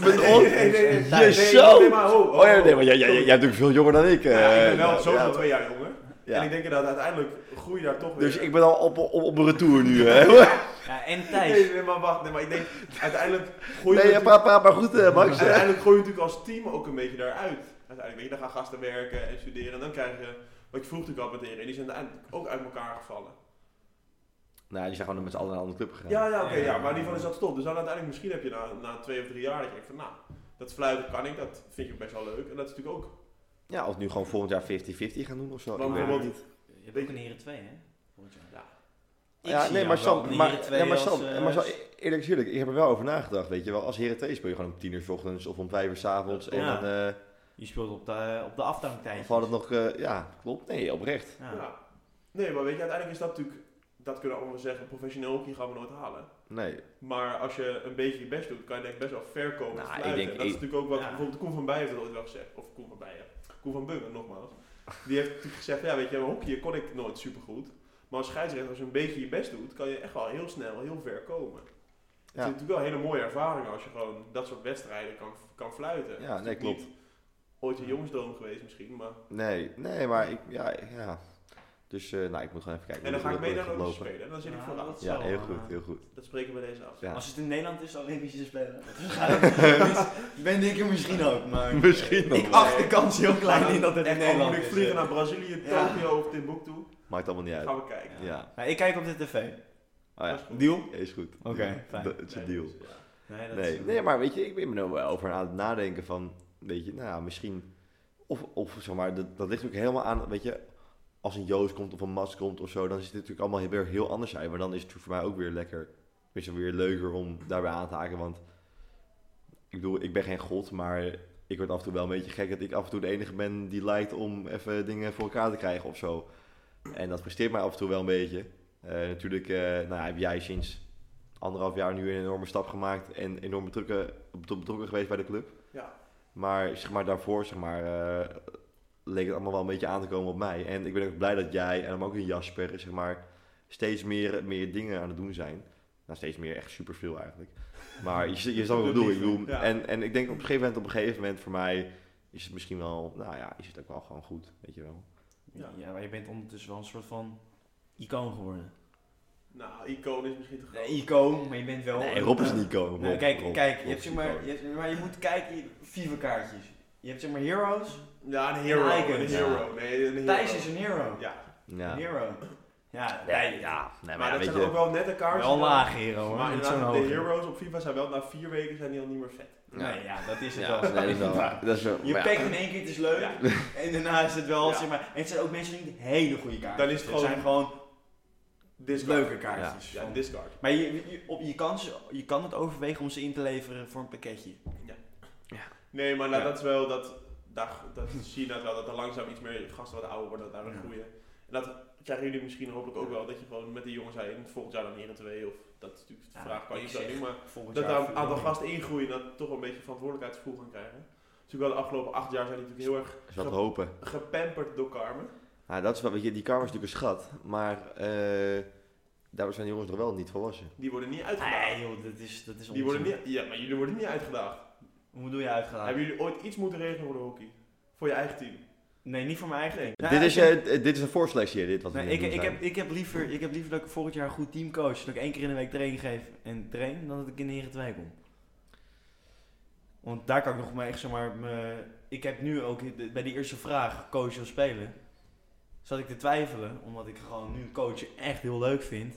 Speaker 2: Met ons?
Speaker 3: nee,
Speaker 2: Jezo!
Speaker 3: nee, maar ho, ho,
Speaker 2: Oh ja, nee,
Speaker 3: ho.
Speaker 2: maar jij, jij, jij bent natuurlijk veel jonger dan ik.
Speaker 3: Nou ja, ik ben
Speaker 2: eh,
Speaker 3: wel sowieso
Speaker 2: ja,
Speaker 3: twee jaar jonger.
Speaker 2: ja.
Speaker 3: En ik denk dat uiteindelijk groei je daar toch weer.
Speaker 2: Dus ik ben al op, op, op een retour nu. Hè?
Speaker 4: Ja, en
Speaker 3: Nee,
Speaker 4: Thijs.
Speaker 3: nee, maar wacht, nee, maar ik denk uiteindelijk groei je
Speaker 2: Nee, ja,
Speaker 3: natuurlijk-
Speaker 2: praat, praat maar goed, eh, Max. hè.
Speaker 3: uiteindelijk groei je natuurlijk als team ook een beetje daaruit. Uiteindelijk, weet je, dan gaan gasten werken en studeren en dan krijg je, wat je vroeg natuurlijk al met heren, die zijn uiteindelijk ook uit elkaar gevallen.
Speaker 2: Nou, die zijn gewoon met z'n allen naar een andere club gegaan.
Speaker 3: Ja, ja, oké,
Speaker 4: Ja.
Speaker 3: ja, maar in ieder geval is dat top. Dus dan uiteindelijk misschien heb je na, na twee of drie jaar dat je denkt van, nou, dat fluiten kan ik, dat vind ik best wel leuk. En dat is natuurlijk ook,
Speaker 2: Ja, of nu gewoon volgend jaar 50-50 gaan doen of zo.
Speaker 3: want
Speaker 2: Oh, Ik weet het
Speaker 3: bijvoorbeeld,
Speaker 2: niet.
Speaker 4: Je hebt ook een heren 2 hè? Volgens mij.
Speaker 3: Ja.
Speaker 4: Ik
Speaker 2: ja,
Speaker 4: zie
Speaker 2: nee,
Speaker 4: jou
Speaker 2: maar
Speaker 4: wel in
Speaker 2: Sam,
Speaker 4: de
Speaker 2: maar,
Speaker 4: Heren 2
Speaker 2: nee, maar,
Speaker 4: als,
Speaker 2: Sam,
Speaker 4: eh,
Speaker 2: maar Sam, e- eerlijk is eerlijk, ik heb er wel over nagedacht, weet je wel. Als Heren 2 speel je gewoon om tien uur 's ochtends of om vijf uur 's avonds. En
Speaker 4: Ja.
Speaker 2: dan eh,
Speaker 4: Je speelt op de, op de
Speaker 2: dan
Speaker 4: afdanktijd.
Speaker 2: valt het nog, eh, ja, klopt. Nee, oprecht.
Speaker 3: ja. Nee, maar weet je, uiteindelijk is dat natuurlijk, dat kunnen we allemaal zeggen, professioneel hockey gaan we nooit halen.
Speaker 2: Nee,
Speaker 3: Maar als je een beetje je best doet, kan je denk ik best wel ver komen met
Speaker 2: Nou, ik
Speaker 3: fluiten.
Speaker 2: denk
Speaker 3: En dat is
Speaker 2: één-
Speaker 3: natuurlijk ook wat,
Speaker 4: ja.
Speaker 3: bijvoorbeeld Koen van Bijen heeft dat ooit wel gezegd. Of Koen van Bijen, Koen van Bungen nogmaals. Die heeft natuurlijk gezegd, ja weet je, hockey kon ik nooit supergoed. Maar als scheidsrechter, als je een beetje je best doet, kan je echt wel heel snel heel ver komen.
Speaker 2: Ja.
Speaker 3: Het is natuurlijk wel een hele mooie ervaring als je gewoon dat soort wedstrijden kan, kan fluiten. Het is
Speaker 2: nee,
Speaker 3: natuurlijk
Speaker 2: klopt.
Speaker 3: niet Ooit een jongensdroom geweest misschien, maar...
Speaker 2: Nee, nee, maar ik, ja, ja. Dus, eh, nou, ik moet gewoon even kijken.
Speaker 3: En dan
Speaker 2: hoe
Speaker 3: ga ik
Speaker 2: dit-
Speaker 3: mee naar
Speaker 2: hoe dit
Speaker 3: de
Speaker 2: gaat
Speaker 3: Olympische
Speaker 2: lopen.
Speaker 3: Spelen en dan zit ik
Speaker 4: Ja,
Speaker 3: vooraan.
Speaker 4: dat
Speaker 3: Dat,
Speaker 2: Ja,
Speaker 4: Zo,
Speaker 2: heel
Speaker 4: eh,
Speaker 2: goed, heel goed.
Speaker 3: spreken we deze af.
Speaker 2: Ja.
Speaker 4: Als het in Nederland is, Olympische Spelen. Dan ga ik- ben ik er misschien ook, maar...
Speaker 2: Misschien
Speaker 4: Ik
Speaker 2: wel.
Speaker 4: acht de kans heel
Speaker 3: Maar
Speaker 4: klein
Speaker 3: dan-
Speaker 4: in dat het in
Speaker 3: echt, al
Speaker 4: Nederland
Speaker 3: moet
Speaker 4: is.
Speaker 3: ik vliegen naar Brazilië,
Speaker 4: Ja.
Speaker 3: Tokio of Timbuktu.
Speaker 2: Maakt allemaal niet uit.
Speaker 3: Gaan we kijken.
Speaker 2: Ja.
Speaker 4: Maar Nou, ik kijk op de tv.
Speaker 2: Oh ja,
Speaker 4: Deal?
Speaker 2: is goed.
Speaker 4: Oké, fijn.
Speaker 2: Dat is een
Speaker 3: Nee,
Speaker 2: deal.
Speaker 3: dat is- dus, ja.
Speaker 4: Nee,
Speaker 2: Nee, nee, maar weet je, ik ben er wel over aan het nadenken van, weet je, nou ja, misschien, of, of zeg maar, dat, dat ligt ook helemaal aan, weet je, als een Joost komt of een Mats komt of zo, dan is het natuurlijk allemaal heel- weer heel anders uit, maar dan is het voor mij ook weer lekker, is het weer leuker om daarbij aan te haken, want ik bedoel, ik ben geen god, maar ik word af en toe wel een beetje gek dat ik af en toe de enige ben die lijkt om even dingen voor elkaar te krijgen of zo. En dat frustreert mij af en toe wel een beetje. Eh, natuurlijk, eh, nou ja, heb jij sinds anderhalf jaar nu een enorme stap gemaakt en enorm betrokken, betro- betrokken geweest bij de club.
Speaker 3: Ja.
Speaker 2: Maar, zeg maar daarvoor zeg maar, eh, leek het allemaal wel een beetje aan te komen op mij. En ik ben ook blij dat jij en ook een Jasper zeg maar, steeds meer, meer dingen aan het doen zijn. Nou, steeds meer, echt superveel eigenlijk. Maar je, je snapt wat ik bedoel. Ik bedoel
Speaker 3: Ja.
Speaker 2: en, en ik denk op een gegeven moment, op een gegeven moment voor mij is het misschien wel, nou ja, is het ook wel gewoon goed, weet je wel.
Speaker 3: Ja.
Speaker 4: Ja, maar je bent ondertussen wel een soort van icoon geworden.
Speaker 3: Nou, icoon is misschien te groot.
Speaker 4: Nee, icoon, maar je bent wel...
Speaker 2: Nee, Rob is niet komen.
Speaker 4: Nou,
Speaker 2: Rob,
Speaker 4: kijk,
Speaker 2: Rob,
Speaker 4: kijk,
Speaker 2: Rob
Speaker 4: je
Speaker 2: is
Speaker 4: hebt zeg
Speaker 2: niet
Speaker 4: maar,
Speaker 2: komen.
Speaker 4: je, hebt- maar je moet kijken, je- FIFA kaartjes. Je hebt zeg maar heroes.
Speaker 3: Ja, een hero.
Speaker 4: Icon.
Speaker 3: Een hero. Nee, een hero.
Speaker 4: Thijs is een hero.
Speaker 3: Ja,
Speaker 2: Ja.
Speaker 4: Een hero. Ja,
Speaker 2: Nee,
Speaker 4: nee,
Speaker 2: ja, nee,
Speaker 3: maar,
Speaker 2: maar, ja,
Speaker 3: dat
Speaker 2: weet
Speaker 3: zijn
Speaker 2: je.
Speaker 3: ook wel nette kaartjes.
Speaker 4: Wel een
Speaker 3: dan.
Speaker 4: lage hero hoor,
Speaker 3: Maar
Speaker 4: niet zo'n
Speaker 3: inderdaad, de
Speaker 4: hoge.
Speaker 3: heroes op FIFA zijn wel na vier weken zijn die al niet meer vet.
Speaker 4: Nee, ja, dat is het
Speaker 2: Ja, nee,
Speaker 4: wel.
Speaker 2: dat is wel waar. Dat is wel-
Speaker 4: Je
Speaker 2: maar ja.
Speaker 4: pakt in één keer, het is leuk.
Speaker 3: Ja.
Speaker 4: En daarna is het wel,
Speaker 3: Ja.
Speaker 4: zeg maar... En het zijn ook mensen die niet hele goede kaartjes.
Speaker 3: Dan is het gewoon-
Speaker 4: zijn gewoon
Speaker 3: Discard.
Speaker 4: leuke kaartjes.
Speaker 3: Ja,
Speaker 4: Van-
Speaker 3: discard.
Speaker 4: Maar je, je, op, je, kan, ze- je kan het overwegen om ze in te leveren voor een pakketje.
Speaker 3: Nee, maar nou,
Speaker 4: Ja.
Speaker 3: dat is wel dat. Daar, dat zie je dat wel dat er langzaam iets meer gasten wat ouder worden, dat daar weer
Speaker 4: Ja.
Speaker 3: groeien. En dat krijgen jullie misschien hopelijk ook wel, dat je gewoon met de jongens in volgend jaar dan 1 en 2 of dat is natuurlijk de
Speaker 4: Ja,
Speaker 3: vraag, kan je
Speaker 4: ik
Speaker 3: zo
Speaker 4: zeg-
Speaker 3: doen, maar
Speaker 4: Volgend
Speaker 3: dat
Speaker 4: jaar
Speaker 3: daar een
Speaker 4: veel
Speaker 3: aantal
Speaker 4: meer.
Speaker 3: gasten ingroeien en dat toch een beetje verantwoordelijkheidsgevoel gaan krijgen. Dus ook wel de afgelopen acht jaar zijn die natuurlijk heel erg
Speaker 2: Dat is wel te hopen.
Speaker 3: gepamperd door Carmen.
Speaker 2: Ja, dat is wel, weet je, die kamer is natuurlijk een schat, maar eh daar zijn die jongens nog wel niet volwassen.
Speaker 3: Die worden niet uitgedaagd.
Speaker 4: Nee joh, dat is, dat is
Speaker 3: die worden niet,
Speaker 4: onzin.
Speaker 3: ja, maar jullie worden niet uitgedaagd.
Speaker 4: Hoe doe je uitgelaten?
Speaker 3: Hebben jullie ooit iets moeten regelen voor de hockey? Voor je eigen team?
Speaker 4: Nee, niet voor mijn eigen
Speaker 3: Nee.
Speaker 4: ding. Nou,
Speaker 2: dit,
Speaker 4: ik
Speaker 2: is,
Speaker 4: heb-
Speaker 2: eh, eh, dit is een voorselectie, hier, dit wat we
Speaker 4: Nee,
Speaker 2: hier
Speaker 4: ik,
Speaker 2: doen
Speaker 4: ik,
Speaker 2: zijn.
Speaker 4: heb, ik, heb liever, ik heb liever dat ik volgend jaar een goed team coach. Dat ik één keer in de week training geef en train, dan dat ik in de Heren 2 kom. Want daar kan ik nog mee, echt, zeg maar, me- ik heb nu ook de- bij die eerste vraag, coach of spelen, zat ik te twijfelen. Omdat ik gewoon nu coachen echt heel leuk vind.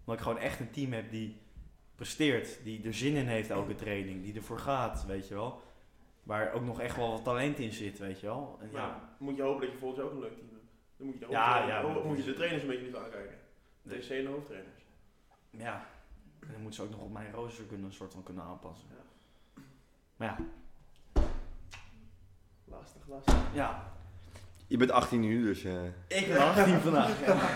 Speaker 4: Omdat ik gewoon echt een team heb die presteert, die er zin in heeft elke training, die ervoor gaat, weet je wel. Waar ook nog echt wel wat talent in zit, weet je wel. En
Speaker 3: Ja.
Speaker 4: ja,
Speaker 3: Nou, moet je hopen dat je volgend jaar ook een leuk team hebt. Dan moet je de,
Speaker 4: Ja,
Speaker 3: hoofdtrainer-
Speaker 4: ja, maar-
Speaker 3: moet je de trainers een beetje niet aankijken. De
Speaker 4: Nee.
Speaker 3: TC en de hoofdtrainers.
Speaker 4: Ja, en dan moeten ze ook nog op mijn rooster kunnen, een soort van kunnen aanpassen.
Speaker 3: Ja.
Speaker 4: Maar ja,
Speaker 3: Lastig, lastig.
Speaker 4: ja.
Speaker 2: Je bent 18 nu, dus... eh zullen,
Speaker 4: ik ben 18 vandaag. Ja.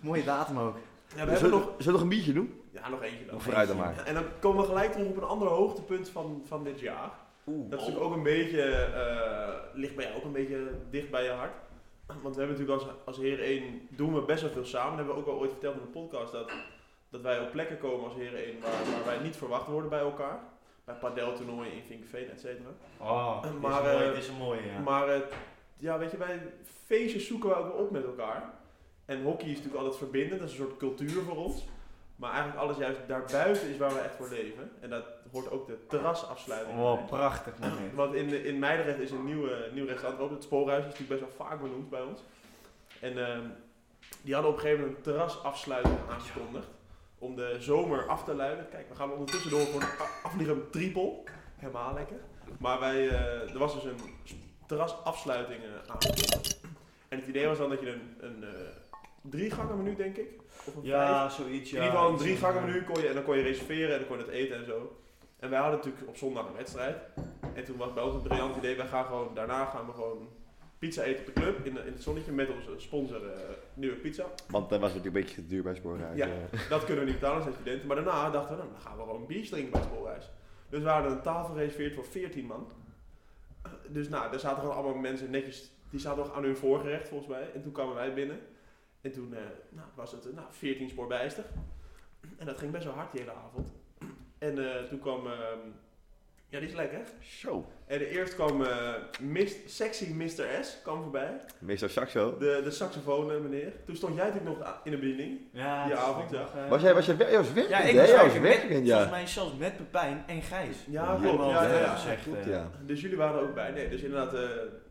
Speaker 4: Mooie datum ook.
Speaker 3: Ja, we
Speaker 4: Dus-
Speaker 3: hebben nog,
Speaker 2: we- zullen we nog een biertje doen?
Speaker 3: ja, nog eentje dan.
Speaker 2: Of vooruit dan
Speaker 4: eentje.
Speaker 2: maar.
Speaker 3: En dan komen we gelijk terug op een ander hoogtepunt van, van dit jaar.
Speaker 4: Oeh,
Speaker 3: Dat is natuurlijk ook een beetje, eh, ligt bij jou ook een beetje dicht bij je hart. Want we hebben natuurlijk als, als Heer 1, doen we best wel veel samen. Dat hebben we ook al ooit verteld in de podcast, dat, dat wij op plekken komen als Heer 1 waar, waar wij niet verwacht worden bij elkaar. Bij padeltoernooien in Vinkenveen, et cetera.
Speaker 4: Oh, dit is
Speaker 3: Maar,
Speaker 4: een mooie,
Speaker 3: eh,
Speaker 4: dit is een mooie, ja.
Speaker 3: Maar eh, ja, weet je, bij feestjes zoeken we ook wel op met elkaar. En hockey is natuurlijk altijd verbindend, dat is een soort cultuur voor ons. Maar eigenlijk alles juist daarbuiten is waar we echt voor leven. En dat hoort ook de terrasafsluiting. bij.
Speaker 4: Oh, prachtig moment.
Speaker 3: Want in, in Meidrecht is een nieuwe, nieuw restaurant open. Het Spoorhuis is natuurlijk best wel vaak benoemd bij ons. En ehm, die hadden op een gegeven moment een terrasafsluiting aangekondigd. Om de zomer af te luiden. Kijk, we gaan ondertussen door voor een a- afvliegend triple. Helemaal lekker. Maar wij, eh, er was dus een s- terrasafsluiting eh, aangekondigd. En het idee was dan dat je een, een eh, drie gangen menu, denk ik. Of een vijf.
Speaker 4: Ja, zoiets, ja.
Speaker 3: In ieder geval een
Speaker 4: iets
Speaker 3: drie
Speaker 4: van- eh,
Speaker 3: gangen menu kon je, en dan kon je reserveren en dan kon je het eten en zo. En wij hadden natuurlijk op zondag een wedstrijd. En toen was bij ons een briljant idee, wij gaan gewoon, daarna gaan we gewoon pizza eten op de club in, in het zonnetje met onze sponsor eh, Nieuwe Pizza.
Speaker 2: Want dat was het natuurlijk een beetje te duur bij Spoorrijden.
Speaker 3: Ja. Dat kunnen we niet betalen als studenten. Maar daarna dachten we, nou, dan gaan we gewoon biertje drinken bij het schoolhuis. Dus we hadden een tafel gereserveerd voor 14 man. Dus nou, daar zaten gewoon allemaal mensen netjes. Die zaten nog aan hun voorgerecht volgens mij. En toen kwamen wij binnen. En toen eh, nou, was het eh, nou, 14 spoor bijster. En dat ging best wel hard die hele avond. En eh, toen kwam... ehm, ja, die is lekker.
Speaker 2: Zo.
Speaker 3: En eerst kwam eh, Mist- Sexy Mr. S kwam voorbij.
Speaker 2: Meester Saxo.
Speaker 3: De, de saxofoon eh, meneer. Toen stond jij natuurlijk nog a- in de bediening.
Speaker 4: Ja,
Speaker 3: Die
Speaker 4: dat is
Speaker 3: avond,
Speaker 4: natuurlijk nog, eh,
Speaker 2: Was jij, was jij, wer- jij was
Speaker 4: Ja,
Speaker 2: werkend,
Speaker 4: ik
Speaker 2: hè?
Speaker 4: was
Speaker 2: Jij was
Speaker 4: eigenlijk met-
Speaker 2: werkend,
Speaker 4: Volgens
Speaker 2: ja.
Speaker 4: mij zelfs met Pepijn en Gijs.
Speaker 3: Ja,
Speaker 2: Ja,
Speaker 3: klopt.
Speaker 4: man,
Speaker 3: Ja, ja,
Speaker 4: dat
Speaker 3: ja.
Speaker 4: is echt,
Speaker 2: Klopt,
Speaker 4: eh,
Speaker 2: ja.
Speaker 3: Dus jullie waren er ook bij. Nee, dus inderdaad, eh,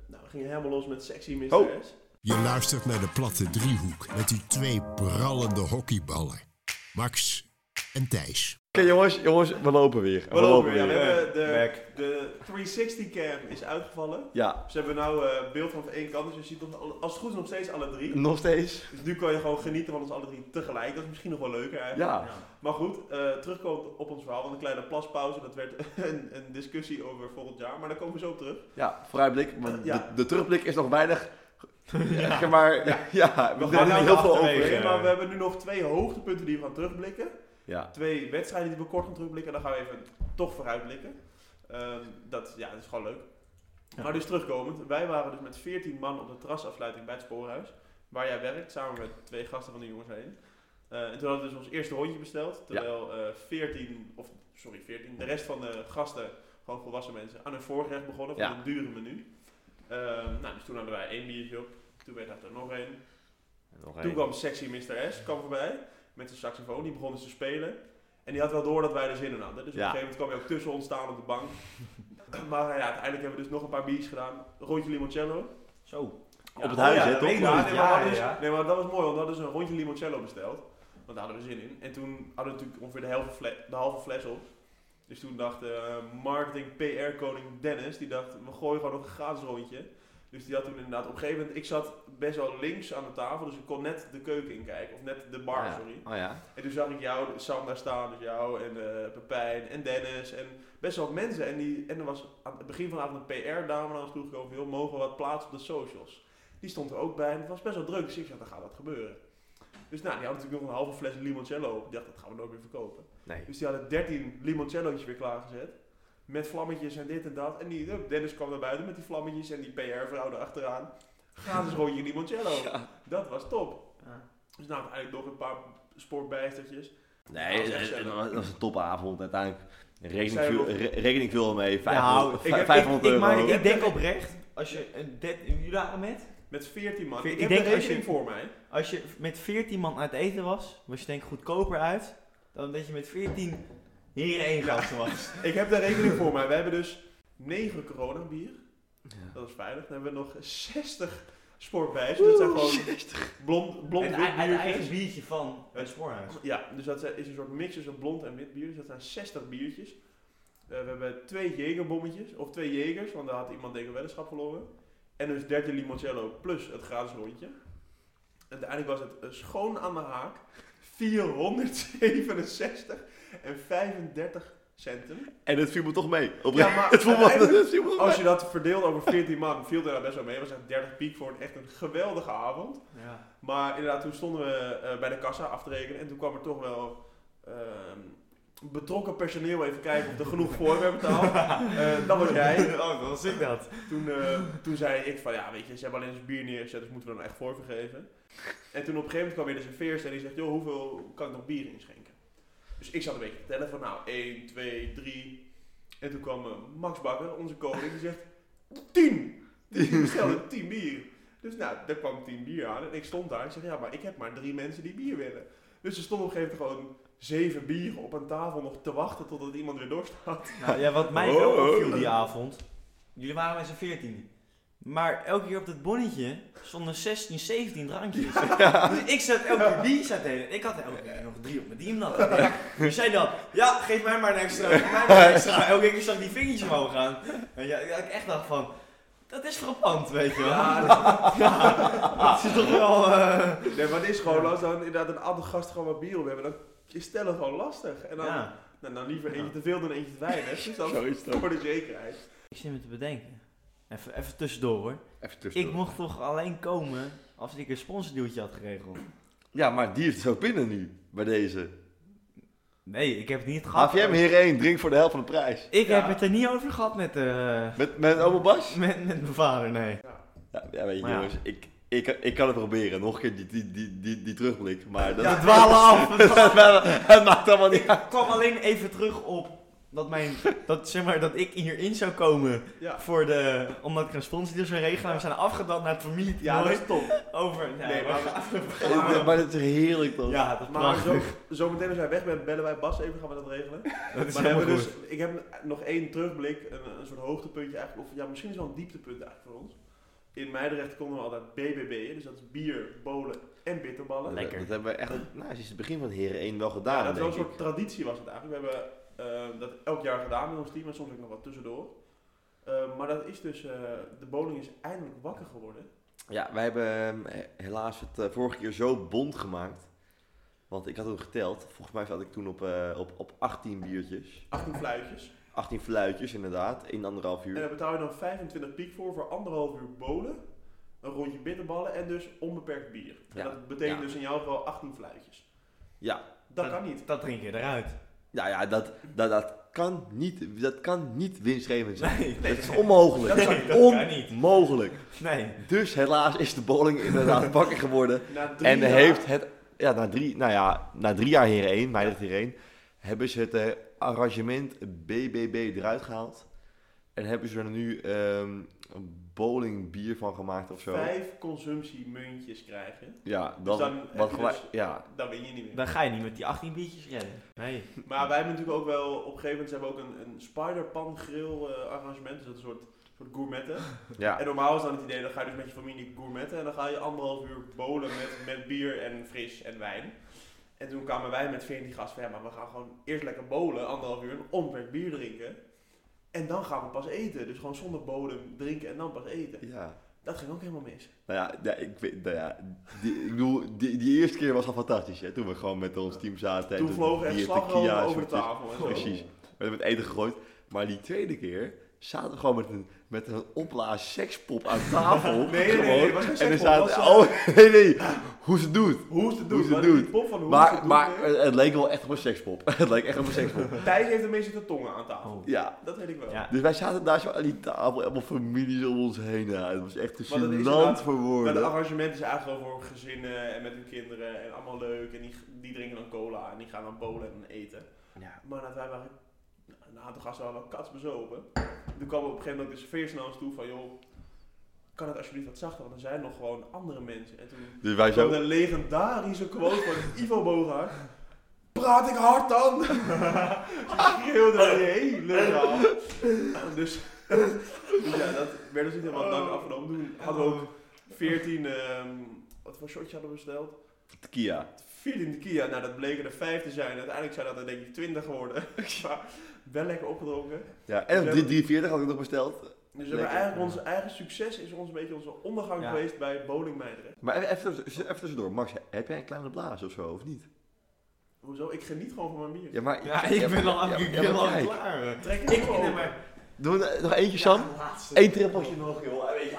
Speaker 3: nou, we gingen helemaal los met Sexy Mr.
Speaker 2: Oh.
Speaker 3: S.
Speaker 1: Je luistert naar de platte driehoek met die twee prallende hockeyballen. Max en Thijs.
Speaker 2: Oké jongens, jongens, we lopen weer. We,
Speaker 3: Ja, we hebben de,
Speaker 4: Back.
Speaker 3: de 360 cam is uitgevallen.
Speaker 2: Ja,
Speaker 3: Dus hebben we nou eh, beeld van één kant. Dus je ziet ons alle- als het goed is nog steeds alle drie.
Speaker 2: nog steeds.
Speaker 3: Dus nu kan je gewoon genieten van ons alle drie tegelijk. Dat is misschien nog wel leuker eigenlijk.
Speaker 2: Ja.
Speaker 3: Maar goed, eh terugkomen op ons verhaal. Want een kleine plaspauze, dat werd een, een discussie over volgend jaar. Maar daar komen we zo op terug.
Speaker 2: Ja, vooruitblik. Want
Speaker 3: Ja.
Speaker 2: de, de terugblik is nog weinig. Ja, maar ja, we
Speaker 3: We
Speaker 2: doen
Speaker 3: gaan
Speaker 2: er
Speaker 3: daar
Speaker 2: heel veel
Speaker 3: achterwege,
Speaker 2: over. eh.
Speaker 3: Maar we hebben nu nog twee hoogtepunten die we gaan terugblikken.
Speaker 2: Ja,
Speaker 3: Twee wedstrijden die we kort gaan terugblikken. En dan gaan we even toch vooruitblikken. Ehm, dat, ja, dat is gewoon leuk. Maar dus terugkomend. Wij waren dus met 14 man op de terrasafsluiting bij het Spoorhuis. Waar jij werkt, samen met twee gasten van de jongens heen. Eh, en toen hadden we dus ons eerste rondje besteld. Terwijl eh 14, of sorry, 14, de rest van de gasten, gewoon volwassen mensen, aan hun voorgerecht begonnen. Van
Speaker 2: Ja.
Speaker 3: een dure menu. Ehm, nou, dus toen hadden wij één biertje op. Toen werd dat er nog één.
Speaker 2: nog
Speaker 3: Toen
Speaker 2: één.
Speaker 3: kwam Sexy Mr. S kwam voorbij met zijn saxofoon. Die begon dus te spelen. En die had wel door dat wij er zin in hadden. Dus
Speaker 2: Ja.
Speaker 3: op een gegeven moment kwam hij ook tussen ons staan op de bank. maar ja, uiteindelijk hebben we dus nog een paar biertjes gedaan. Rondje limoncello.
Speaker 4: Zo.
Speaker 2: Op het huis, hè,
Speaker 3: dat
Speaker 2: toch?
Speaker 3: weet ik nog
Speaker 4: Ja,
Speaker 3: niet. Oh nee, maar we hadden dus-
Speaker 4: ja, ja.
Speaker 3: Nee, maar dat was mooi, want we hadden dus een rondje limoncello besteld. Want daar hadden we zin in. En toen hadden we natuurlijk ongeveer de, helft fle- de halve fles op. Dus toen dacht eh, marketing PR koning Dennis, die dacht, we gooien gewoon nog een gratis rondje. Dus die had toen inderdaad op een gegeven moment, ik zat best wel links aan de tafel, dus ik kon net de keuken inkijken, of net de bar,
Speaker 2: Ja.
Speaker 3: sorry.
Speaker 2: Oh ja.
Speaker 3: En toen zag ik jou, Sam daar staan, dus jou en eh, Pepijn en Dennis en best wel wat mensen. En, die, en er was aan het begin van de avond een PR-dame naar ons toegekomen, heel mogen we wat plaatsen op de socials. Die stond er ook bij en het was best wel druk, dus ik dacht, er gaat wat gebeuren. Dus nou, die had natuurlijk nog een halve fles limoncello op. Ik dacht, dat gaan we nooit meer verkopen.
Speaker 2: Nee.
Speaker 3: Dus die hadden 13 limoncello's weer klaargezet. Met vlammetjes en dit en dat. En die, hup, Dennis kwam naar buiten met die vlammetjes en die PR-vrouw erachteraan. Gratis rondje limoncello. Dat was top.
Speaker 4: Ja.
Speaker 3: Dus nou, uiteindelijk nog een paar sportbijstertjes.
Speaker 2: Nee,
Speaker 3: Dat was echt
Speaker 2: het- het
Speaker 3: gezellig.
Speaker 2: was- het was een topavond uiteindelijk. Rekening
Speaker 3: Zijn we
Speaker 2: viel,
Speaker 3: nog-
Speaker 2: re- rekening viel al mee,
Speaker 4: Nou,
Speaker 2: 500,
Speaker 4: ik
Speaker 2: vij-
Speaker 4: heb-
Speaker 2: 500
Speaker 4: ik- ik-
Speaker 2: euro.
Speaker 4: maar Ik denk oprecht, als je een det- jullie waren met?
Speaker 3: Met 14 man.
Speaker 4: Veer-
Speaker 3: ik
Speaker 4: ik
Speaker 3: heb denk
Speaker 4: denk als
Speaker 3: rekening
Speaker 4: je-
Speaker 3: voor mij.
Speaker 4: Als je met 14 man uit eten was, was je denk ik goedkoper uit dan dat je met 14 heren één gasten was.
Speaker 3: Ik heb daar rekening voor mij. We hebben dus 9 coronabier.
Speaker 2: Ja.
Speaker 3: Dat is veilig. Dan hebben we nog 60 sportbijsters. Dat zijn gewoon blond, blond
Speaker 4: Een
Speaker 3: wit
Speaker 4: ei- een
Speaker 3: biertjes.
Speaker 4: eigen biertje van het spoorhuis.
Speaker 3: Ja, dus dat is een soort mix tussen blond en wit bier. Dus dat zijn 60 biertjes. Eh, we hebben twee jegerbommetjes, of twee jegers, want daar had iemand denk ik een weddenschap verloren. En dus 13 limoncello plus het gratis rondje. Uiteindelijk was het eh, schoon aan de haak. 467 en 35 centen.
Speaker 2: En het viel me toch mee.
Speaker 3: Ja,
Speaker 2: Oprecht.
Speaker 3: maar
Speaker 2: het viel me,
Speaker 3: uiteindelijk-
Speaker 2: het viel me
Speaker 3: Als je dat verdeelt over 14 maanden, viel daar best wel mee. Het was echt 30 piek voor een echt een geweldige avond.
Speaker 4: Ja.
Speaker 3: Maar inderdaad, toen stonden we eh, bij de kassa af te rekenen en toen kwam er toch wel ehm, betrokken personeel even kijken of er genoeg voor werd betaald. Eh, dat was jij.
Speaker 4: Oh, dan was ik dat.
Speaker 3: Toen, eh, toen zei ik van ja, weet je, ze hebben alleen eens bier neergezet, dus moeten we er nou echt voor vergeven. En toen op een gegeven moment kwam weer de serveerster en die zegt, joh, hoeveel kan ik nog bier inschenken? Dus ik zat een beetje te tellen van nou, 1, 2, 3. En toen kwam eh, Max Bakker, onze koning, die zegt, 10! Dus die bestelde 10 bier. Dus nou, daar kwam 10 bier aan en ik stond daar en ik zeg, ja, maar ik heb maar drie mensen die bier willen. Dus er stonden op een gegeven moment gewoon zeven bieren op een tafel nog te wachten totdat iemand weer dorst had.
Speaker 4: Nou, ja, wat mij
Speaker 2: Oh,
Speaker 4: wel
Speaker 2: oh.
Speaker 4: opviel die avond, jullie waren met z'n 14. Maar elke keer op dat bonnetje stonden 16, 17 drankjes. Dus ik zat elke keer die zat de hele- Ik had elke keer nog drie op mijn dienblad. Dus zij dan, ja, geef mij maar een extra, geef mij maar een extra. Elke keer zag ik die vingertjes omhoog gaan. En ja, ja, ik echt dacht van, dat is frappant, weet je wel. Ja, Ah. dat is toch wel... eh,
Speaker 3: Nee, maar het is gewoon, als dan inderdaad een andere gast gewoon wat bier op hebben, dan is tellen gewoon lastig. En dan,
Speaker 4: ja.
Speaker 3: nou, dan liever eentje te veel dan eentje te weinig. Dus dat
Speaker 2: Zo is het ook.
Speaker 3: voor de zekerheid.
Speaker 4: Ik zit me te bedenken. Even, even tussendoor hoor.
Speaker 2: Even
Speaker 4: Ik
Speaker 2: tussendoor.
Speaker 4: mocht toch alleen komen als ik een sponsordeeltje had geregeld?
Speaker 2: Ja, maar die is zo binnen nu, bij deze.
Speaker 4: Nee, ik heb het niet gehad.
Speaker 2: HVM Heer 1, drink voor de helft van de prijs.
Speaker 4: Ik
Speaker 3: Ja.
Speaker 4: heb het er niet over gehad met, eh
Speaker 2: Met, met oma Bas?
Speaker 4: met, met mijn vader, nee.
Speaker 2: Ja, ja, weet je
Speaker 4: Maar ja.
Speaker 2: jongens, ik, Ik, ik kan het proberen, nog een keer die, die, die, die, die terugblik. Maar dat,
Speaker 4: Ja, we dwalen af. We dwalen
Speaker 2: het maakt allemaal niet uit.
Speaker 4: Ik kwam alleen even terug op dat, mijn, dat, zeg maar, dat ik hierin zou komen.
Speaker 3: Ja.
Speaker 4: Voor de, omdat ik een sponsordeal zou regelen. En we zijn afgedaald naar het familie.
Speaker 3: Ja, dat is top.
Speaker 4: over.
Speaker 3: Nee, maar,
Speaker 2: Maar,
Speaker 3: maar,
Speaker 2: dat is heerlijk toch?
Speaker 4: ja, dat is
Speaker 3: maar
Speaker 4: prachtig.
Speaker 3: zo, zo meteen als wij weg bent, bellen wij Bas even, gaan we dat regelen.
Speaker 4: Dat is
Speaker 3: Maar dan hebben we
Speaker 4: helemaal
Speaker 3: dus,
Speaker 4: goed.
Speaker 3: ik heb nog één terugblik, een, een soort hoogtepuntje eigenlijk, of ja, misschien is het wel een dieptepunt eigenlijk voor ons. In Meidrecht konden we altijd BBB'en, dus dat is bier, bolen en bitterballen.
Speaker 2: Dat-
Speaker 4: Lekker.
Speaker 2: Dat hebben we echt, nou, sinds het begin van Heren 1 wel
Speaker 3: Ja,
Speaker 2: gedaan,
Speaker 3: dat is wel een
Speaker 2: denk
Speaker 3: soort
Speaker 2: ik.
Speaker 3: traditie was het eigenlijk. We hebben eh, dat elk jaar gedaan met ons team en soms ook nog wat tussendoor. Eh, maar dat is dus, eh, de bowling is eindelijk wakker geworden.
Speaker 2: Ja, wij hebben ehm, he- helaas het eh, vorige keer zo bond gemaakt. Want ik had toen geteld, volgens mij zat ik toen op, eh, op, op 18 biertjes.
Speaker 3: 18 fluitjes.
Speaker 2: 18 fluitjes inderdaad, in anderhalf
Speaker 3: En
Speaker 2: uur.
Speaker 3: daar betaal je dan 25 piek voor, voor anderhalf uur bolen, een rondje bitterballen en dus onbeperkt bier. En
Speaker 2: Ja,
Speaker 3: dat betekent
Speaker 2: ja.
Speaker 3: dus in jouw geval 18 fluitjes.
Speaker 2: Ja.
Speaker 3: Dat kan niet.
Speaker 4: Dat drink je eruit.
Speaker 2: Nou ja, dat, dat, dat, kan niet, dat kan niet winstgevend zijn.
Speaker 4: Nee,
Speaker 2: Dat is onmogelijk.
Speaker 4: Dat kan- dat kan niet.
Speaker 2: Onmogelijk.
Speaker 4: Nee.
Speaker 2: Dus helaas is de bowling inderdaad wakker geworden.
Speaker 3: Na drie
Speaker 2: En
Speaker 3: dagen-
Speaker 2: heeft het, ja, na drie, nou ja, na drie jaar Heren 1, Meidert Heren 1, hebben ze het eh, arrangement BBB eruit gehaald. En hebben ze er nu ehm bowling bier van gemaakt of zo.
Speaker 3: vijf consumptiemuntjes krijgen,
Speaker 2: Ja,
Speaker 3: Dus
Speaker 2: dat,
Speaker 3: dan heb
Speaker 2: wat
Speaker 3: je
Speaker 2: gelijk,
Speaker 3: dus-
Speaker 2: ja.
Speaker 3: dan win je niet meer.
Speaker 4: Dan ga je niet met die 18 biertjes redden. Nee.
Speaker 3: Maar wij hebben natuurlijk ook wel, op een gegeven moment ze hebben ook een, een spiderpan grill eh, arrangement, dus dat is een soort, soort gourmetten.
Speaker 2: ja.
Speaker 3: En normaal is dan het idee, dan ga je dus met je familie gourmetten en dan ga je anderhalf uur bowlen met, met bier en fris en wijn. En toen kwamen wij met 14 gasten van, ja, maar we gaan gewoon eerst lekker bowlen, anderhalf uur, een onbeperkt bier drinken. En dan gaan we pas eten. Dus gewoon zonder bodem drinken en dan pas eten.
Speaker 2: ja.
Speaker 3: Dat ging ook helemaal mis.
Speaker 2: Nou ja, ja, ik, weet- nou ja die, ik bedoel, die, die eerste keer was al fantastisch, hè, toen we gewoon met ons team zaten. en
Speaker 3: Toen vlogen echt
Speaker 2: bier,
Speaker 3: slagroom
Speaker 2: tequila,
Speaker 3: over de
Speaker 2: shotjes.
Speaker 3: tafel. En zo.
Speaker 2: Precies. We hebben het eten gegooid. Maar die tweede keer zaten we gewoon met een, met een opblaas sekspop aan tafel.
Speaker 3: Nee, nee, nee,
Speaker 2: Gewoon.
Speaker 3: het was geen
Speaker 2: En er
Speaker 3: sekspop, het
Speaker 2: zaten,
Speaker 3: was eh,
Speaker 2: oh nee, nee, hoe ze het doet.
Speaker 3: Hoe is het doen?
Speaker 2: Hoe is het
Speaker 3: Wat is die
Speaker 2: doen?
Speaker 3: pop van hoe is het
Speaker 2: Maar,
Speaker 3: doen?
Speaker 2: maar het het leek wel echt op een sekspop. Het leek echt op een sekspop.
Speaker 3: Thijs heeft een beetje de tongen aan tafel.
Speaker 4: Oh.
Speaker 2: Ja.
Speaker 3: Dat weet ik wel.
Speaker 4: Ja.
Speaker 2: Dus wij zaten daar zo aan die tafel, allemaal families om ons heen. Ja, het was echt te
Speaker 3: Maar dat is
Speaker 2: gênant
Speaker 3: inderdaad-
Speaker 2: voor
Speaker 3: Maar het
Speaker 2: woorden.
Speaker 3: arrangement is eigenlijk gewoon voor gezinnen en met hun kinderen en allemaal leuk. En die, die drinken dan cola en die gaan dan bowlen en eten.
Speaker 2: Ja.
Speaker 3: Maar nadat wij waren, een aantal gasten waren wel kats bezopen. Toen kwam op een gegeven moment de serveers naar ons toe van joh, kan het alsjeblieft wat zachter, want er zijn nog gewoon andere mensen. En toen
Speaker 2: Dus wij
Speaker 3: kwam
Speaker 2: zo,
Speaker 3: de legendarische quote van Ivo Bogaert. Praat ik hard dan? Ze schreeuwde door die hele zaal. Dus, dus ja, dat werd dus niet helemaal dank afgenomen. Toen hadden we ook 14, ehm, wat voor shotje hadden we besteld?
Speaker 2: Kia.
Speaker 3: 14 tequila, nou dat bleken er 5 te zijn. Uiteindelijk zijn dat er denk ik 20 geworden. maar wel lekker opgedronken.
Speaker 2: Ja, en op
Speaker 3: Dus
Speaker 2: 3,43 had ik nog besteld.
Speaker 3: Dus we
Speaker 2: Lekker.
Speaker 3: hebben eigenlijk ons eigen succes is ons een beetje onze ondergang
Speaker 4: Ja.
Speaker 3: geweest bij Bowling Meidrecht.
Speaker 2: Maar e- even, even tussendoor, Max, heb jij een kleine blaas of zo, of niet?
Speaker 3: Hoezo? Ik geniet gewoon van mijn bier.
Speaker 2: Ja, maar,
Speaker 4: Ja, ik ben al,
Speaker 2: ja,
Speaker 4: ik
Speaker 2: ja,
Speaker 4: ben
Speaker 2: maar
Speaker 4: al
Speaker 2: kijk.
Speaker 4: klaar. hè.
Speaker 3: Trek het
Speaker 4: Ik
Speaker 3: gewoon.
Speaker 4: nee, maar
Speaker 2: Doen we er nog eentje, Sam?
Speaker 4: laatste.
Speaker 2: Eén trippeltje.
Speaker 4: nog, joh. En weet je,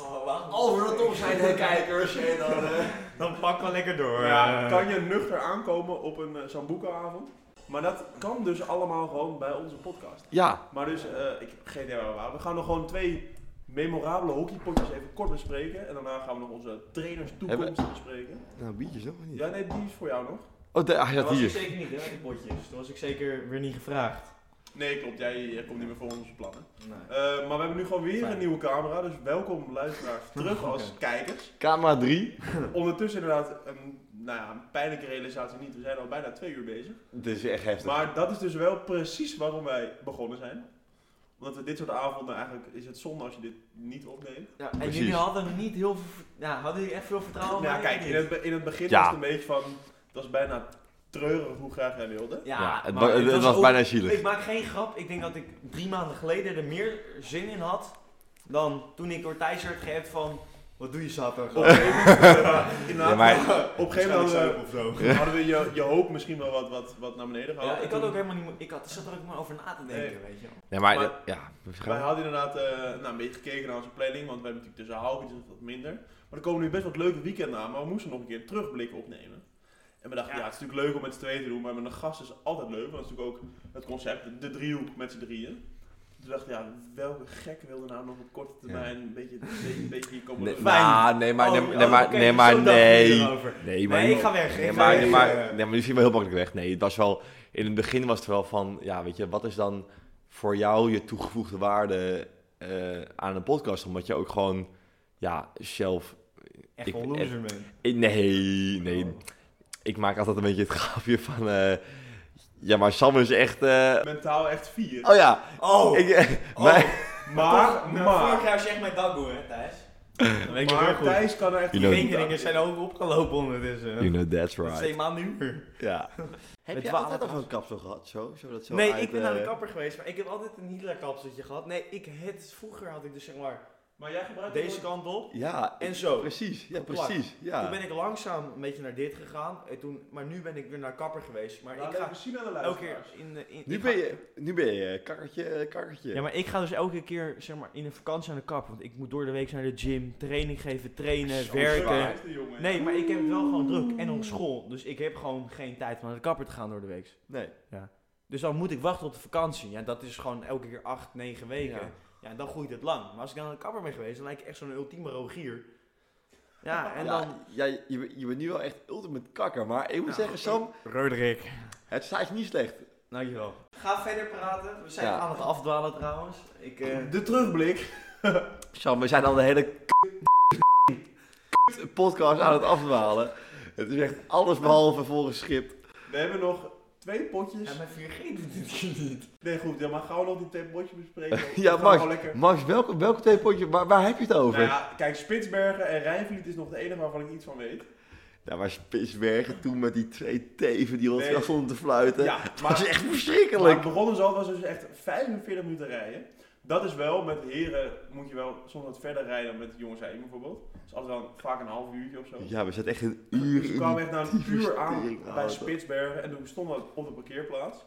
Speaker 4: oh, oh, we gaan
Speaker 2: Over de top zijn de kijkers en dan...
Speaker 4: Dan eh, pak wel lekker door.
Speaker 3: Ja,
Speaker 4: eh.
Speaker 3: kan je nuchter aankomen op een eh, Sambuca-avond? Maar dat kan dus allemaal gewoon bij onze podcast.
Speaker 2: Ja,
Speaker 3: Maar dus, eh, ik heb geen idee waar we waren. We gaan nog gewoon twee memorabele hockeypotjes even kort bespreken. En daarna gaan we nog onze trainers toekomst bespreken.
Speaker 2: nou biertjes nog maar niet.
Speaker 3: Ja, nee, die is voor jou nog.
Speaker 2: Oh, daar ah, hij
Speaker 4: Dat
Speaker 2: zat
Speaker 4: was ik
Speaker 2: hier.
Speaker 4: zeker niet, hè, die potjes. Dat was ik zeker weer niet gevraagd.
Speaker 3: Nee, klopt. Jij, jij eh, komt niet meer voor onze plannen.
Speaker 4: Nee.
Speaker 3: Eh, maar we hebben nu gewoon weer
Speaker 4: Fijn.
Speaker 3: een nieuwe camera. Dus welkom luisteraars terug als kijkers.
Speaker 2: Camera 3.
Speaker 3: Ondertussen inderdaad een, nou ja, een pijnlijke realisatie niet. We zijn al bijna twee uur bezig.
Speaker 2: Dit is echt heftig.
Speaker 3: Maar dat is dus wel precies waarom wij begonnen zijn. Omdat we dit soort avonden eigenlijk is het zonde als je dit niet opneemt.
Speaker 4: Ja, en
Speaker 2: Precies.
Speaker 4: jullie hadden niet heel veel, ja, hadden jullie echt veel vertrouwen
Speaker 3: Nou ja,
Speaker 4: maar
Speaker 3: kijk, in
Speaker 4: ik niet.
Speaker 3: het, be- in het begin
Speaker 2: Ja.
Speaker 3: was het een beetje van, het was bijna treurig hoe graag jij wilde.
Speaker 4: Ja,
Speaker 2: Ja, het,
Speaker 4: maar
Speaker 2: wa- het was,
Speaker 4: ook-
Speaker 2: bijna zielig.
Speaker 4: Ik maak geen grap. Ik denk dat ik drie maanden geleden er meer zin in had dan toen ik door Thijs werd geappt van... Wat doe je zaterdag?
Speaker 3: Op een gegeven moment, eh, inderdaad,
Speaker 2: Ja, maar-
Speaker 3: op een gegeven moment hadden
Speaker 4: of zo.
Speaker 3: we, hadden we je, je hoop misschien wel wat, wat, wat naar beneden gehaald.
Speaker 4: eh, Ja,
Speaker 3: En
Speaker 4: ik
Speaker 3: toen-
Speaker 4: had ook helemaal niet... mo- Ik had, zat er ook maar over na te denken, weet je wel.
Speaker 2: Ja, maar,
Speaker 3: maar-
Speaker 2: ja, we gaan-
Speaker 3: Wij hadden inderdaad eh, nou, een beetje gekeken naar onze planning, want we hebben natuurlijk tussen haaltjes wat minder. Maar er komen nu best wat leuke weekenden aan, maar we moesten nog een keer een terugblik opnemen. En we dachten, ja.
Speaker 4: Ja.
Speaker 3: het is natuurlijk leuk om met z'n tweeën te doen, maar met een gast is altijd leuk. Want dat is natuurlijk ook het concept, de driehoek met z'n drieën. Toen dacht ik, ja, welke gek wilde nou nog op korte termijn een beetje, een beetje, een beetje hier komen
Speaker 2: Nee,
Speaker 3: doen?
Speaker 4: fijn.
Speaker 2: nou, nee, maar, nee,
Speaker 4: Oh,
Speaker 2: nee,
Speaker 4: oh,
Speaker 2: maar,
Speaker 4: oké,
Speaker 2: nee,
Speaker 4: zo
Speaker 2: maar,
Speaker 4: dacht ik
Speaker 2: nee.
Speaker 4: hierover.
Speaker 2: Nee, maar,
Speaker 4: Nee, ik ga weg.
Speaker 2: Nee,
Speaker 4: ik
Speaker 2: maar,
Speaker 4: ga
Speaker 2: nee,
Speaker 4: weg.
Speaker 2: maar,
Speaker 4: Eh,
Speaker 2: nee, maar nu zien we heel makkelijk weg. Nee, het was wel... In het begin was het wel van... Ja, weet je, wat is dan voor jou je toegevoegde waarde eh, aan een podcast? Omdat je ook gewoon... Ja, zelf...
Speaker 4: Echt Oh.
Speaker 2: ik-
Speaker 4: wel loser, man.
Speaker 2: eh, Nee, nee. Ik maak altijd een beetje het grapje van... eh, ja, maar Sam is echt... eh,
Speaker 3: Mentaal echt vier.
Speaker 2: oh ja.
Speaker 4: Oh,
Speaker 2: Ik, eh, maar,
Speaker 3: Maar,
Speaker 4: Nou, Vorig
Speaker 3: maar,
Speaker 4: jaar zeg maar dat boe, hè, Thijs. Dan weet je
Speaker 3: maar
Speaker 4: heel goed.
Speaker 3: Thijs kan er echt...
Speaker 2: Eh, You
Speaker 4: Die
Speaker 2: know-
Speaker 4: vingeringen zijn ook opgelopen ondertussen.
Speaker 2: you know that's
Speaker 4: Dat is
Speaker 2: right.
Speaker 4: twee maanden nu.
Speaker 2: Ja. Heb
Speaker 4: je altijd al
Speaker 2: een kapsel gehad? Zo? Zo dat zo eh,
Speaker 4: nee, ik ben naar de kapper geweest, maar ik heb altijd een heel kapseltje gehad. Nee, ik het, vroeger had ik dus zeg maar
Speaker 3: Maar jij gebruikt
Speaker 4: deze
Speaker 3: deze
Speaker 4: kant op
Speaker 2: Ja,
Speaker 4: en zo.
Speaker 2: precies. Ja,
Speaker 4: Geplakt.
Speaker 2: precies.
Speaker 4: Toen
Speaker 2: Ja.
Speaker 4: ben ik langzaam een beetje naar dit gegaan, en toen, maar nu ben ik weer naar kapper geweest. Maar
Speaker 3: Maar
Speaker 4: ik ga
Speaker 3: zien aan de
Speaker 4: elke keer in... de- in
Speaker 2: Nu
Speaker 4: ik
Speaker 2: ben
Speaker 4: ga-
Speaker 2: je, nu ben je eh, karretje, karretje.
Speaker 4: Ja, maar ik ga dus elke keer zeg maar in een vakantie aan de kapper, want ik moet door de week naar de gym, training geven, trainen, werken. Nee, maar ik heb het wel gewoon druk en op school, dus ik heb gewoon geen tijd om naar de kapper te gaan door de week.
Speaker 2: Nee.
Speaker 4: Dus dan moet ik wachten op de vakantie. Ja, dat is gewoon elke keer acht, negen weken.
Speaker 2: Ja.
Speaker 4: Ja, en dan groeit het lang. Maar als ik dan aan de kapper ben geweest, dan lijkt ik echt zo'n ultieme rogier. Ja, en
Speaker 2: ja,
Speaker 4: dan...
Speaker 2: ja, je, bent- je bent nu wel echt ultimate kakker. Maar ik moet
Speaker 4: Nou,
Speaker 2: zeggen, Sam,
Speaker 4: Roderick.
Speaker 2: het staat je niet slecht.
Speaker 4: Dankjewel. Ga verder praten. We zijn
Speaker 2: Ja.
Speaker 4: aan het afdwalen trouwens. Ik, eh,
Speaker 3: De terugblik.
Speaker 2: Sam, we zijn al de hele k- podcast aan het afdwalen. Het is echt alles behalve volgens schip.
Speaker 3: We hebben nog twee potjes.
Speaker 4: ja, mijn 4G doet dit hier niet.
Speaker 3: Nee, goed, ja, maar gauw nog die twee potjes bespreken. We
Speaker 2: Ja,
Speaker 3: gaan
Speaker 2: Max,
Speaker 3: gewoon lekker.
Speaker 2: Max, welke, welke twee potje, waar, waar heb je het over?
Speaker 3: Nou
Speaker 2: Ja,
Speaker 3: ja, kijk, Spitsbergen en Rijnvliet is nog de enige waarvan ik iets van weet.
Speaker 2: maar Spitsbergen toen met die twee teven die ons
Speaker 3: Nee.
Speaker 2: stonden te fluiten.
Speaker 3: Ja,
Speaker 2: dat is
Speaker 3: maar,
Speaker 2: echt
Speaker 3: maar
Speaker 2: verschrikkelijk.
Speaker 3: het begon dus al, het was dus echt 45 minuten rijden. Dat is wel, met heren moet je wel soms wat verder rijden dan met de jongens heen bijvoorbeeld. Dat is altijd wel een- vaak een half uurtje of zo.
Speaker 2: Ja, we zitten echt een uur
Speaker 3: Dus ik
Speaker 2: in
Speaker 3: kwam
Speaker 2: die
Speaker 3: echt na een
Speaker 2: tyfus
Speaker 3: uur aan
Speaker 2: teringhouder.
Speaker 3: bij Spitsbergen en toen stonden we op de parkeerplaats.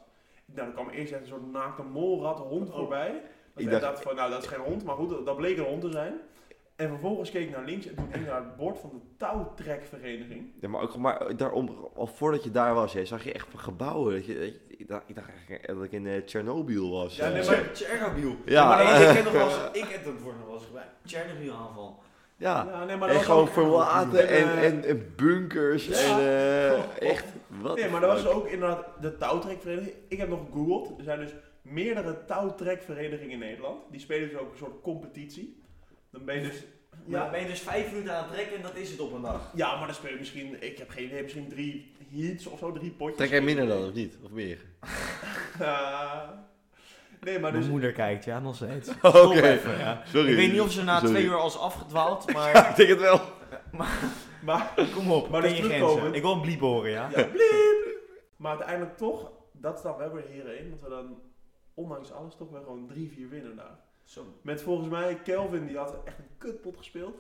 Speaker 3: Nou, dan kwam eerst echt een soort naakte molrat hond voorbij. Dat
Speaker 2: Oh. Ik
Speaker 3: ik
Speaker 2: dacht-
Speaker 3: dacht van, nou dat is geen hond, maar goed, dat- dat bleek een hond te zijn. En vervolgens keek ik naar links en toen ging ik naar het bord van de touwtrekvereniging.
Speaker 2: Ja, maar ook maar daarom, al voordat je daar was, hè, zag je echt van gebouwen. Dat je, dat je- ik, dacht, ik dacht eigenlijk dat ik in eh, Tsjernobyl was.
Speaker 3: Ja,
Speaker 2: eh.
Speaker 3: nee, maar-
Speaker 4: Tjer- Tsjernobyl.
Speaker 2: Ja.
Speaker 4: Ja, maar ik heb nog wel eens... Ik heb dat woord nog wel eens gebruikt. Tsjernobyl aanval.
Speaker 2: ja.
Speaker 3: nee, maar
Speaker 2: Ah. en
Speaker 3: was
Speaker 2: gewoon
Speaker 3: ook-
Speaker 2: verlaten en,
Speaker 3: eh,
Speaker 2: en, en bunkers
Speaker 3: Ja.
Speaker 2: en eh,
Speaker 3: Oh.
Speaker 2: echt, wat
Speaker 3: Nee,
Speaker 2: de
Speaker 3: maar dat was
Speaker 2: fuck.
Speaker 3: ook inderdaad de touwtrekvereniging. Ik heb nog gegoogeld. Er zijn dus meerdere touwtrekverenigingen in Nederland. Die spelen dus ook een soort competitie. Dan ben je dus...
Speaker 4: Ja. ben je dus vijf minuten aan het trekken en dat is het op een dag.
Speaker 3: Ja, maar dan speel je misschien, ik heb geen idee, misschien drie hits of zo, drie potjes.
Speaker 2: Trek jij minder dan, of niet? Of meer?
Speaker 3: Eh, nee, maar dus...
Speaker 4: moeder kijkt, ja, nog steeds.
Speaker 2: Oké.
Speaker 4: Stop even, ja.
Speaker 2: Sorry.
Speaker 4: Oh, Ik weet niet of ze na
Speaker 2: Sorry.
Speaker 4: twee uur al is afgedwaald, maar
Speaker 2: Ik denk het wel.
Speaker 3: Maar,
Speaker 4: kom op,
Speaker 3: Maar
Speaker 4: ken
Speaker 3: dat
Speaker 4: je
Speaker 3: is
Speaker 4: grenzen.
Speaker 3: terugkomend.
Speaker 4: Ik wil een bliep horen, ja.
Speaker 3: ja, bliep. Maar uiteindelijk toch, dat staat wel weer heren in, dat we dan ondanks alles toch wel gewoon drie, vier winnen daar.
Speaker 4: Zo.
Speaker 3: Met volgens mij, Kelvin die had echt een kutpot gespeeld.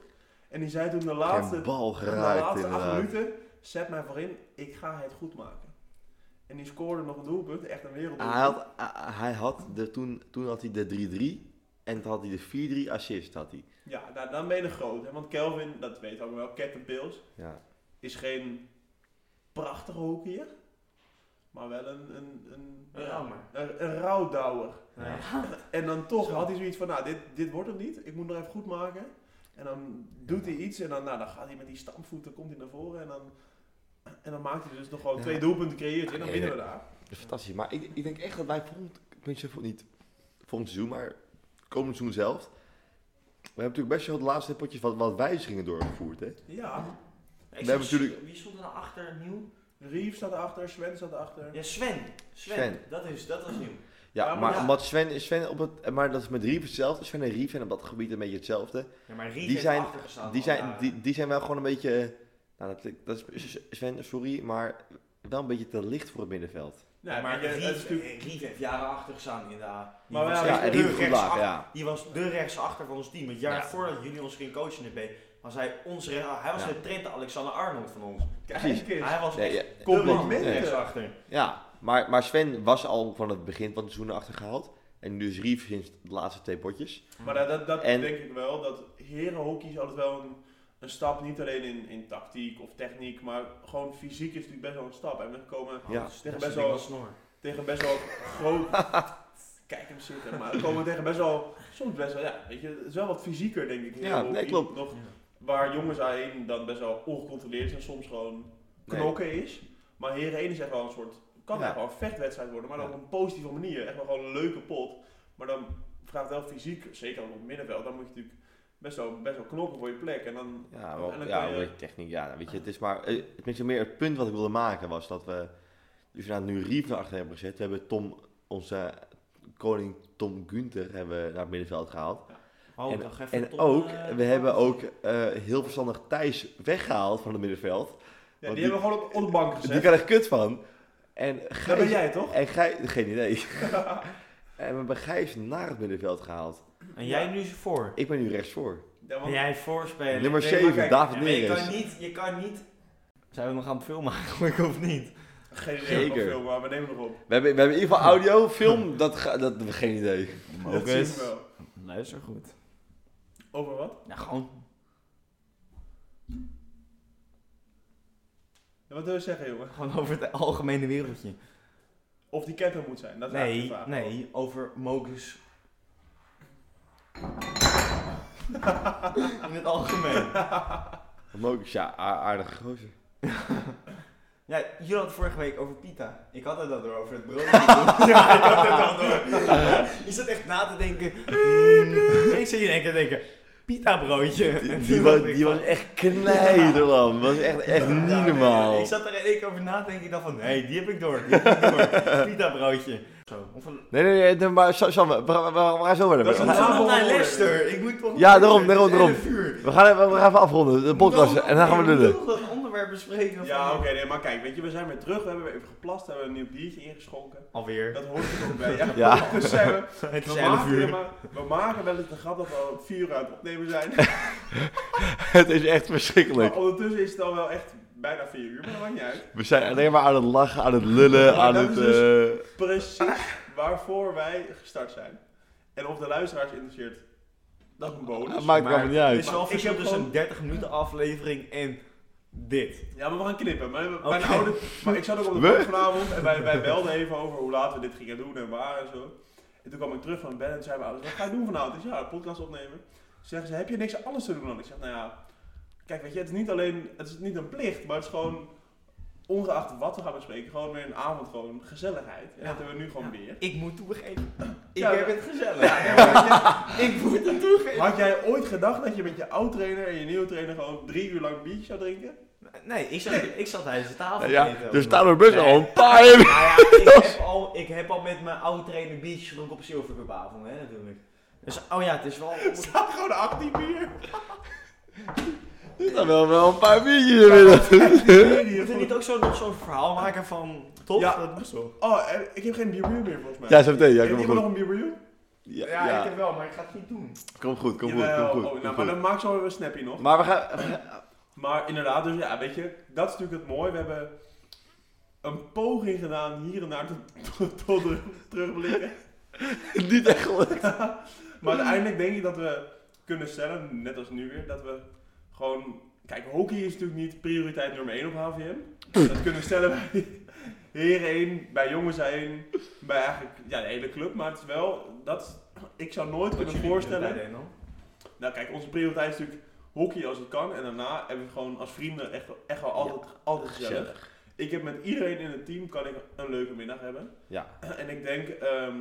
Speaker 3: En die zei toen de laatste,
Speaker 2: Geen bal
Speaker 3: de
Speaker 2: geraakt
Speaker 3: laatste acht
Speaker 2: inderdaad.
Speaker 3: minuten, zet mij voorin, ik ga het goed maken. En die scoorde nog een doelpunt, echt een werelddoelpunt.
Speaker 2: Hij had, hij had de, toen, toen had hij de 3-3 en toen had hij de 4-3 assist. Had hij.
Speaker 3: Ja, nou, dan ben je de groot. Hè? Want Kelvin, dat weet ook wel, Captain Bills,
Speaker 2: Ja.
Speaker 3: is geen prachtige hockeyer, maar wel een, een, een,
Speaker 4: Een
Speaker 3: ja,
Speaker 4: rammer.
Speaker 3: een, een rouwdouwer.
Speaker 4: Nee.
Speaker 3: En dan toch
Speaker 4: Zo.
Speaker 3: had hij zoiets van, nou, dit, dit wordt hem niet, ik moet nog even goed maken. En dan doet hij iets en dan, nou, dan gaat hij met die stampvoeten, komt hij naar voren en dan, en dan maakt hij dus nog gewoon
Speaker 2: Ja.
Speaker 3: twee doelpunten creëert en dan
Speaker 2: Ja,
Speaker 3: winnen
Speaker 2: ja.
Speaker 3: we daar.
Speaker 2: Fantastisch. Maar ik, ik denk echt dat wij volgend, ik weet niet, niet volgend seizoen, maar komend seizoen zelf. We hebben natuurlijk best wel de laatste potjes wat, wat wijzigingen doorgevoerd. Hè?
Speaker 3: Ja,
Speaker 4: Ik
Speaker 2: hebben
Speaker 4: zag-
Speaker 2: natuurlijk-
Speaker 4: Wie stond er nou achter nieuw?
Speaker 3: Reeves staat erachter, Sven staat erachter.
Speaker 4: Ja, Sven. Sven.
Speaker 2: Sven.
Speaker 4: Dat, is, dat was nieuw.
Speaker 3: Ja,
Speaker 2: Ja,
Speaker 3: maar
Speaker 2: maar
Speaker 3: ja.
Speaker 2: omdat Sven, Sven op het, maar dat is met Rief hetzelfde. Sven en Rief zijn op dat gebied een beetje hetzelfde.
Speaker 4: Ja, maar Riet
Speaker 2: Die
Speaker 4: heeft
Speaker 2: zijn-
Speaker 4: achtergestaan
Speaker 2: Die
Speaker 4: al
Speaker 2: zijn,
Speaker 4: jaren.
Speaker 2: die, die zijn wel gewoon een beetje, nou, dat, dat is Sven, sorry, maar wel een beetje te licht voor het middenveld.
Speaker 4: Ja,
Speaker 3: en
Speaker 4: maar
Speaker 3: je-
Speaker 4: Riet,
Speaker 3: het is natuurlijk-
Speaker 4: Riet heeft jaren achtergestaan in de A. Die
Speaker 3: Maar
Speaker 4: was
Speaker 3: ja,
Speaker 4: echt
Speaker 2: Ja, en
Speaker 4: de
Speaker 2: Rief goed laag,
Speaker 4: rechtsachter-
Speaker 2: ja.
Speaker 4: Die was de rechtsachter van ons team. Het jaar
Speaker 2: Ja.
Speaker 4: voordat jullie ons gingen coachen in de B, was hij ons recht, Hij was
Speaker 2: Ja.
Speaker 4: de Trent Alexander Arnold van ons.
Speaker 3: Kijk
Speaker 2: Precies.
Speaker 3: eens.
Speaker 4: Hij was
Speaker 2: Nee,
Speaker 4: echt
Speaker 2: ja,
Speaker 4: de man
Speaker 3: complimenten.
Speaker 4: rechtsachter.
Speaker 2: Ja, maar, maar Sven was al van het begin van het seizoen achtergehaald. En dus Rief sinds de laatste twee potjes.
Speaker 3: Maar dat, dat, dat
Speaker 2: En-
Speaker 3: denk ik wel, dat herenhockey is altijd wel een, een stap, niet alleen in, in tactiek of techniek, maar gewoon fysiek is natuurlijk best wel een stap. En we komen
Speaker 2: Ja.
Speaker 4: Dat is
Speaker 3: Tegen
Speaker 4: best
Speaker 3: best
Speaker 4: wel
Speaker 3: wel-
Speaker 4: snor.
Speaker 3: tegen best wel groot... kijk hem zitten. Maar dan komen we tegen best wel, soms best wel, ja, weet je, het is wel wat fysieker denk ik.
Speaker 2: Ja,
Speaker 3: Heel
Speaker 2: nee,
Speaker 3: i-
Speaker 2: klopt.
Speaker 3: Nog, waar jongens A1 dan best wel ongecontroleerd en soms gewoon
Speaker 2: Nee.
Speaker 3: knokken is. Maar heren 1 is echt wel een soort, kan
Speaker 2: Ja.
Speaker 3: echt wel een vechtwedstrijd worden, maar dan
Speaker 2: Ja.
Speaker 3: op een positieve manier. Echt wel gewoon een leuke pot. Maar dan vraagt wel fysiek, zeker op het middenveld, dan moet je natuurlijk best wel, best wel knokken voor je plek. En dan,
Speaker 2: Ja,
Speaker 3: En
Speaker 2: wel,
Speaker 3: dan
Speaker 2: ja,
Speaker 3: kan je-
Speaker 2: wel techniek. Ja, weet je, het is maar. eh, Tenminste, meer het punt wat ik wilde maken was dat we. Dus we nu Rief naar achter hebben gezet. We hebben Tom, onze koning Tom Gunther, hebben we naar het middenveld gehaald.
Speaker 4: Oh,
Speaker 2: En-
Speaker 4: nog even
Speaker 2: En
Speaker 4: tot,
Speaker 2: ook,
Speaker 4: eh,
Speaker 2: we hebben ook eh, heel verstandig Thijs weggehaald van het middenveld.
Speaker 3: ja,
Speaker 2: Want
Speaker 3: die hebben we gewoon op, op de bank
Speaker 2: Die
Speaker 3: gezet.
Speaker 2: kan er kut van. En
Speaker 3: Dat ben
Speaker 2: Gijs,
Speaker 3: jij toch?
Speaker 2: en Gij, geen idee. en we hebben Gijs naar het middenveld gehaald.
Speaker 4: En jij nu is voor.
Speaker 2: Ik ben nu rechtsvoor.
Speaker 3: Ja, want-
Speaker 4: En jij voorspelen.
Speaker 2: Nummer
Speaker 4: Nee, maar
Speaker 2: 7,
Speaker 4: kijk,
Speaker 2: David
Speaker 4: ja, maar je
Speaker 2: Neres.
Speaker 4: kan niet, je kan niet... Zijn we nog aan het filmen eigenlijk of niet?
Speaker 3: Geen idee van
Speaker 2: Zeker.
Speaker 3: veel, maar we nemen het op.
Speaker 2: We hebben, we hebben in ieder geval audio, film, dat, ga, dat geen idee.
Speaker 3: Dat zien we wel.
Speaker 4: Luister goed.
Speaker 3: Over wat?
Speaker 4: Nou, gewoon...
Speaker 3: Ja, wat wil je zeggen, jongen?
Speaker 4: Gewoon over het algemene wereldje.
Speaker 3: Of die ketter moet zijn, dat is
Speaker 4: Nee,
Speaker 3: eigenlijk de vraag.
Speaker 4: nee, over mogus. In het algemeen.
Speaker 2: Mokus, ja, a- aardige gozer.
Speaker 4: Ja, jullie hadden vorige week over pita. Ik had het al door over het broodje. ja, ik had het al door. Je zat echt na te denken. Mm, ik zit hier denken, denken. Pita broodje.
Speaker 2: Die, die was, die was echt knijder, man. Was echt, echt niet normaal.
Speaker 4: Ik zat er één keer over na te denken. Ik dacht van, hé, hey, die heb ik door. Die heb ik door. Pita broodje. Zo. Of een...
Speaker 2: Nee, nee, nee, nee, maar Sam, Sam, we, gaan- we, gaan- we gaan zo verder.
Speaker 3: Dat
Speaker 2: We,
Speaker 3: is
Speaker 2: gaan-
Speaker 3: een naam.
Speaker 4: Samen naar Leicester. Ik moet toch...
Speaker 2: Ja, daarom, daarom, daarom.
Speaker 4: Het hele vuur.
Speaker 2: we, gaan, even- we gaan even afronden, de podcast, en dan gaan we
Speaker 4: doen.
Speaker 2: lullen.
Speaker 4: We moeten nog een onderwerp bespreken.
Speaker 3: Ja,
Speaker 4: van-
Speaker 3: oké, nee, maar kijk, weet je, we zijn weer terug. We hebben weer even geplast, hebben een nieuw biertje ingeschonken.
Speaker 4: Alweer.
Speaker 3: Dat hoort er nog bij. Ja,
Speaker 2: Ja.
Speaker 3: Dus zijn we,
Speaker 4: Het
Speaker 3: we, maken, weer maar, we maken wel eens de grap dat we al vier uur aan het opnemen zijn.
Speaker 2: Het is echt verschrikkelijk.
Speaker 3: Maar ondertussen is het al wel echt bijna vier uur, maar dat maakt niet uit.
Speaker 2: We zijn alleen maar aan het lachen, aan het lullen, aan
Speaker 3: dat
Speaker 2: het...
Speaker 3: is dus-
Speaker 2: eh,
Speaker 3: Precies waarvoor wij gestart zijn. En of de luisteraars interesseert, dat is een bonus.
Speaker 2: maakt allemaal niet
Speaker 4: Het
Speaker 2: uit.
Speaker 4: is wel
Speaker 3: Ik heb
Speaker 4: verschil tussen
Speaker 3: gewoon-
Speaker 4: een 30 minuten aflevering en dit.
Speaker 3: Ja, maar we gaan knippen. Mijn, mijn
Speaker 4: Oké.
Speaker 3: oude, maar ik zat ook op de
Speaker 2: We?
Speaker 3: bank vanavond en wij, wij belden even over hoe laat we dit gingen doen en waar en zo. En toen kwam ik terug van bed en zei mijn ouders, dus wat ga je doen vanavond? Ik zei, ja, een podcast opnemen. Ze zeggen ze, heb je niks anders te doen dan? Ik zeg, nou ja, kijk weet je, het is niet alleen, het is niet een plicht, maar het is gewoon, ongeacht wat we gaan bespreken, gewoon weer een avond gewoon gezelligheid. En
Speaker 4: Ja.
Speaker 3: dat hebben we nu gewoon weer.
Speaker 4: Ik moet toegeven. Ik
Speaker 3: Ja,
Speaker 4: heb
Speaker 3: dat-
Speaker 4: het gezellig.
Speaker 3: Ja, maar weet je,
Speaker 4: Ik moet het toegeven.
Speaker 3: Had jij ooit gedacht dat je met je oud-trainer en je nieuwe trainer gewoon drie uur lang biertje zou drinken?
Speaker 4: Nee, ik zat, ik zat tijdens de tafel.
Speaker 2: ja, dus
Speaker 4: te eten.
Speaker 2: er staan er best
Speaker 4: Nee.
Speaker 2: al een paar in.
Speaker 4: Nou ja, ik heb al, ik heb al met mijn oude trainer biertjes gedronken op zilvercupavond, hè, natuurlijk. Dus, oh ja, het is wel...
Speaker 3: Gewoon 18 bier.
Speaker 2: Er staan wel, wel een paar biertjes in midden.
Speaker 4: Moet er niet ook zo, nog zo'n verhaal maken van... Top,
Speaker 3: Ja.
Speaker 4: dat moest wel.
Speaker 3: Oh, eh, ik heb geen bierbuur meer volgens mij.
Speaker 2: Ja, zo meteen. Ja,
Speaker 3: Heeft
Speaker 2: kom
Speaker 3: iemand nog
Speaker 2: goed.
Speaker 3: een bierbuur?
Speaker 2: Ja,
Speaker 4: Ja, ik
Speaker 2: ja.
Speaker 4: heb wel, maar ik ga het niet doen.
Speaker 2: Kom goed, kom goed,
Speaker 3: Jawel.
Speaker 2: kom goed.
Speaker 3: Oh,
Speaker 2: kom
Speaker 3: nou, maar
Speaker 2: goed.
Speaker 3: dan maak zo even een snappy nog.
Speaker 2: Maar we gaan...
Speaker 3: Maar inderdaad, dus ja, weet je, dat is natuurlijk het mooie. We hebben een poging gedaan hier en daar tot, tot, tot de- terugblikken.
Speaker 2: Niet echt gelukt.
Speaker 3: Maar uiteindelijk denk ik dat we kunnen stellen, net als nu weer, dat we gewoon... Kijk, hockey is natuurlijk niet prioriteit nummer 1 op HVM. Dat kunnen we stellen bij heren 1, bij jongens 1, bij eigenlijk ja, de hele club. Maar het is wel, dat, ik zou nooit kunnen voorstellen... Nou kijk, onze prioriteit is natuurlijk hockey als het kan. En daarna hebben we gewoon als vrienden echt, echt wel altijd, altijd gezellig. Ik heb met iedereen in het team kan ik een leuke middag hebben.
Speaker 2: Ja.
Speaker 3: En ik denk, ehm,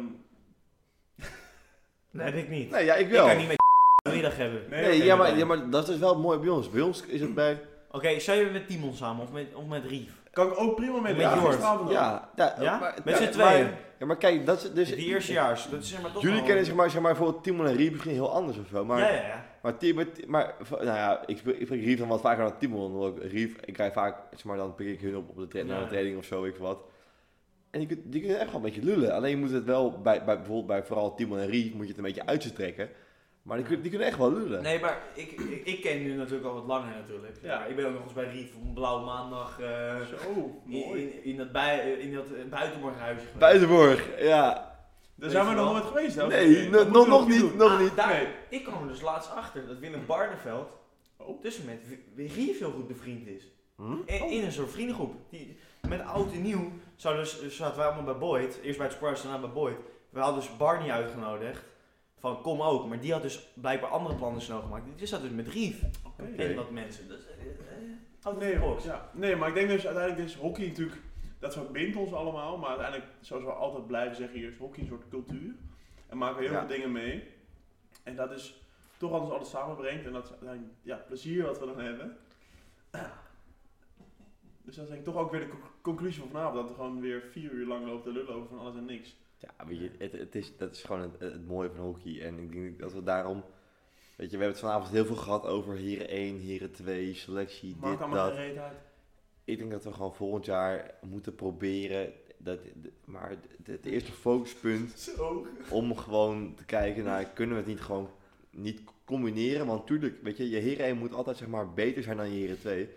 Speaker 4: Nee, dat ik niet.
Speaker 2: Nee, ja, ik
Speaker 4: Ik
Speaker 2: wel.
Speaker 4: kan niet met middag hebben.
Speaker 3: nee,
Speaker 2: Nee,
Speaker 3: oké,
Speaker 2: ja,
Speaker 3: dan-
Speaker 2: maar, ja, maar dat is wel mooi bij ons. Bij ons is het bij...
Speaker 4: Oké, zou je met Timon samen of met, of met Rief?
Speaker 3: kan ik ook prima mee
Speaker 4: Met Jort.
Speaker 3: gisteravond al.
Speaker 2: Ja, ja,
Speaker 4: Ja?
Speaker 2: maar-
Speaker 4: met
Speaker 2: ja,
Speaker 4: z'n tweeën.
Speaker 2: maar- ja, maar kijk, dat is dus...
Speaker 4: die eerstejaars. Dat is zeg maar toch
Speaker 2: Jullie
Speaker 4: wel-
Speaker 2: kennen zeg maar, zeg maar voor Timon en Riep misschien heel anders of zo. Maar,
Speaker 4: Ja, ja, ja.
Speaker 2: maar, Timon, maar v- nou ja, ik speel, ik spreek Riep dan wat vaker dan Timon. omdat ik Riep, ik krijg vaak, zeg maar, dan pik ik hun op op de, tra- naar de
Speaker 4: Ja.
Speaker 2: training of zo, weet ik wat. En die, kunt- die kunnen echt wel een beetje lullen. Alleen je moet het wel, bij, bij, bijvoorbeeld bij vooral Timon en Riep, moet je het een beetje uit ze trekken. Maar die, kun- die kunnen echt wel lullen.
Speaker 4: Nee, maar ik, ik, ik ken nu natuurlijk al wat langer natuurlijk.
Speaker 3: Ja.
Speaker 4: Ja. Ik ben ook nog eens bij Rief op een blauwe maandag eh,
Speaker 3: Zo,
Speaker 4: in,
Speaker 3: mooi.
Speaker 4: in, in dat, bij, in dat eh, buitenborghuisje geweest.
Speaker 2: Buitenborg, ja.
Speaker 3: Daar zijn we
Speaker 4: Weet je
Speaker 3: nog
Speaker 4: wel.
Speaker 3: nooit geweest. hè?
Speaker 2: Nee,
Speaker 3: Oké,
Speaker 2: no-
Speaker 3: dat moeten
Speaker 2: nog,
Speaker 3: we
Speaker 2: nog
Speaker 3: een keer
Speaker 2: niet,
Speaker 3: doen.
Speaker 2: nog
Speaker 4: Ah,
Speaker 2: niet.
Speaker 4: daar-
Speaker 3: Nee.
Speaker 4: Ik kwam er dus laatst achter dat Willem Barneveld
Speaker 3: Oh.
Speaker 4: dus met W- Rief heel goed bevriend is.
Speaker 2: Hm?
Speaker 4: In, in een soort vriendengroep. Die, met oud en nieuw zou dus, dus zaten wij allemaal bij Boyd. Eerst bij het Spurs, daarna bij Boyd. We
Speaker 5: we hadden dus Barney uitgenodigd. Van kom ook. Maar die had dus blijkbaar andere plannen snel gemaakt. Die zat dus met Rief.
Speaker 3: Oké. Oh,
Speaker 5: En wat mensen. Dus, eh, eh, out of
Speaker 3: Nee,
Speaker 5: the box.
Speaker 3: ja. nee, maar ik denk dus uiteindelijk is hockey natuurlijk, dat verbindt ons allemaal, maar uiteindelijk, zoals we altijd blijven zeggen hier, is hockey een soort cultuur. En maken we heel
Speaker 2: Ja.
Speaker 3: veel dingen mee. En dat is toch wat ons alles samenbrengt en dat is uiteindelijk, ja, plezier wat we dan hebben. Dus dat is denk ik toch ook weer de co- conclusie van vanavond, dat we gewoon weer vier uur lang lopen te lullen over van alles en niks.
Speaker 2: Ja, weet je, het, het is, dat is gewoon het, het mooie van hockey. En ik denk dat we daarom... Weet je, we hebben het vanavond heel veel gehad over heren 1, heren 2, selectie,
Speaker 3: Maakt
Speaker 2: dit,
Speaker 3: allemaal
Speaker 2: dat.
Speaker 3: geen reet uit.
Speaker 2: Ik denk dat we gewoon volgend jaar moeten proberen... Dat, de- maar de- het eerste focuspunt
Speaker 3: Zo.
Speaker 2: om gewoon te kijken naar... Kunnen we het niet gewoon niet combineren? Want tuurlijk, weet je, je heren 1 moet altijd zeg maar beter zijn dan je heren 2.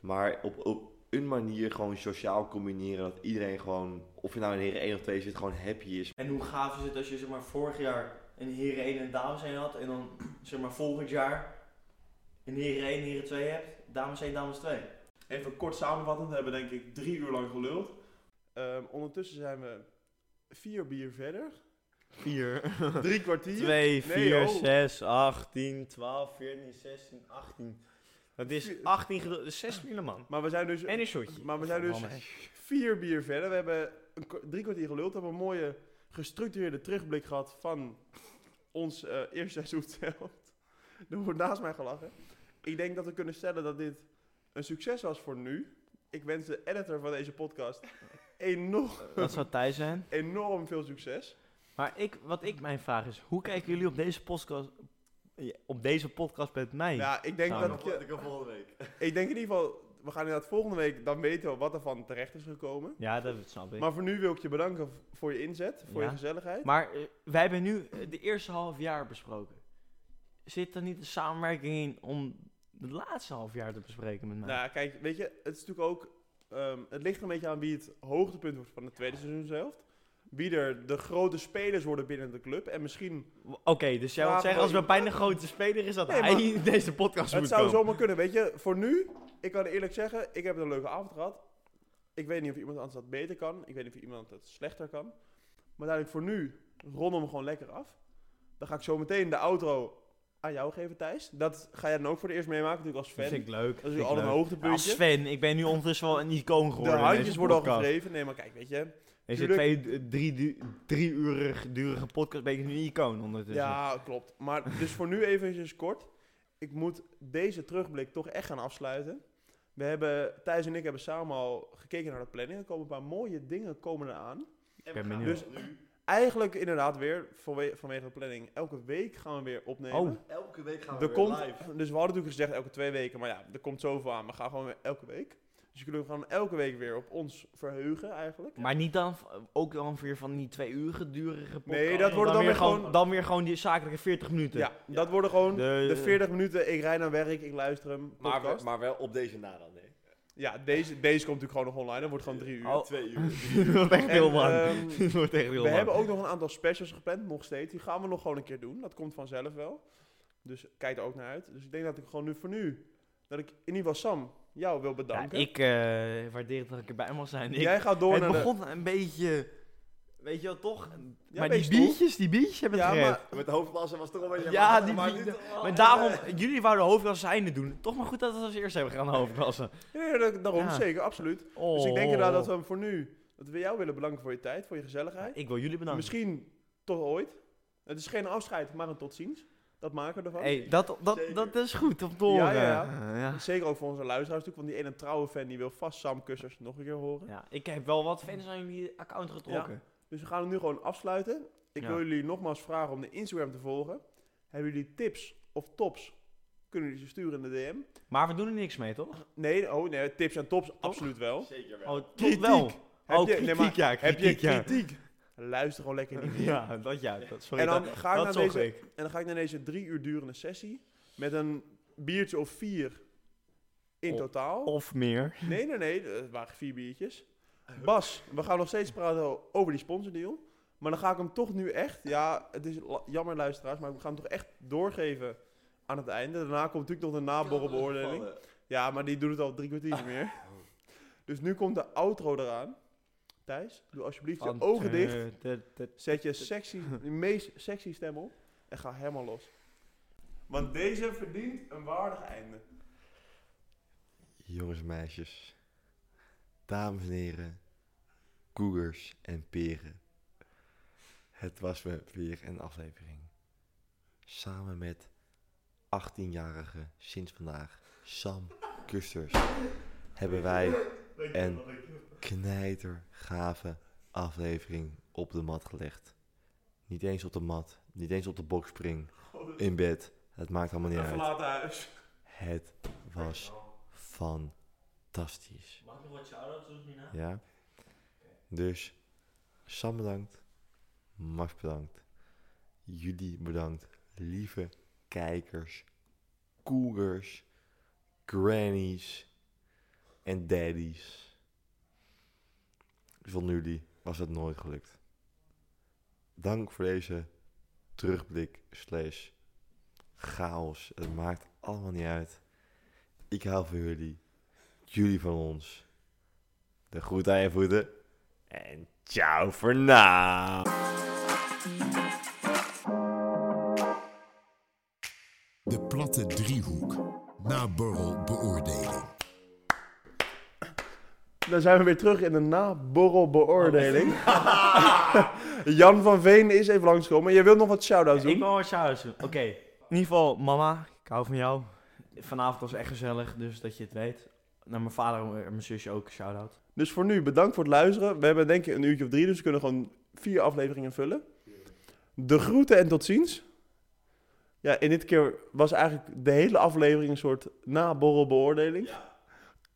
Speaker 2: Maar op, op een manier gewoon sociaal combineren. Dat iedereen gewoon, of je nou in heren 1 of 2 zit, gewoon happy is.
Speaker 5: En hoe gaaf is het als je zeg maar vorig jaar een heren 1 en dames 1 had. En dan zeg maar volgend jaar een heren 1 en heren 2 hebt. Dames 1, dames 2.
Speaker 3: Even kort samenvattend, we hebben denk ik drie uur lang geluld. Ehm, ondertussen zijn we vier bier verder.
Speaker 4: 4,
Speaker 3: Drie kwartier.
Speaker 4: 2,
Speaker 3: Nee,
Speaker 4: 4,
Speaker 3: oh.
Speaker 4: 6, 18, 12, 14, 16, 18. Dat is 18 geduld, dus 6 bier, man.
Speaker 3: Maar we zijn dus,
Speaker 4: En een shotje.
Speaker 3: maar we zijn dus vier bier verder. We hebben een, kwa- drie kwartier geluld. We hebben een mooie gestructureerde terugblik gehad van ons eh, eerste seizoen zelf. Er wordt naast mij gelachen. Ik denk dat we kunnen stellen dat dit een succes was voor nu. Ik wens de editor van deze podcast enorm,
Speaker 4: Dat zou Thijs zijn.
Speaker 3: enorm veel succes.
Speaker 4: Maar ik, wat ik mijn vraag is, hoe kijken jullie op deze podcast, op deze podcast met mij?
Speaker 3: Ja, ik denk
Speaker 4: Nou,
Speaker 3: dat
Speaker 4: nog
Speaker 3: ik, je-
Speaker 5: ik volgende week.
Speaker 3: ik denk in ieder geval, we gaan inderdaad volgende week dan weten we wat er van terecht is gekomen.
Speaker 4: Ja, dat snap ik. Maar,
Speaker 3: Maar voor nu wil ik je bedanken v- voor je inzet, voor
Speaker 4: Ja.
Speaker 3: je gezelligheid.
Speaker 4: eh, wij hebben nu eh, de eerste half jaar besproken. Zit er niet een samenwerking in om de laatste half jaar te bespreken met mij?
Speaker 3: Nou, kijk, weet je, het is natuurlijk ook. ehm, het ligt er een beetje aan wie het hoogtepunt wordt van het tweede seizoen zelf. Wie er de grote spelers worden binnen de club. En misschien.
Speaker 4: Oké, dus jij
Speaker 3: Ja,
Speaker 4: wilt zeggen,
Speaker 3: nou,
Speaker 4: als
Speaker 3: maar-
Speaker 4: we bijna een grote speler is, dat
Speaker 3: Nee,
Speaker 4: hij
Speaker 3: maar-
Speaker 4: in deze podcast
Speaker 3: het
Speaker 4: moet
Speaker 3: zou
Speaker 4: komen.
Speaker 3: zomaar kunnen, weet je. Voor nu, ik kan eerlijk zeggen, ik heb een leuke avond gehad. Ik weet niet of iemand anders dat beter kan. Ik weet niet of iemand dat slechter kan. Maar duidelijk voor nu, rondom hem gewoon lekker af. Dan ga ik zo meteen de outro aan jou geven, Thijs. Dat ga jij dan ook voor het eerst meemaken, natuurlijk als
Speaker 4: Dat
Speaker 3: fan.
Speaker 4: vind ik leuk.
Speaker 3: Dat is
Speaker 4: vind ik
Speaker 3: natuurlijk altijd een
Speaker 4: leuk.
Speaker 3: hoogtepuntje.
Speaker 4: Als Sven, ik ben nu ondertussen wel een icoon
Speaker 3: de
Speaker 4: geworden. in
Speaker 3: handjes
Speaker 4: deze
Speaker 3: worden al
Speaker 4: podcast.
Speaker 3: gevreven. Nee, maar kijk, weet je.
Speaker 4: Deze twee, eh, drie, du- drie urig durige podcast ben ik nu een icoon ondertussen.
Speaker 3: Ja, klopt. Maar dus voor nu eventjes kort. Ik moet deze terugblik toch echt gaan afsluiten. We hebben, Thijs en ik hebben samen al gekeken naar de planning. Er komen een paar mooie dingen komen eraan.
Speaker 5: Ik
Speaker 4: ben benieuwd.
Speaker 3: Dus eigenlijk inderdaad weer, vanwe- vanwege de planning, elke week gaan we weer opnemen.
Speaker 4: Oh,
Speaker 6: Elke week gaan
Speaker 3: er komt, dus we hadden natuurlijk gezegd elke twee weken, maar ja, er komt zoveel aan. We gaan gewoon weer elke week. Dus jullie gaan elke week weer op ons verheugen eigenlijk.
Speaker 4: maar niet dan, v- ook dan weer van die twee uur gedurige podcast.
Speaker 3: Nee, dat worden dan weer gewoon-
Speaker 4: Dan weer gewoon die zakelijke 40 minuten.
Speaker 3: ja, dat worden gewoon
Speaker 4: De-
Speaker 3: de, 40 minuten. Ik rijd naar werk, ik luister hem. podcast.
Speaker 2: maar wel op deze nadan, nee.
Speaker 3: Ja, deze, deze komt natuurlijk gewoon nog online. Dat wordt gewoon drie uur.
Speaker 4: Oh.
Speaker 2: Twee uur.
Speaker 4: dat wordt echt heel
Speaker 3: En,
Speaker 4: lang.
Speaker 3: ehm,
Speaker 4: dat wordt echt heel
Speaker 3: we
Speaker 4: lang.
Speaker 3: hebben ook nog een aantal specials gepland, nog steeds. Die gaan we nog gewoon een keer doen. Dat komt vanzelf wel. Dus kijk er ook naar uit. Dus ik denk dat ik gewoon nu voor nu, dat ik in ieder geval Sam, jou wil
Speaker 4: Ja,
Speaker 3: bedanken.
Speaker 4: ik eh, waardeer het dat ik erbij mag zijn. Ik,
Speaker 3: Jij gaat door
Speaker 4: het
Speaker 3: naar
Speaker 4: begon een beetje, weet je wel, toch? maar
Speaker 3: beetje
Speaker 4: die
Speaker 3: stom.
Speaker 4: biertjes, die biertjes hebben het
Speaker 3: Ja,
Speaker 4: gered.
Speaker 3: maar-
Speaker 2: Met de hoofdklasse was het toch wel
Speaker 4: Ja,
Speaker 2: weer...
Speaker 4: die Maar daarom, jullie wouden hoofdklasse einde doen. Toch maar goed dat we het als eerst hebben gedaan, hoofdklasse.
Speaker 3: de... Nee, dat- daarom
Speaker 4: Ja.
Speaker 3: zeker, absoluut.
Speaker 4: Oh.
Speaker 3: Dus ik denk inderdaad dat we hem voor nu, dat we jou willen bedanken voor je tijd, voor je
Speaker 4: Ja,
Speaker 3: gezelligheid.
Speaker 4: Ik wil jullie bedanken.
Speaker 3: Misschien tot ooit. Het is geen afscheid, maar een tot ziens. Dat maken we ervan.
Speaker 4: Hey, dat, dat,
Speaker 2: Zeker.
Speaker 4: dat is goed om te horen.
Speaker 3: Ja, ja.
Speaker 4: Eh, ja.
Speaker 3: Zeker ook voor onze luisteraars natuurlijk, want die ene trouwe fan die wil vast Sam Kussers nog een keer horen.
Speaker 4: Ja, ik heb wel wat fans aan jullie account getrokken.
Speaker 3: Dus we gaan hem nu gewoon afsluiten. Ik
Speaker 4: Ja.
Speaker 3: wil jullie nogmaals vragen om de Instagram te volgen. Hebben jullie tips of tops? Kunnen jullie ze sturen in de DM?
Speaker 4: Maar we doen er niks mee, toch?
Speaker 3: Nee, oh nee, tips en tops absoluut wel.
Speaker 2: Zeker wel.
Speaker 4: Oh, tot wel.
Speaker 3: Heb
Speaker 4: oh,
Speaker 3: je-
Speaker 4: kritiek,
Speaker 3: nee, maar
Speaker 4: ja,
Speaker 3: Heb je
Speaker 4: kritiek, ja.
Speaker 3: kritiek? Luister gewoon lekker niet.
Speaker 4: Ja, dat ja. Dat, sorry,
Speaker 3: En dan
Speaker 4: dat,
Speaker 3: ga ik
Speaker 4: dat
Speaker 3: naar
Speaker 4: zocht
Speaker 3: deze-
Speaker 4: ik.
Speaker 3: En dan ga ik naar deze drie uur durende sessie met een biertje of vier in
Speaker 4: Of-
Speaker 3: totaal.
Speaker 4: Of meer.
Speaker 3: Nee, nee, nee, het waren vier biertjes. Bas, we gaan nog steeds praten over die sponsordeal. Maar dan ga ik hem toch nu echt, ja, het is la- jammer luisteraars, maar we gaan hem toch echt doorgeven aan het einde. Daarna komt natuurlijk nog de naborrelbeoordeling. Ja, maar die doet het al drie kwartier niet meer. Dus nu komt de outro eraan. Thijs, doe alsjeblieft je ogen dicht.
Speaker 5: eh,
Speaker 3: Zet je sexy, je meest sexy stem op en ga helemaal los. Want deze verdient een waardig einde.
Speaker 2: Jongens, meisjes, dames en heren, koegers en peren. Het was me weer een aflevering. Samen met 18-jarige sinds vandaag Sam Kusters hebben wij een knijtergave aflevering op de mat gelegd. Niet eens op de mat, niet eens op de bokspring, in bed. Het maakt allemaal niet
Speaker 3: Een
Speaker 2: uit.
Speaker 3: verlaten huis.
Speaker 2: Het was fantastisch.
Speaker 4: Mag ik nog wat shout-outs doen hierna?
Speaker 2: Ja. Dus Sam bedankt. Max bedankt. Jullie bedankt. Lieve kijkers, koegers, grannies en daddies. Zonder jullie was het nooit gelukt. Dank voor deze terugblik slash chaos. Het maakt allemaal niet uit. Ik hou van jullie. Jullie van ons. De groet aan je voeten. En ciao voor nu.
Speaker 1: De platte driehoek. Naborrel beoordelen.
Speaker 3: Dan zijn we weer terug in de naborrelbeoordeling. Jan van Veen is even langskomen. Jij wilt nog wat shout-outs
Speaker 5: Ik
Speaker 3: doen?
Speaker 5: wil wat shout-outs doen. Oké. In ieder geval, mama, ik hou van jou. Vanavond was echt gezellig, dus dat je het weet. Naar mijn vader en mijn zusje ook, shout-out.
Speaker 3: Dus voor nu, bedankt voor het luisteren. We hebben denk ik een uurtje of drie, dus we kunnen gewoon vier afleveringen vullen. De groeten en tot ziens. Ja, en dit keer was eigenlijk de hele aflevering een soort naborrelbeoordeling.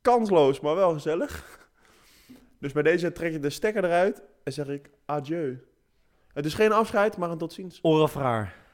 Speaker 3: Kansloos, maar wel gezellig. Dus bij deze trek je de stekker eruit en zeg ik adieu. Het is geen afscheid, maar een tot ziens.
Speaker 5: Au revoir.